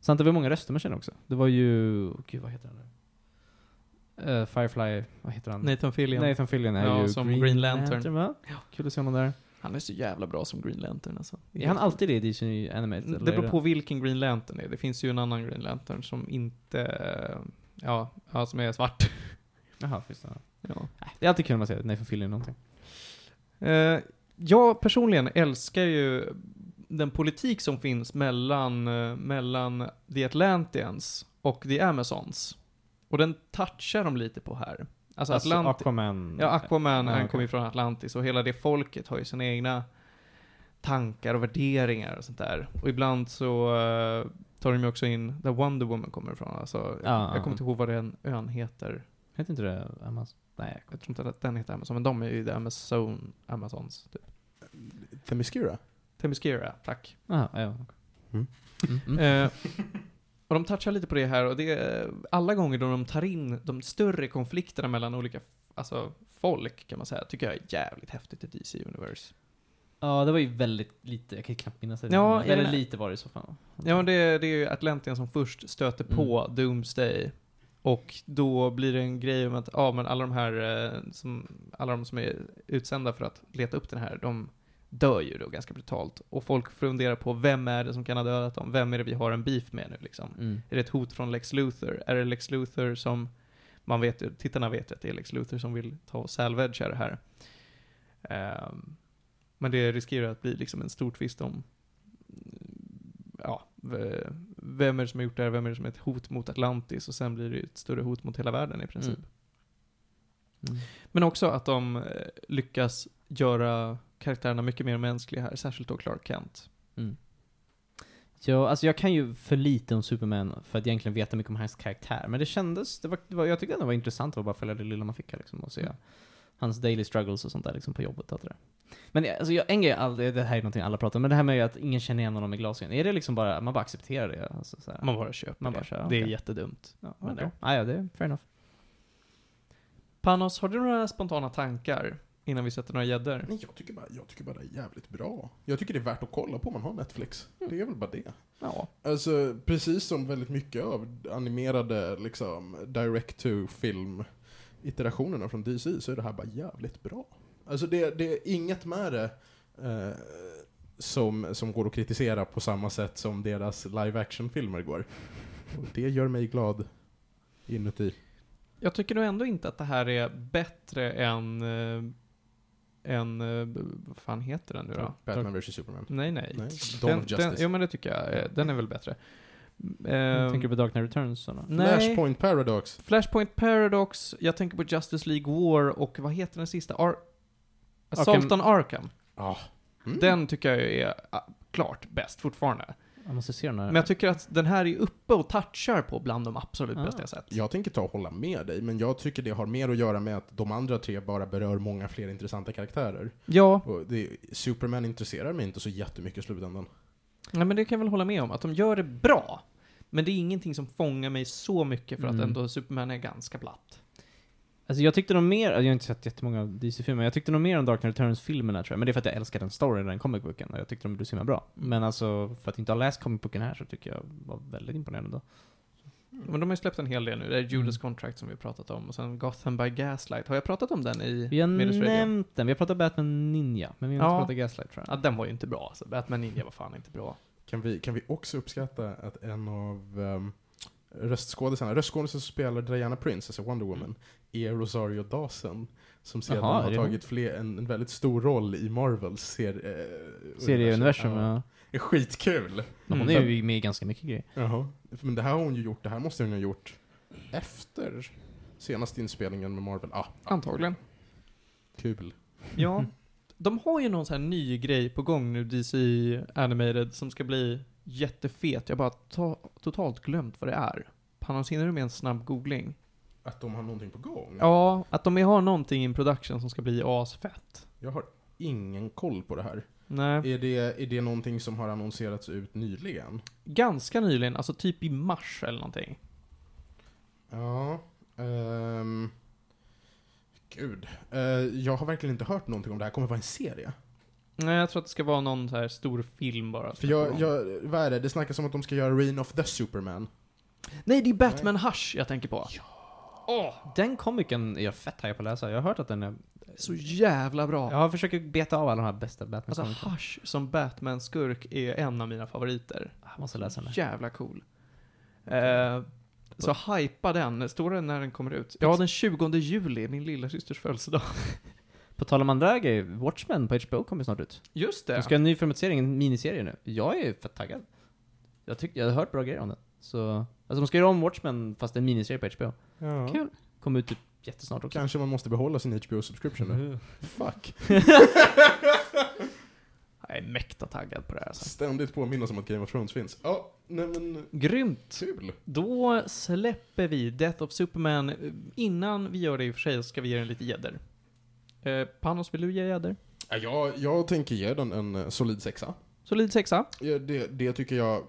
C: Samt det var många röster man kände också. Det var ju, oh, gud vad heter han nu? Eh, Firefly, vad heter han?
D: Nathan Fillion.
C: Nathan Fillion är
D: Ja,
C: ju
D: som Green Lantern.
C: va? Kul att se honom där.
D: Han är så jävla bra som Green Lantern alltså.
C: Är han alltid det i DC Animated?
D: Det
C: eller är
D: beror på vilken Green Lantern det är. Det finns ju en annan Green Lantern som inte, eh, ja, ja som är svart.
C: Jaha, just det.
D: Ja.
C: Det är alltid kul när man ser Nathan Fillion någonting.
D: Eh, jag personligen älskar ju den politik som finns mellan, eh, mellan The Atlanteans och The Amazons. Och den touchar de lite på här. Alltså,
C: Alltså
D: Atlant-
C: Aquaman.
D: ja, Aquaman,
C: Ja,
D: han
C: okej.
D: kommer ju från Atlantis och hela det folket har ju sina egna tankar och värderingar och sånt där. Och ibland så eh, tar de ju också in där Wonder Woman kommer ifrån. Alltså,
C: Ja,
D: jag,
C: ja.
D: jag kommer inte ihåg vad den ön heter.
C: Heter inte det Amaz? Nej.
D: Jag tror inte att den heter Amazon, men de är ju The Amazon, Amazons. Typ.
E: Themyscira?
D: Themyscira, tack.
C: Jaha, ja. okej.
E: Mm.
C: Mm, mm.
D: Eh, och de touchar lite på det här och det är alla gånger då de tar in de större konflikterna mellan olika alltså, folk kan man säga, tycker jag är jävligt häftigt i DC Universe.
C: Ja, det var ju väldigt lite, jag kan knappt minnas det.
D: Ja, jag
C: Eller
D: menar-
C: lite var det i så fall.
D: Ja, men det, det är ju Atlantian som först stöter på Doomsday och då blir det en grej om att ja, men alla de här eh, som, alla de som är utsända för att leta upp den här, de dör ju då ganska brutalt och folk funderar på vem är det som kan ha dödat dem? Vem är det vi har en beef med nu liksom?
C: Mm.
D: Är det ett hot från Lex Luthor? Är det Lex Luthor som, man vet ju, tittarna vet ju att det är Lex Luthor som vill ta och salvagea det här. Ehm, men det riskerar att bli liksom en stor tvist om, ja, v- vem är det som har gjort det här, vem är det som är ett hot mot Atlantis och sen blir det ju ett större hot mot hela världen i princip.
C: Mm. Mm.
D: Men också att de eh, lyckas göra karaktärerna mycket mer mänskliga här, särskilt då Clark Kent.
C: Ja, alltså jag kan ju för lite om Superman för att egentligen veta mycket om hans karaktär. Men det kändes, det var, det var, jag tyckte ändå det var intressant att bara följa det lilla man fick här, liksom, och se
D: Mm.
C: hans daily struggles och sånt där liksom, på jobbet. Och allt det där. Men jag- alltså, jag, en grej, all- det här är någonting alla pratar om, men det här med att ingen känner igen honom i glasögon. Är det liksom bara, man bara accepterar det? Alltså, så här.
D: Man bara köper
C: Man
D: det.
C: bara kör,
D: det är
C: okej.
D: jättedumt.
C: ja, men
D: okej.
C: det, ah, ja, det är fair enough.
D: Panos, har du några spontana tankar innan vi sätter några gäddor?
E: Nej, jag tycker, bara, jag tycker bara det är jävligt bra. Jag tycker det är värt att kolla på om man har Netflix. Det är väl bara det.
D: Ja.
E: Alltså, precis som väldigt mycket av animerade liksom, direct-to-film-iterationerna från DC så är det här bara jävligt bra. Alltså det, det är inget med det eh, som, som går att kritisera på samma sätt som deras live-action-filmer går. Och det gör mig glad inuti.
D: Jag tycker nog ändå inte att det här är bättre än... eh, än eh, b- vad fan heter den nu då?
E: Typ Batman vs Superman.
D: Nej, nej.
E: Nej, Dawn
D: Den, den,
E: of Justice.
D: jo, men det tycker jag. eh, Den är väl bättre.
C: Jag
D: Ehm,
C: tänker på Dark Knight Returns? Eller?
D: nej.
E: Flashpoint Paradox.
D: Flashpoint Paradox, jag tänker på Justice League War och vad heter den sista? Ar- Assault on
C: Arkham.
D: Arkham.
E: Ja. Mm.
D: Den tycker jag är ah, klart bäst fortfarande.
C: Jag måste se den här.
D: Men jag tycker att den här är uppe och touchar på bland de absolut
C: Ah.
D: bästa jag sett.
E: Jag tänker ta och hålla med dig, men jag tycker det har mer att göra med att de andra tre bara berör många fler intressanta karaktärer.
D: Ja,
E: Och det, Superman intresserar mig inte så jättemycket i slutändan.
D: Nej men det kan jag väl hålla med om, att de gör det bra. Men det är ingenting som fångar mig så mycket för att
C: Mm.
D: ändå Superman är ganska platt.
C: Alltså jag tyckte nog mer, jag har inte sett jättemånga DC-filmer, jag tyckte nog mer om Dark Knight Returns-filmerna tror jag, men det är för att jag älskar den storyn i den comic booken och jag tyckte de blev så himla bra. Men alltså, för att inte ha läst comic booken här så tycker jag var väldigt imponerande då.
D: Men de har ju släppt en hel del nu. Det är Judas
C: Mm.
D: Contract som vi har pratat om och sen Gotham by Gaslight. Har jag pratat om den i
C: Vi har
D: Medus Radio?
C: nämnt den, vi har pratat Batman Ninja, men vi har
D: Ja.
C: inte pratat Gaslight tror
D: Ja,
C: jag.
D: den var ju inte bra alltså. Batman Ninja var fan inte bra.
E: Kan vi, kan vi också uppskatta att en av um, röstskådisarna, röstskådisen som spelar Diana Prince, alltså Wonder Woman, är Rosario Dawson. Som sedan
C: Mm. Jaha, är
E: har
C: det
E: tagit fler, en, en väldigt stor roll i Marvels ser, eh,
C: Serieuniversum,
E: Ja.
C: ja.
E: Det är skitkul!
C: Men Hon
D: Mm.
C: är ju med i ganska mycket grejer.
E: Jaha. Men det här har hon ju gjort, det här måste hon ju ha gjort efter senaste inspelningen med Marvel. Ah,
D: Antagligen.
E: kul.
D: Ja.
C: Mm.
D: De har ju någon sån här ny grej på gång nu, DC Animated, som ska bli jättefet. Jag har bara to- totalt glömt vad det är. Panos, hinner du med en snabb googling?
E: Att de har någonting på gång?
D: Ja, att de har någonting in production som ska bli asfett.
E: Jag har ingen koll på det här.
D: Nej.
E: Är det, är det någonting som har annonserats ut nyligen?
D: Ganska nyligen, alltså typ i mars eller någonting.
E: Ja. ehm, gud. Eh, jag har verkligen inte hört någonting om det här. Kommer det vara en serie?
D: Nej, jag tror att det ska vara någon så här stor film bara.
E: För jag, jag, vad är det? Det snackas om att de ska göra Reign of the Superman.
D: Nej, det är Batman Hush jag tänker på.
C: Den komikern är jag fett hajad på att läsa. Jag har hört att den är...
D: Så jävla bra.
C: Jag försöker beta av alla de här bästa
D: Alltså
C: Batman-komikerna.
D: Hush som Batman-skurk är en av mina favoriter.
C: Jag måste läsa den.
D: Jävla cool. Eh, så hypa den. Står det när den kommer ut? Ja, den 20 juli, min lilla systers födelsedag.
C: På tal om andra grejer, Watchmen på HBO kommer snart ut.
D: Just
C: De
D: det.
C: ska ha en ny filmatisering, en miniserie nu. Jag är fett taggad. Jag, tyck, jag har hört bra grejer om den. Så, alltså de ska göra om Watchmen fast en miniserie på HBO.
A: Kul.
C: Kommer ut typ jättesnart också.
E: Kanske man måste behålla sin HBO-subscription nu. Fuck.
D: Jag är mäkta taggad på det här. Alltså.
E: Ständigt påminnas om att Game of Thrones finns. Ja, nej men
D: Grymt.
E: kul.
D: Då släpper vi Death of Superman. Innan vi gör det i och för sig så ska vi ge den lite gäddor. Eh, Panos, vill du ge gäddor?
E: Ja, jag, jag tänker ge den en eh, solid sexa.
D: Solid sexa.
E: Ja, det, det tycker jag...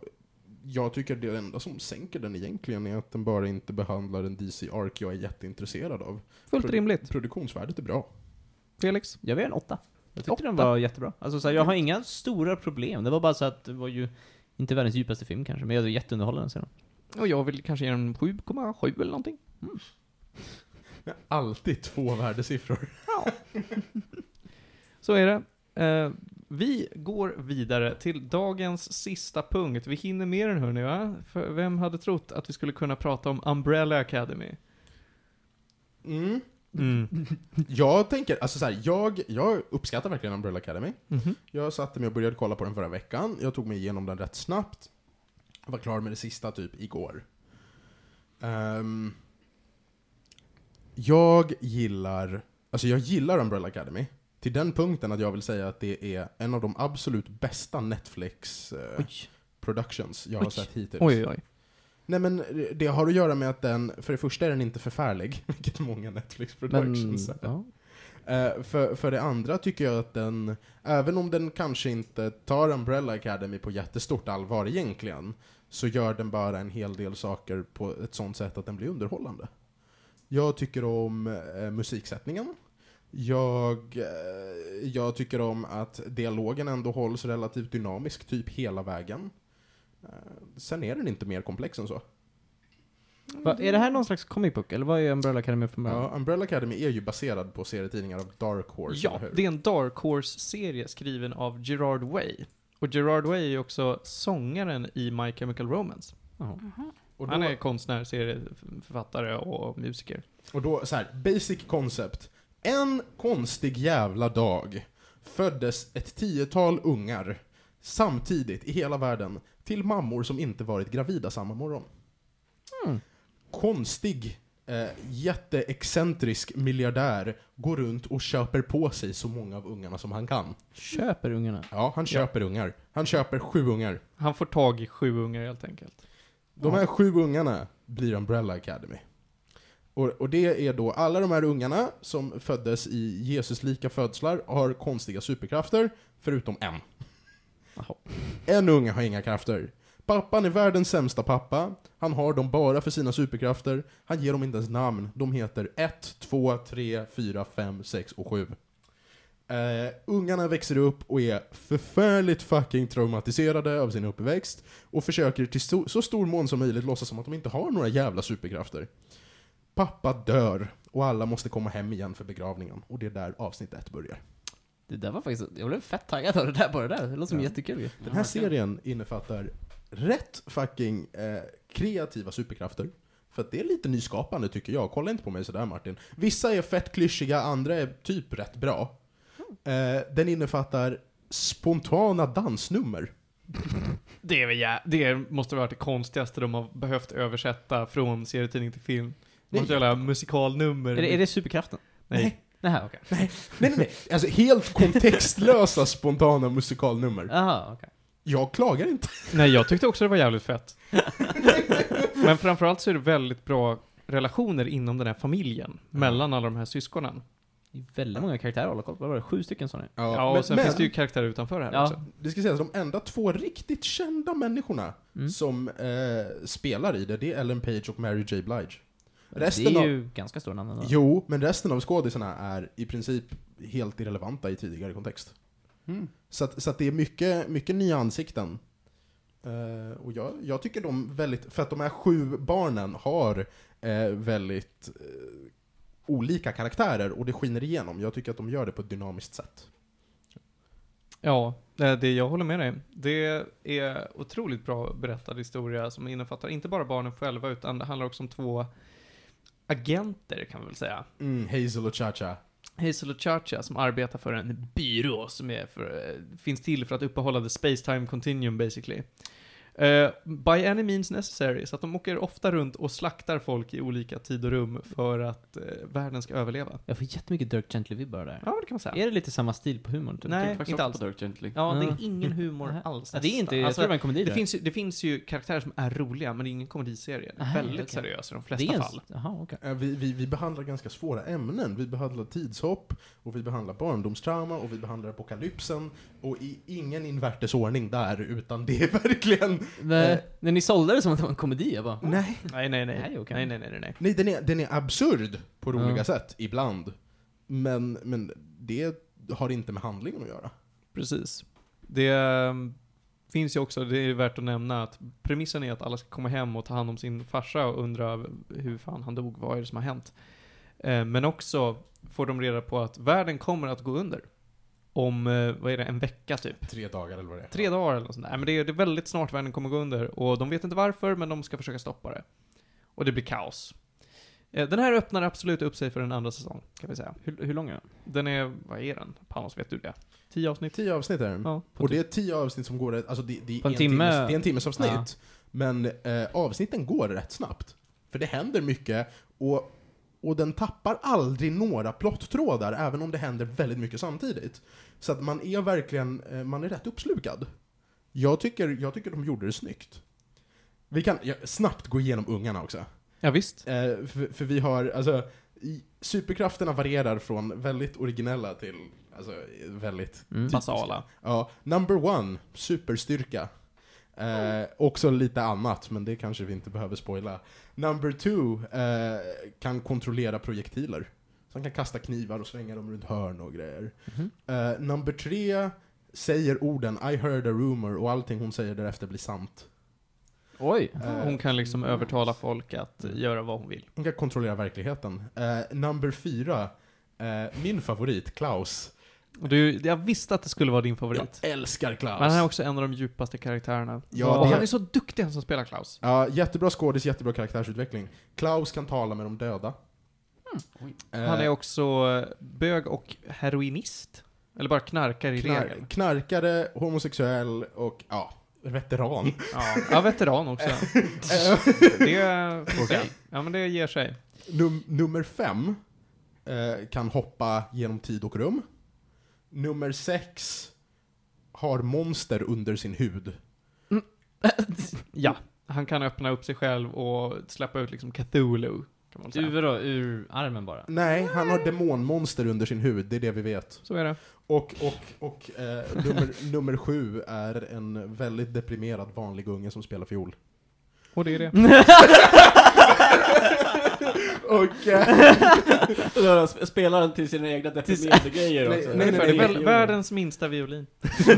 E: Jag tycker det enda som sänker den egentligen är att den bara inte behandlar en DC-ark jag är jätteintresserad av.
D: Fullt
E: Pro-
D: rimligt.
E: Produktionsvärdet är bra.
D: Felix?
C: Jag vill en åtta. Jag tyckte
D: Åtta.
C: den var jättebra. Alltså, så här, jag har inga stora problem. Det var bara så att det var ju inte världens djupaste film kanske, men jag är jätteunderhållande ser
D: Och jag vill kanske ge den 7,7 eller någonting.
E: Alltid två värdesiffror.
D: Så är det. Eh, vi går vidare till dagens sista punkt. Vi hinner mer än hörni va? För vem hade trott att vi skulle kunna prata om Umbrella Academy?
E: Mm. Jag tänker, alltså så här, jag, jag uppskattar verkligen Umbrella Academy.
D: Mhm.
E: Jag satte mig och började kolla på den förra veckan. Jag tog mig igenom den rätt snabbt. Jag var klar med det sista typ igår. Ehm, jag gillar, alltså jag gillar Umbrella Academy. Till den punkten att jag vill säga att det är en av de absolut bästa Netflix eh,
D: Oj.
E: productions jag har
D: Oj.
E: sett hittills.
D: Oj, oj, oj.
E: Nej men det har att göra med att den, för det första är den inte förfärlig, vilket många Netflix
C: Men,
E: productions är.
C: ja.
E: Eh, för, för det andra tycker jag att den, även om den kanske inte tar Umbrella Academy på jättestort allvar egentligen, så gör den bara en hel del saker på ett sånt sätt att den blir underhållande. Jag tycker om eh, musiksättningen. Jag, eh, jag tycker om att dialogen ändå hålls relativt dynamisk typ hela vägen. Eh, sen är den inte mer komplex än så.
C: Va, är det här någon slags comic book, eller vad är Umbrella Academy för mig?
E: Ja, Umbrella Academy är ju baserad på serietidningar av Dark Horse,
D: Ja,
E: eller hur?
D: det är en Dark Horse-serie skriven av Gerard Way. Och Gerard Way är ju också sångaren i My Chemical Romance.
C: Jaha.
E: Och då-
D: Han är konstnär, serieförfattare och musiker.
E: Och då så här, basic concept. En konstig jävla dag föddes ett tiotal ungar samtidigt i hela världen till mammor som inte varit gravida samma morgon.
C: Mm.
E: Konstig, eh, jätteexcentrisk miljardär går runt och köper på sig så många av ungarna som han kan.
C: Köper ungarna?
E: Ja, han köper ungar. Han köper sju ungar.
D: Han får tag i sju ungar helt enkelt.
E: De här sju ungarna blir Umbrella Academy. Och, och det är då alla de här ungarna som föddes i Jesuslika födslar har konstiga superkrafter, förutom en.
C: Jaha.
E: En unge har inga krafter. Pappan är världens sämsta pappa. Han har dem bara för sina superkrafter. Han ger dem inte ens namn. De heter 1, 2, 3, 4, 5, 6 och 7. Uh, ungarna växer upp och är förfärligt fucking traumatiserade av sin uppväxt och försöker till so- så stor mån som möjligt låtsas som att de inte har några jävla superkrafter. Pappa dör och alla måste komma hem igen för begravningen och det är där avsnitt ett börjar.
C: Det där var faktiskt, jag blev fett taggad av det där, bara det där. Det låter som
E: Ja.
C: jättekul ju.
E: Den här serien innefattar rätt fucking eh, kreativa superkrafter. För att det är lite nyskapande tycker jag. Kolla inte på mig sådär Martin. Vissa är fett klyschiga, andra är typ rätt bra. Eh, den innefattar spontana dansnummer.
D: Det, är väl jä- det måste vara det konstigaste de har behövt översätta från serietidning till film.
E: Nej.
D: De måste göra musikalnummer.
C: Är det, är det superkraften?
D: Nej.
C: Det här, okej.
E: Nej, nej, nej. Alltså helt kontextlösa spontana musikalnummer.
C: Jaha, okej.
E: Jag klagar inte.
D: Nej, jag tyckte också det var jävligt fett. Men framförallt så är det väldigt bra relationer inom den här familjen, mellan alla de här syskonen.
C: Det är väldigt många karaktärer att hålla koll på. Vad var det? Sju stycken sa ni?
E: Ja,
D: Ja, och
E: men,
D: sen
E: men
D: finns det ju karaktärer utanför här
C: Ja.
D: också.
E: det ska sägas, de enda två riktigt kända människorna
C: Mm.
E: som eh, spelar i det, det är Ellen Page och Mary J. Blige. Resten
C: det är
E: av-
C: ju ganska stora namn ändå.
E: Jo, men resten av skådisarna är i princip helt irrelevanta i tidigare kontext.
B: Mm.
E: Så, att, så att det är mycket, mycket nya ansikten. Eh, och jag, jag tycker de väldigt, för att de här sju barnen har eh, väldigt eh, olika karaktärer och det skiner igenom. Jag tycker att de gör det på ett dynamiskt sätt.
D: Ja, eh, det jag håller med dig. Det är otroligt bra berättad historia som innefattar inte bara barnen själva utan det handlar också om två agenter kan man väl säga.
E: Mm, Hazel och Cha-Cha.
D: Hazel och Chacha som arbetar för en byrå som är för, eh, finns till för att uppehålla the space time continuum basically. Eh, by any means necessary, så att de åker ofta runt och slaktar folk i olika tid och rum för att eh, världen ska överleva.
C: Jag får jättemycket Dirk Gently-vibbar där.
D: Ja, det kan man säga.
C: Är det lite samma stil på humorn? Typ?
D: Nej,
B: Jag tänkte
D: inte
B: faktiskt också
D: alls.
B: på Dirk Gently.
D: Ja, det
C: Mm.
D: är ingen humor
C: Mhm.
D: alls.
C: Ja, det är inte, jag
D: Alltså,
C: tror det var en komedi
D: det
C: där.
D: finns, ju, det finns ju karaktärer som är roliga, men det är ingen komediserie. Det är
C: Nej,
D: väldigt
C: Ah, okej.
D: seriös i de
C: det
D: flesta
C: är en-
D: fall.
C: Jaha, okej.
E: Eh, Vi, vi, vi behandlar ganska svåra ämnen. Vi behandlar tidshopp, och vi behandlar barndomstrauma, och vi behandlar apokalypsen. Och i ingen invertes ordning där, utan det är verkligen...
D: Eh,
C: Nej, När ni sålde det som att det var en komedi, jag bara...
E: Nej,
D: Nej, nej, nej.
C: Nej, okej.
D: nej, nej, nej, nej, nej.
E: Nej, den är, den är absurd på roliga
C: Ja.
E: sätt, ibland. Men, men det har inte med handlingen att göra.
D: Precis. Det ehm, finns ju också, det är värt att nämna, att premissen är att alla ska komma hem och ta hand om sin farsa och undra hur fan han dog, vad är det som har hänt? Eh, Men också får de reda på att världen kommer att gå under. Om, eh, vad är det, en vecka typ.
E: Tre dagar eller vad det är.
D: Tre dagar eller något sånt där. Men det är, det är väldigt snart världen kommer gå under. Och de vet inte varför, men de ska försöka stoppa det. Och det blir kaos. Eh, Den här öppnar absolut upp sig för en andra säsong, kan vi säga.
C: Hur, hur lång är den?
D: Den är, vad är den? Panos, vet du det? Tio avsnitt?
E: Tio avsnitt är det.
C: Mm.
D: Ja. typ-
E: Och det är tio avsnitt som går, alltså det, det, är,
C: typ På en
E: timmes-
C: timme.
E: det är en timmes avsnitt.
C: Ja.
E: Men eh, avsnitten går rätt snabbt. För det händer mycket och, och den tappar aldrig några plottrådar även om det händer väldigt mycket samtidigt. Så att man är verkligen, eh, man är rätt uppslukad. Jag tycker, jag tycker de gjorde det snyggt. Vi kan ja, snabbt gå igenom ungarna också.
D: Ja, visst.
E: Eh, för, för vi har, alltså, i- superkrafterna varierar från väldigt originella till, alltså, väldigt
C: Mm.
D: Basala.
E: Ja, number one, superstyrka. Eh, också lite annat, men det kanske vi inte behöver spoila. Number two eh, kan kontrollera projektiler. Så han kan kasta knivar och svänga dem runt hörn och grejer.
C: Mhm.
E: Eh, number tre säger orden I heard a rumor och allting hon säger därefter blir sant.
C: Oj!
E: Eh,
D: Hon kan liksom
B: nice.
D: övertala folk att eh, göra vad hon vill.
E: Hon kan kontrollera verkligheten. Eh, number fyra, eh, min favorit, Klaus.
D: Och du, jag visste att det skulle vara din favorit.
E: Jag älskar Klaus.
D: Men han är också en av de djupaste karaktärerna.
E: Ja,
D: och
E: det-
D: han är så duktig han som spelar Klaus.
E: Ja, jättebra skådis, jättebra karaktärsutveckling. Klaus kan tala med de döda.
B: Oj.
E: Eh,
D: Hmm. Han är också eh, bög och heroinist. Eller bara knarkar i regel.
E: Knar knarkare, homosexuell och ja, veteran.
D: Ja, ja veteran också.
E: Eh,
D: Det får sig. Ja, men det ger sig.
E: num nummer fem eh, kan hoppa genom tid och rum. Nummer sex har monster under sin hud.
D: Ja, han kan öppna upp sig själv och släppa ut liksom Cthulhu. Kan man säga.
C: Du då, ur armen bara?
E: Nej, han har demonmonster under sin hud, det är det vi vet.
D: Så är det.
E: Och, och, och eh, nummer, nummer sju är en väldigt deprimerad vanlig unge som spelar fiol.
D: Och det är det.
E: Och, eh,
B: Då sp- Spelar han till sina egna deprimerande grejer
E: Nej,
B: också?
E: nej, nej,
D: Ungefär.
E: nej,
D: det är
E: nej.
D: väl världens minsta violin.
E: det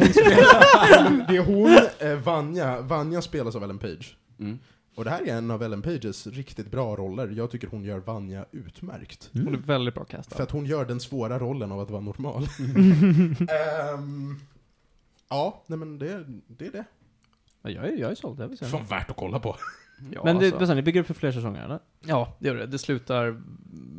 E: är hon, eh, Vanja. Vanja spelas av Ellen Page.
B: Mm.
E: Och det här är en av Ellen Pages riktigt bra roller. Jag tycker hon gör Vanja utmärkt.
D: Hon är väldigt bra
E: För
D: kastad.
E: att hon gör den svåra rollen av att vara normal. Ehm, ja, nej men det, det är det.
C: Ja, Jag är, jag är såld, jag vill se den.
E: värt att kolla på.
D: Ja,
C: Men det,
D: alltså.
C: alltså. ni bygger upp för fler säsonger eller?
D: Ja, det gör det. Det slutar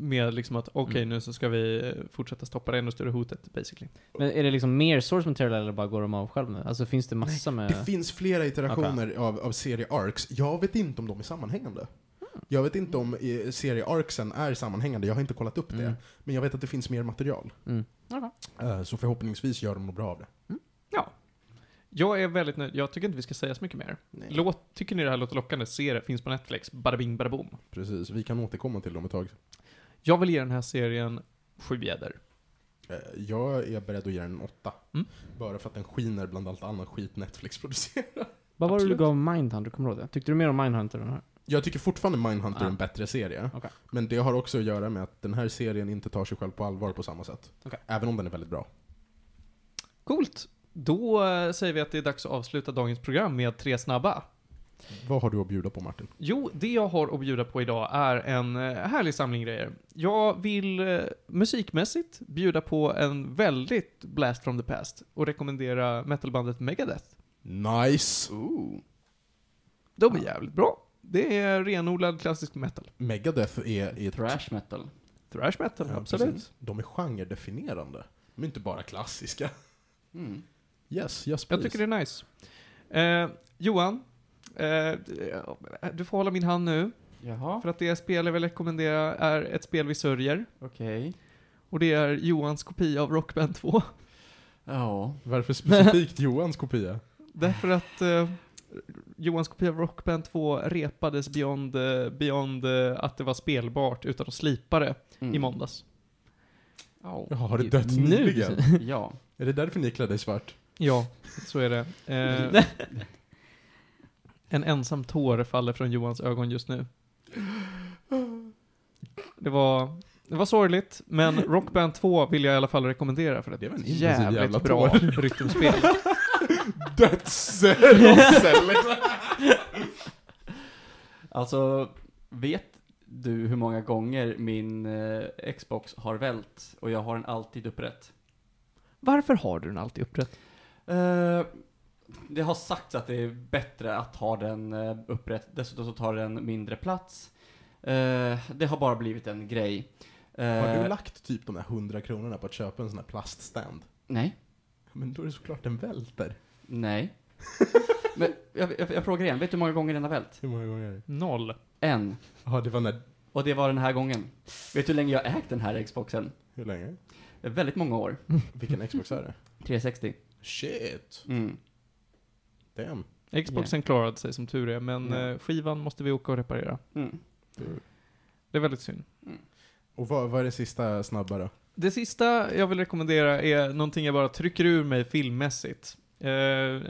D: med liksom att okej, nu så ska vi eh, fortsätta stoppa det ännu större hotet, basically.
C: Men är det liksom mer source material eller bara går de av själv nu? Alltså finns det massa
E: Det
C: med...
E: finns flera iterationer av, av serie-arcs. Jag vet inte om de är sammanhängande.
C: Hmm.
E: Jag vet inte om eh, serie-arcsen är sammanhängande, jag har inte kollat upp det.
C: Mm.
E: Men jag vet att det finns mer material.
C: Mm.
E: Eh, så förhoppningsvis gör de något bra av det.
D: Jag är väldigt nöjd. Jag tycker inte vi ska säga så mycket mer. Låt, tycker ni det här låter lockande? Se det. Finns på Netflix. Bada bing, bada boom.
E: Precis, vi kan återkomma till dem ett tag.
D: Jag vill ge den här serien sju gäddor.
E: Eh, Jag är beredd att ge den en åtta.
D: Mm.
E: Bara för att den skiner bland allt annat skit Netflix producerar.
C: Vad var det du
D: Absolut.
C: gav Mindhunter? Kommer du ihåg det? Tyckte du mer om Mindhunter än den här?
E: Jag tycker fortfarande Mindhunter är
C: Ah.
E: en bättre serie.
C: Okej.
E: Men det har också att göra med att den här serien inte tar sig själv på allvar på samma sätt.
C: Okej.
E: Även om den är väldigt bra.
D: Coolt. Då eh, säger vi att det är dags att avsluta dagens program med tre snabba.
E: Vad har du att bjuda på Martin?
D: Jo, det jag har att bjuda på idag är en eh, härlig samling grejer. Jag vill eh, musikmässigt bjuda på en väldigt blast from the past och rekommendera metalbandet Megadeth.
E: Nice!
D: De är
E: Ah.
D: jävligt bra. Det är renodlad klassisk metal.
E: Megadeth är... är
B: Thrash metal.
D: Thrash metal,
E: Ja,
D: absolut.
E: precis. De är genredefinierande. De är inte bara klassiska.
B: Mm.
E: Yes, yes
D: Jag
E: please.
D: tycker det är nice. Eh, Johan, eh, du får hålla min hand nu.
B: Jaha,
D: För att det spel jag vill rekommendera är ett spel vi sörjer.
B: okej.
D: Och det är Johans kopia av Rockband 2.
B: Ja.
E: Varför specifikt Johans kopia?
D: Därför att eh, Johans kopia av Rockband 2 repades beyond, eh, beyond eh, att det var spelbart utan att slipa det
B: Mm.
D: i måndags. Ja.
E: Jaha, har det dött
C: Nu?
E: nyligen?
B: Ja.
E: Är det därför ni klädde i svart?
D: Ja, så är det. Eh, en ensam tår faller från Johans ögon just nu. Det var, det var sorgligt, men Rockband 2 vill jag i alla fall rekommendera för att
E: Det var en intensiv
D: jävligt
E: jävla
D: bra
E: tår.
D: rytmspel.
E: Dödsrossel!
B: Alltså, vet du hur många gånger min eh, Xbox har vält och jag har den alltid upprätt?
D: Varför har du den alltid upprätt?
B: Eh, det har sagts att det är bättre att ha den eh, upprätt, dessutom så tar den mindre plats. Eh, det har bara blivit en grej. Eh,
E: har du lagt typ de här 100 kronorna på att köpa en sån här plaststand?
B: Nej,
E: Men då är det såklart den välter.
B: nej. Men jag, jag, jag frågar igen, vet du hur många gånger den har vält?
E: Hur många gånger är det?
D: Noll.
B: En.
E: Ja, det var när...
B: Och det var den här gången. Vet du hur länge jag ägt den här Xboxen?
E: Hur länge?
B: Eh, Väldigt många
D: Mm.
B: år.
E: Vilken Xbox är det?
B: 360.
E: Shit!
B: Mm.
E: Damn.
D: Xboxen klarade sig som tur är, men
B: Ja.
D: eh, skivan måste vi åka och reparera.
B: Mm.
D: Det är väldigt synd.
E: Och vad, vad är det sista snabba då?
D: Det sista jag vill rekommendera är någonting jag bara trycker ur mig filmmässigt. Eh,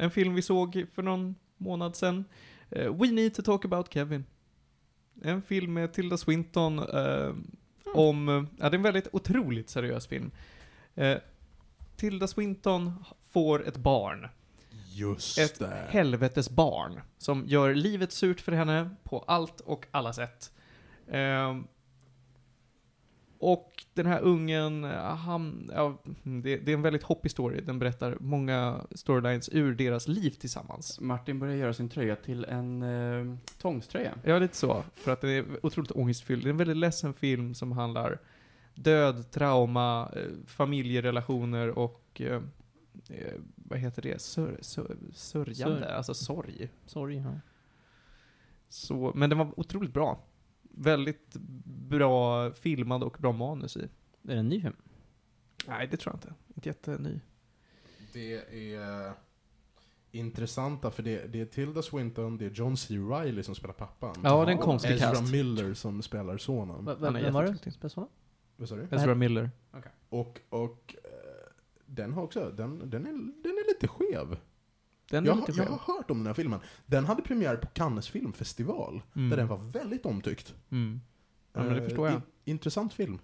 D: en film vi såg för någon månad sedan. Eh, We need to talk about Kevin. En film med Tilda Swinton eh, om, eh, ja det är en väldigt otroligt seriös film. Eh, Tilda Swinton får ett barn
E: Just
D: ett
E: det.
D: helvetes barn som gör livet surt för henne på allt och alla sätt. Ehm, och den här ungen, eh, han, ja, det, det är en väldigt hoppig story. Den berättar många storylines ur deras liv tillsammans.
B: Martin börjar göra sin tröja till en eh, tvångströja.
D: Ja, lite så. För att den är otroligt ångestfylld. Det är en väldigt ledsen film som handlar död, trauma, eh, familjerelationer och eh, eh, vad heter det? Sör, sör, sörjande,
C: Sörj.
D: alltså sorg.
C: Sorry.
D: Mm.
C: Ja.
D: Så, men den var otroligt bra. Väldigt bra filmad och bra manus i.
C: Är det en ny film?
D: Nej, det tror jag inte. Inte jätteny.
E: Det är intressanta för det, det är Tilda Swinton, det är John C. Reilly som spelar pappan.
D: Ja, det är en
E: Och
D: konstig
E: Ezra
D: cast.
E: Miller som spelar sonen.
C: Va- va-
D: Han är
C: Vem var det?
D: jätteduktig.
C: Spelade?
E: Vad sa du?
D: Ezra Miller.
E: Och, och eh, den har också, den, den, är, den är lite skev.
D: Den
E: jag,
D: är lite
E: jag
D: skev.
E: har hört om den här filmen. Den hade premiär på Cannes filmfestival,
D: Mm.
E: där den var väldigt omtyckt.
D: Mm. Ja, men det
E: Eh,
D: förstår jag.
E: in- intressant film.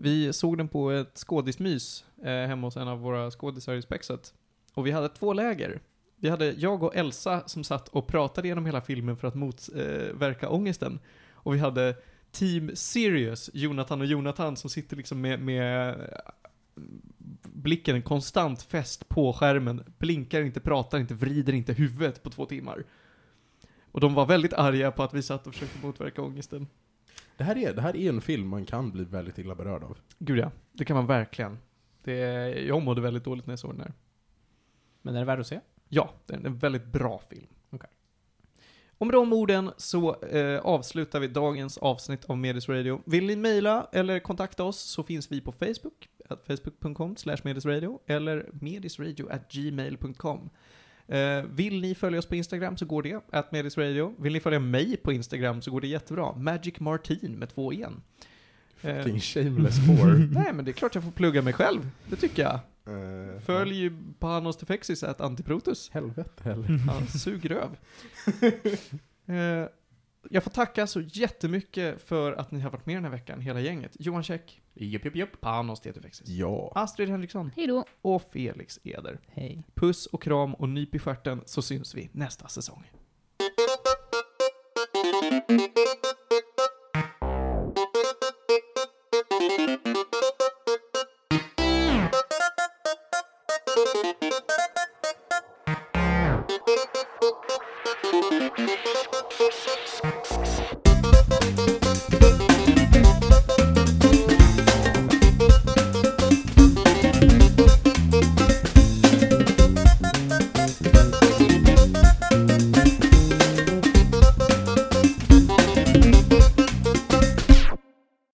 D: Vi såg den på ett skådismys eh, hemma hos en av våra skådisar i Spexet. Och vi hade två läger. Vi hade jag och Elsa som satt och pratade genom hela filmen för att motverka eh, ångesten. Och vi hade Team Sirius, Jonathan och Jonathan, som sitter liksom med, med eh, blicken konstant fäst på skärmen. Blinkar inte, pratar inte, vrider inte huvudet på två timmar. Och de var väldigt arga på att vi satt och försökte motverka ångesten.
E: Det här, är, det här är en film man kan bli väldigt illa berörd av.
D: Gud ja, det kan man verkligen. Det, jag mådde väldigt dåligt när jag såg den här.
C: Men är det värd att se?
D: Ja, det är en väldigt bra film. Om de orden så eh, avslutar vi dagens avsnitt av Medis Radio. Vill ni mejla eller kontakta oss så finns vi på Facebook, at facebook.com slash medisradio eller medisradio at gmail.com. Eh, vill ni följa oss på Instagram så går det, at medisradio. Vill ni följa mig på Instagram så går det jättebra, Magic Martin med två en. Eh,
E: Fucking shameless whore.
D: nej, men det är klart jag får plugga mig själv. Det tycker jag.
E: Eh,
D: Följ ju Panos Tefexis ät antiprotus.
E: Helvete heller.
D: Han sug röv. Eh, jag får tacka så jättemycket för att ni har varit med den här veckan, hela gänget. Johan Käck,
B: Jupp, jupp, jupp.
D: Panos Tefexis,
E: Ja.
D: Astrid Henriksson
A: Hej då.
D: och Felix Eder.
C: Hej.
D: Puss och kram och nyp i stjärten så syns vi nästa säsong.